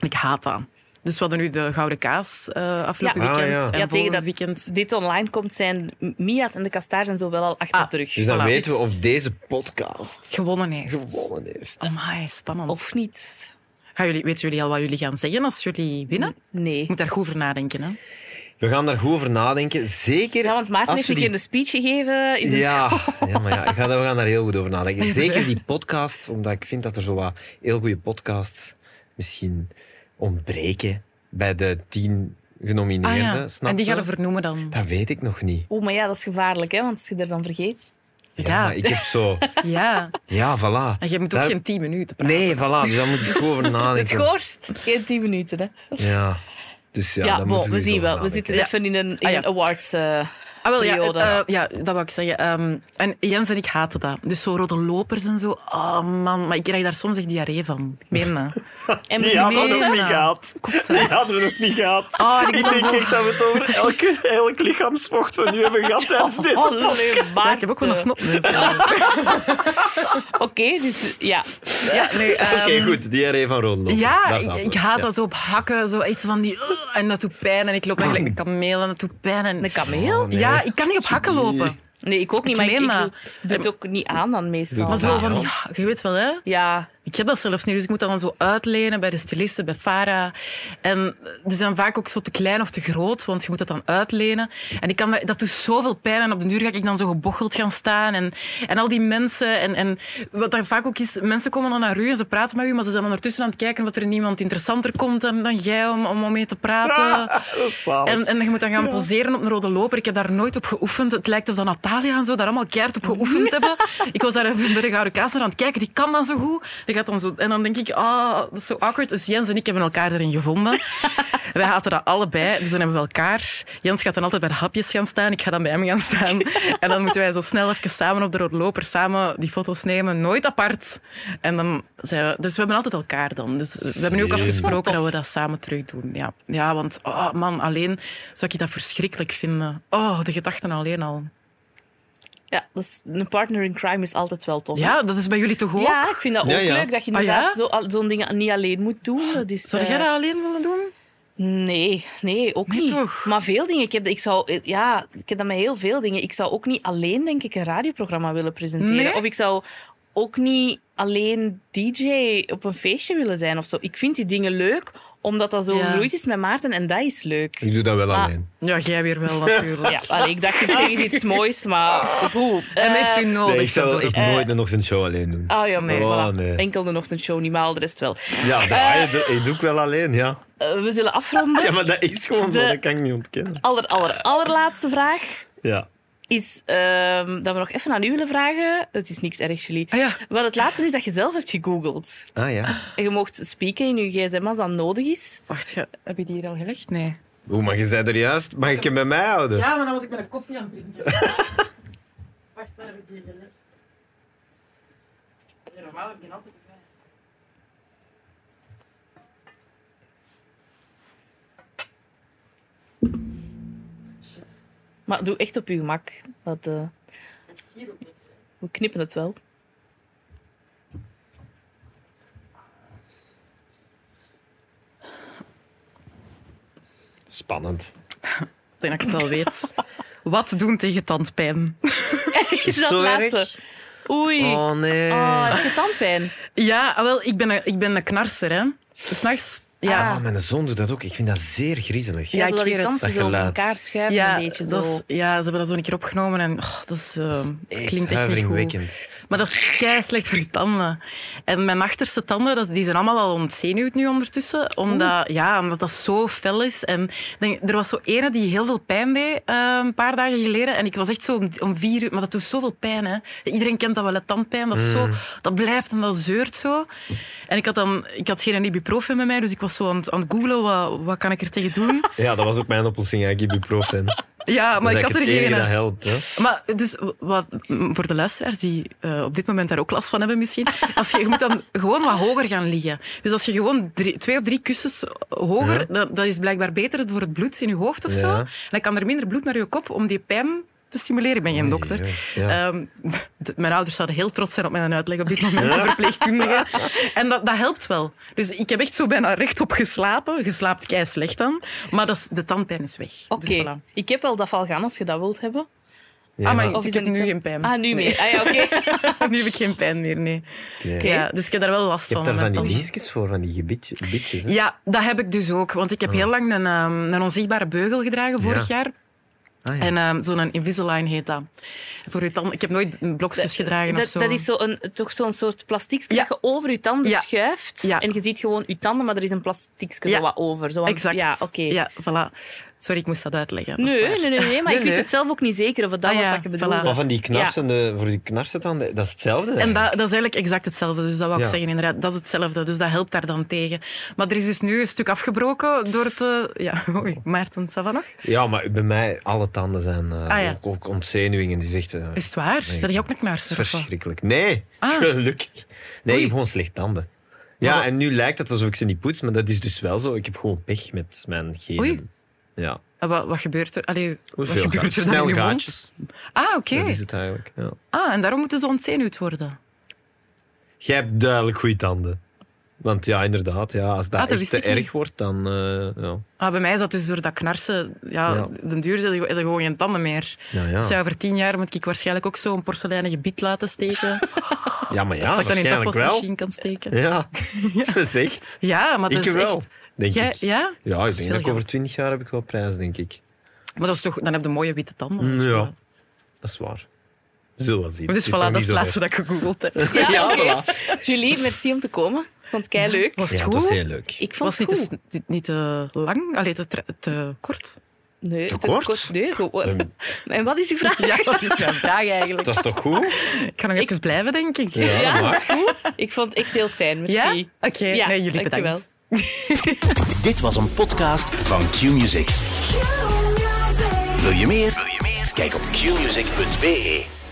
Speaker 4: Ik haat dat. Dus we hadden nu de Gouden Kaas eh, afgelopen
Speaker 5: Ja. Ah,
Speaker 4: weekend
Speaker 5: ja. Ja,
Speaker 4: en
Speaker 3: ja, tegen
Speaker 4: volgend
Speaker 3: dat
Speaker 4: weekend...
Speaker 3: dit online komt, zijn Mia's en de Kastaars en zo wel al achter
Speaker 4: Ah.
Speaker 3: terug.
Speaker 5: Dus dan
Speaker 4: Voilà.
Speaker 5: weten we of deze podcast
Speaker 4: Gewonnen heeft.
Speaker 5: gewonnen heeft.
Speaker 4: Amai, spannend.
Speaker 3: Of niet?
Speaker 4: Gaan jullie, weten jullie al wat jullie gaan zeggen als jullie winnen?
Speaker 3: Nee.
Speaker 4: Je moet daar goed over nadenken. Hè?
Speaker 5: We gaan daar goed over nadenken. Zeker
Speaker 3: Ja, want Maarten
Speaker 5: als
Speaker 3: heeft
Speaker 5: we
Speaker 3: een keer
Speaker 5: die
Speaker 3: een speech gegeven. In
Speaker 5: Ja, ja, maar ja, ik ga daar- we gaan daar heel goed over nadenken. Zeker die podcasts, omdat ik vind dat er zo wat heel goede podcasts misschien ontbreken bij de tien genomineerden. Snap
Speaker 4: Ah, En die
Speaker 5: je?
Speaker 4: gaan we vernoemen dan.
Speaker 5: Dat weet ik nog niet.
Speaker 3: Oh, maar ja, dat is gevaarlijk, hè, want als je er dan vergeet.
Speaker 5: Ja,
Speaker 4: Ja.
Speaker 5: maar ik heb zo...
Speaker 4: Ja,
Speaker 5: (laughs) Ja, voilà.
Speaker 4: en je moet ook
Speaker 5: Daar-
Speaker 4: geen tien minuten praten.
Speaker 5: Nee, voilà, dus daar moet ik goed over
Speaker 3: Het
Speaker 5: nadenken.
Speaker 3: schorst. Geen tien minuten, hè.
Speaker 5: Ja, dus ja,
Speaker 3: Ja,
Speaker 5: daar
Speaker 3: bon,
Speaker 5: moeten
Speaker 3: we
Speaker 5: eens
Speaker 3: zien
Speaker 5: over
Speaker 3: wel. We
Speaker 5: nadenken.
Speaker 3: zitten
Speaker 4: Ja.
Speaker 3: even in een, in
Speaker 4: Ah, ja.
Speaker 3: een awards... eh,
Speaker 4: Ah, wel, ja, het,
Speaker 3: periode.
Speaker 4: eh, ja, dat wou ik zeggen. Ehm, en Jens en ik haten dat. Dus zo rode lopers en zo. Oh man, maar ik krijg daar soms echt diarree van. Ik Meen dat.
Speaker 3: en
Speaker 6: Die (laughs) hadden we
Speaker 4: Nee,
Speaker 6: nog
Speaker 4: nee.
Speaker 6: niet gehad.
Speaker 4: Kotsen.
Speaker 6: Die (laughs) hadden we nog niet gehad.
Speaker 4: Oh, en ik
Speaker 6: Ik
Speaker 4: ben
Speaker 6: denk
Speaker 4: zo...
Speaker 6: echt dat we het over elke, elk lichaamsvocht we nu hebben gehad tijdens deze
Speaker 3: Oh,
Speaker 6: podcast.
Speaker 4: Ja, ik heb ook wel een snop. dus-
Speaker 3: Oké, dus ja.
Speaker 4: Ja, nee, ehm,
Speaker 5: Oké, goed, diarree van Rode Loper.
Speaker 4: Ja,
Speaker 5: Daar
Speaker 4: ik,
Speaker 5: zaten we.
Speaker 4: ik haat
Speaker 5: Ja.
Speaker 4: dat zo op hakken. Zo iets van die... "Ugh", en dat doet pijn. En ik loop eigenlijk een kameel en dat doet pijn. En,
Speaker 3: Een kameel?
Speaker 5: Oh, nee.
Speaker 4: Ja, ik kan niet op hakken lopen.
Speaker 3: Nee, ik ook niet,
Speaker 4: Ik
Speaker 3: maar ik,
Speaker 4: meen
Speaker 3: ik
Speaker 4: dat.
Speaker 3: doe het ook niet aan dan meestal.
Speaker 5: Doet
Speaker 4: Maar
Speaker 5: het
Speaker 4: zo
Speaker 5: Ah,
Speaker 4: van
Speaker 5: ja.
Speaker 4: die... "Ah", Je weet wel, hè?
Speaker 3: Ja,
Speaker 4: Ik heb dat zelfs niet, dus ik moet dat dan zo uitlenen bij de stylisten, bij Farah. En die zijn vaak ook zo te klein of te groot, want je moet dat dan uitlenen. En ik kan dat, dat doet zoveel pijn en op de duur ga ik dan zo gebocheld gaan staan. En, en al die mensen, en, en wat daar vaak ook is, mensen komen dan naar u en ze praten met u, maar ze zijn ondertussen aan het kijken wat er niemand interessanter komt dan, dan jij om, om om mee te praten.
Speaker 6: Zalig.
Speaker 4: En, en je moet dan gaan poseren op een rode loper. Ik heb daar nooit op geoefend. Het lijkt of dat Natalia en zo daar allemaal keihard op geoefend hebben. Ik was daar even bij de Gouden Kaas naar aan het kijken. Die kan dat zo goed. Die gaat dan zo... En dan denk ik, ah, dat is zo awkward. Dus Jens en ik hebben elkaar erin gevonden. Wij haten dat allebei, dus dan hebben we elkaar. Jens gaat dan altijd bij de hapjes gaan staan. Ik ga dan bij hem gaan staan. En dan moeten wij zo snel even samen op de rode loper samen die foto's nemen. Nooit apart. En dan zijn we... Dus we hebben altijd elkaar dan. Dus we hebben nu ook
Speaker 5: Slim.
Speaker 4: afgesproken
Speaker 3: Tof.
Speaker 4: dat we dat samen terug doen. Ja, ja want oh man, alleen zou ik dat verschrikkelijk vinden. Oh, de gedachten alleen al.
Speaker 3: ja dus een partner in crime is altijd wel tof. hè?
Speaker 4: Ja, dat is bij jullie toch ook?
Speaker 3: Ja, ik vind dat ook
Speaker 5: Ja, ja.
Speaker 3: leuk dat je
Speaker 4: Ah, ja?
Speaker 3: inderdaad zo- al- zo'n ding niet alleen moet doen. Dat is,
Speaker 4: Zou jij
Speaker 3: eh,
Speaker 4: dat alleen willen doen?
Speaker 3: Nee, nee, ook niet.
Speaker 4: toch?
Speaker 3: Maar veel dingen. Ik heb, ik, zou, eh, ja, ik heb dat met heel veel dingen. Ik zou ook niet alleen, denk ik, een radioprogramma willen presenteren.
Speaker 4: Nee?
Speaker 3: Of ik zou ook niet alleen DJ op een feestje willen zijn of zo. Ik vind die dingen leuk, omdat dat zo
Speaker 4: Ja.
Speaker 3: gegroeid is met Maarten en dat is leuk.
Speaker 5: Ik doe dat wel
Speaker 3: Maar-
Speaker 5: alleen.
Speaker 4: Ja, jij weer (laughs) wel natuurlijk.
Speaker 3: Ja, allee, ik dacht, ik zeg eens iets moois, maar hoe?
Speaker 4: En heeft u
Speaker 3: Eh,
Speaker 4: nodig?
Speaker 5: Nee, ik zou wel
Speaker 4: dat
Speaker 5: echt
Speaker 4: ook.
Speaker 5: nooit een ochtendshow alleen doen.
Speaker 3: Oh ja, nee,
Speaker 5: Oh,
Speaker 3: voilà.
Speaker 5: nee.
Speaker 3: Enkel de ochtendshow, niet maar al de rest wel.
Speaker 5: Ja, dat, dat doe ik wel alleen, ja.
Speaker 3: Eh, we zullen afronden.
Speaker 5: (laughs) Ja, maar dat is gewoon zo,
Speaker 3: De-
Speaker 5: dat kan ik niet ontkennen.
Speaker 3: Aller, aller, allerlaatste vraag.
Speaker 5: Ja.
Speaker 3: is ehm, dat we nog even aan u willen vragen. Het is niks erg, Julie.
Speaker 4: Ah, ja.
Speaker 3: Wel, het laatste is dat je zelf hebt gegoogeld.
Speaker 5: Ah ja.
Speaker 3: En je mocht spreken in je gsm als dat nodig is.
Speaker 4: Wacht, ge- heb je die hier al gelegd? Nee.
Speaker 5: Hoe maar je zei er juist, mag ik hem bij mij houden?
Speaker 4: Ja, maar dan was ik met een koffie aan het drinken. Wacht, waar heb ik die gelegd? Ja, Normaal heb ik die altijd bij mij.
Speaker 3: Maar doe echt op je gemak. Dat, eh, We knippen het wel.
Speaker 5: Spannend.
Speaker 4: Ik denk dat ik het al
Speaker 3: (laughs)
Speaker 4: weet. Wat doen tegen tandpijn?
Speaker 5: Is het
Speaker 3: dat
Speaker 5: zo
Speaker 3: laatste?
Speaker 5: erg?
Speaker 3: Oei.
Speaker 5: Oh nee.
Speaker 3: Oh, heb je tandpijn?
Speaker 4: Ja, ah, wel, ik ben een, ik ben een knarser, hè. S'nachts. Ja,
Speaker 5: Ah, mijn zoon doet dat ook. Ik vind dat zeer griezelig.
Speaker 4: Ja,
Speaker 3: Ja,
Speaker 4: ik
Speaker 3: zodat die
Speaker 4: weet het.
Speaker 3: tanden
Speaker 5: Dat
Speaker 3: zo van
Speaker 5: geluid.
Speaker 3: elkaar schuiven
Speaker 4: ja,
Speaker 3: een beetje. Zo.
Speaker 4: dat is- dus ja, ze hebben dat zo een keer opgenomen en oh, dat is, eh,
Speaker 5: Echt
Speaker 4: klinkt echt niet goed.
Speaker 5: huiveringwekkend.
Speaker 4: Maar dat is kei slecht voor je tanden. En mijn achterste tanden, dat, die zijn allemaal al ontzenuwd nu ondertussen. Omdat, ja, omdat dat zo fel is. En ik denk, er was zo ene die heel veel pijn deed eh, een paar dagen geleden. En ik was echt zo om, om vier uur... Maar dat doet zoveel pijn, hè. Iedereen kent dat wel, hè, tandpijn. Dat, is
Speaker 5: Mm.
Speaker 4: zo, dat blijft en dat zeurt zo. En ik had, dan, ik had geen ibuprofen met mij, dus ik was zo aan het, aan het googlen. Wat, wat kan ik er tegen doen?
Speaker 5: Ja, (laughs) dat was ook mijn oplossing, ja, ibuprofen. Maar
Speaker 4: ja, (laughs) maar ik had er
Speaker 5: het enige
Speaker 4: geen...
Speaker 5: Dus dat helpt. Hè.
Speaker 4: Maar dus wat, m, voor de luisteraars die eh, op dit moment daar ook last van
Speaker 3: (laughs)
Speaker 4: hebben misschien, als je, je moet dan gewoon wat hoger gaan liggen. Dus als je gewoon drie- twee of drie kussens eh, hoger, dat, dat is blijkbaar beter voor het bloed in je hoofd of zo.
Speaker 5: Ja.
Speaker 4: En dan kan er minder bloed naar je kop om die pijn te stimuleren. Ik ben geen
Speaker 5: Oei,
Speaker 4: dokter.
Speaker 5: joh, ja.
Speaker 4: Ehm, (laughs) d- mijn ouders zouden heel trots zijn op mijn
Speaker 3: (laughs)
Speaker 4: uitleg op dit moment, de verpleegkundige. En dat, dat helpt wel. Dus ik heb echt zo bijna rechtop geslapen. Geslaapt kei slecht dan. Maar dat is, de tandpijn is weg.
Speaker 3: Oké,
Speaker 4: Dus voilà.
Speaker 3: ik heb wel dat gaan als je dat wilt hebben.
Speaker 5: Ja,
Speaker 4: ah, maar
Speaker 3: Of
Speaker 4: ik
Speaker 3: is
Speaker 4: heb
Speaker 3: dat niet
Speaker 4: nu
Speaker 3: zo?
Speaker 4: geen pijn.
Speaker 3: Ah, nu
Speaker 4: Nee.
Speaker 3: meer. Ah, ja, oké.
Speaker 4: (laughs) nu heb ik geen pijn meer, nee.
Speaker 5: oké.
Speaker 4: Ja, dus ik heb daar wel last
Speaker 5: Je
Speaker 4: van.
Speaker 5: hebt daar van
Speaker 4: met
Speaker 5: die
Speaker 4: dat-
Speaker 3: Oh.
Speaker 5: dingetjes voor, van die gebitjes. gebitjes hè?
Speaker 4: Ja, dat heb ik dus ook. Want ik heb heel lang een, ehm, een onzichtbare beugel gedragen vorig
Speaker 5: Ah. Ja.
Speaker 4: jaar.
Speaker 5: Ah, ja.
Speaker 4: En ehm, zo'n Invisalign heet dat. Voor uw tanden. Ik heb nooit blokjes gedragen
Speaker 3: dat,
Speaker 4: of zo.
Speaker 3: dat is zo een, toch zo'n soort plastic dat
Speaker 4: Ja.
Speaker 3: je over je tanden
Speaker 4: Ja.
Speaker 3: schuift.
Speaker 4: Ja.
Speaker 3: En je ziet gewoon je tanden, maar er is een plastic
Speaker 4: Ja.
Speaker 3: zo wat over. Zo, want-
Speaker 4: Exact.
Speaker 3: Ja, oké.
Speaker 4: Ja, voilà. Sorry, ik moest dat uitleggen. Dat is
Speaker 3: Nee,
Speaker 4: waar.
Speaker 3: nee, nee, nee, maar
Speaker 5: Nee,
Speaker 3: ik wist
Speaker 5: nee.
Speaker 3: het zelf ook niet zeker of het dat
Speaker 4: Ah,
Speaker 3: was
Speaker 4: ja,
Speaker 3: wat je bedoelde.
Speaker 4: voilà.
Speaker 5: Maar van die knarsende, voor die knarsetanden, dat is hetzelfde.
Speaker 4: En
Speaker 5: eigenlijk.
Speaker 4: dat, dat is eigenlijk exact hetzelfde. Dus dat wou ik
Speaker 5: Ja.
Speaker 4: zeggen, inderdaad. Dat is hetzelfde. Dus dat helpt daar dan tegen. Maar er is dus nu een stuk afgebroken door het... eh, Ja, (laughs) oei, Maarten, Savanag. nog?
Speaker 5: Ja, maar bij mij, alle tanden zijn eh,
Speaker 4: Ah, ja.
Speaker 5: ook, ook ontzenuwingen. Die zegt, eh,
Speaker 4: Is het waar?
Speaker 5: Nee.
Speaker 4: Zijn jij ook een
Speaker 5: dat is
Speaker 4: knaarser? of wat?
Speaker 5: verschrikkelijk. Nee,
Speaker 4: Ah.
Speaker 5: (laughs) gelukkig. Nee, ik
Speaker 4: Oei.
Speaker 5: heb gewoon slecht tanden. Ja, en nu lijkt het alsof ik ze niet poets, maar dat is dus wel zo. Ik heb gewoon pech met mijn genen.
Speaker 4: Oei.
Speaker 5: Ja.
Speaker 4: En Eh, Wat, wat gebeurt er? Allee, wat
Speaker 5: Hoeveel
Speaker 4: gebeurt er
Speaker 5: gaatjes?
Speaker 4: dan in
Speaker 5: Snel
Speaker 4: je mond?
Speaker 5: gaatjes.
Speaker 4: Ah, oké.
Speaker 5: Dat is het eigenlijk. Ja.
Speaker 4: Ah, en daarom moeten ze ontzenuwd worden.
Speaker 5: Jij hebt duidelijk goede tanden. Want ja, inderdaad, ja, als dat,
Speaker 4: Ah, dat
Speaker 5: echt
Speaker 4: wist
Speaker 5: te
Speaker 4: ik niet.
Speaker 5: erg wordt, dan... eh, ja.
Speaker 4: Ah, bij mij is dat dus door dat knarsen. Ja,
Speaker 5: Ja.
Speaker 4: op den duur zit je heb je gewoon geen tanden meer.
Speaker 5: Ja, ja.
Speaker 4: Dus ja, over tien jaar moet ik waarschijnlijk ook zo'n porseleinen gebied laten
Speaker 5: (laughs)
Speaker 4: steken.
Speaker 5: ja, maar ja,
Speaker 4: dat ik dan in de
Speaker 5: Ah, waarschijnlijk wel.
Speaker 4: afwasmachine kan steken.
Speaker 5: (laughs)
Speaker 4: (laughs)
Speaker 5: Ja, dat is echt.
Speaker 4: Ja, maar dat
Speaker 5: Ik
Speaker 4: is
Speaker 5: wel,
Speaker 4: echt...
Speaker 5: denk
Speaker 4: Jij-
Speaker 5: ik.
Speaker 4: ja?
Speaker 5: Ja,
Speaker 4: Dat
Speaker 5: ik
Speaker 4: is
Speaker 5: denk
Speaker 4: veel
Speaker 5: dat ik over
Speaker 4: geld.
Speaker 5: twintig jaar heb ik wel prijs, denk ik.
Speaker 4: Maar dat is toch... Dan heb je mooie witte tanden. Dat is
Speaker 5: Ja,
Speaker 4: wel-
Speaker 5: dat is waar. We zullen wel zien.
Speaker 4: Dus
Speaker 5: Het
Speaker 4: voilà,
Speaker 5: is nog
Speaker 4: dat
Speaker 5: niet
Speaker 4: is het
Speaker 5: zo
Speaker 4: laatste
Speaker 5: ver.
Speaker 4: dat ik gegoogeld
Speaker 5: (laughs)
Speaker 4: heb. Het
Speaker 3: Ja,
Speaker 5: Ja,
Speaker 3: Ah, oké.
Speaker 5: voilà.
Speaker 3: Julie, merci om te komen. Ik vond het kei leuk.
Speaker 4: was
Speaker 5: Ja,
Speaker 4: goed.
Speaker 5: het was heel leuk.
Speaker 3: Ik vond
Speaker 4: was
Speaker 3: het
Speaker 4: niet
Speaker 3: goed.
Speaker 4: te, s- niet te lang, alleen te, tra- te kort.
Speaker 3: Nee, te
Speaker 5: kort? Ehm.
Speaker 3: Nee, gewoon. (laughs) En wat
Speaker 4: (laughs)
Speaker 3: is uw vraag?
Speaker 4: Ja, dat is mijn vraag eigenlijk.
Speaker 3: (laughs)
Speaker 5: Dat is toch
Speaker 4: (laughs)
Speaker 5: goed?
Speaker 4: Ik ga nog even blijven, denk ik.
Speaker 5: Ja,
Speaker 3: Ja, dat
Speaker 5: maar.
Speaker 3: is goed. Ik vond het echt heel fijn,
Speaker 4: Ja?
Speaker 3: merci.
Speaker 4: Oké, nee, jullie bedankt.
Speaker 3: dankjewel.
Speaker 2: Dit was een podcast van Q-Music. Wil je meer? Wil je meer? Kijk op qmusic.be.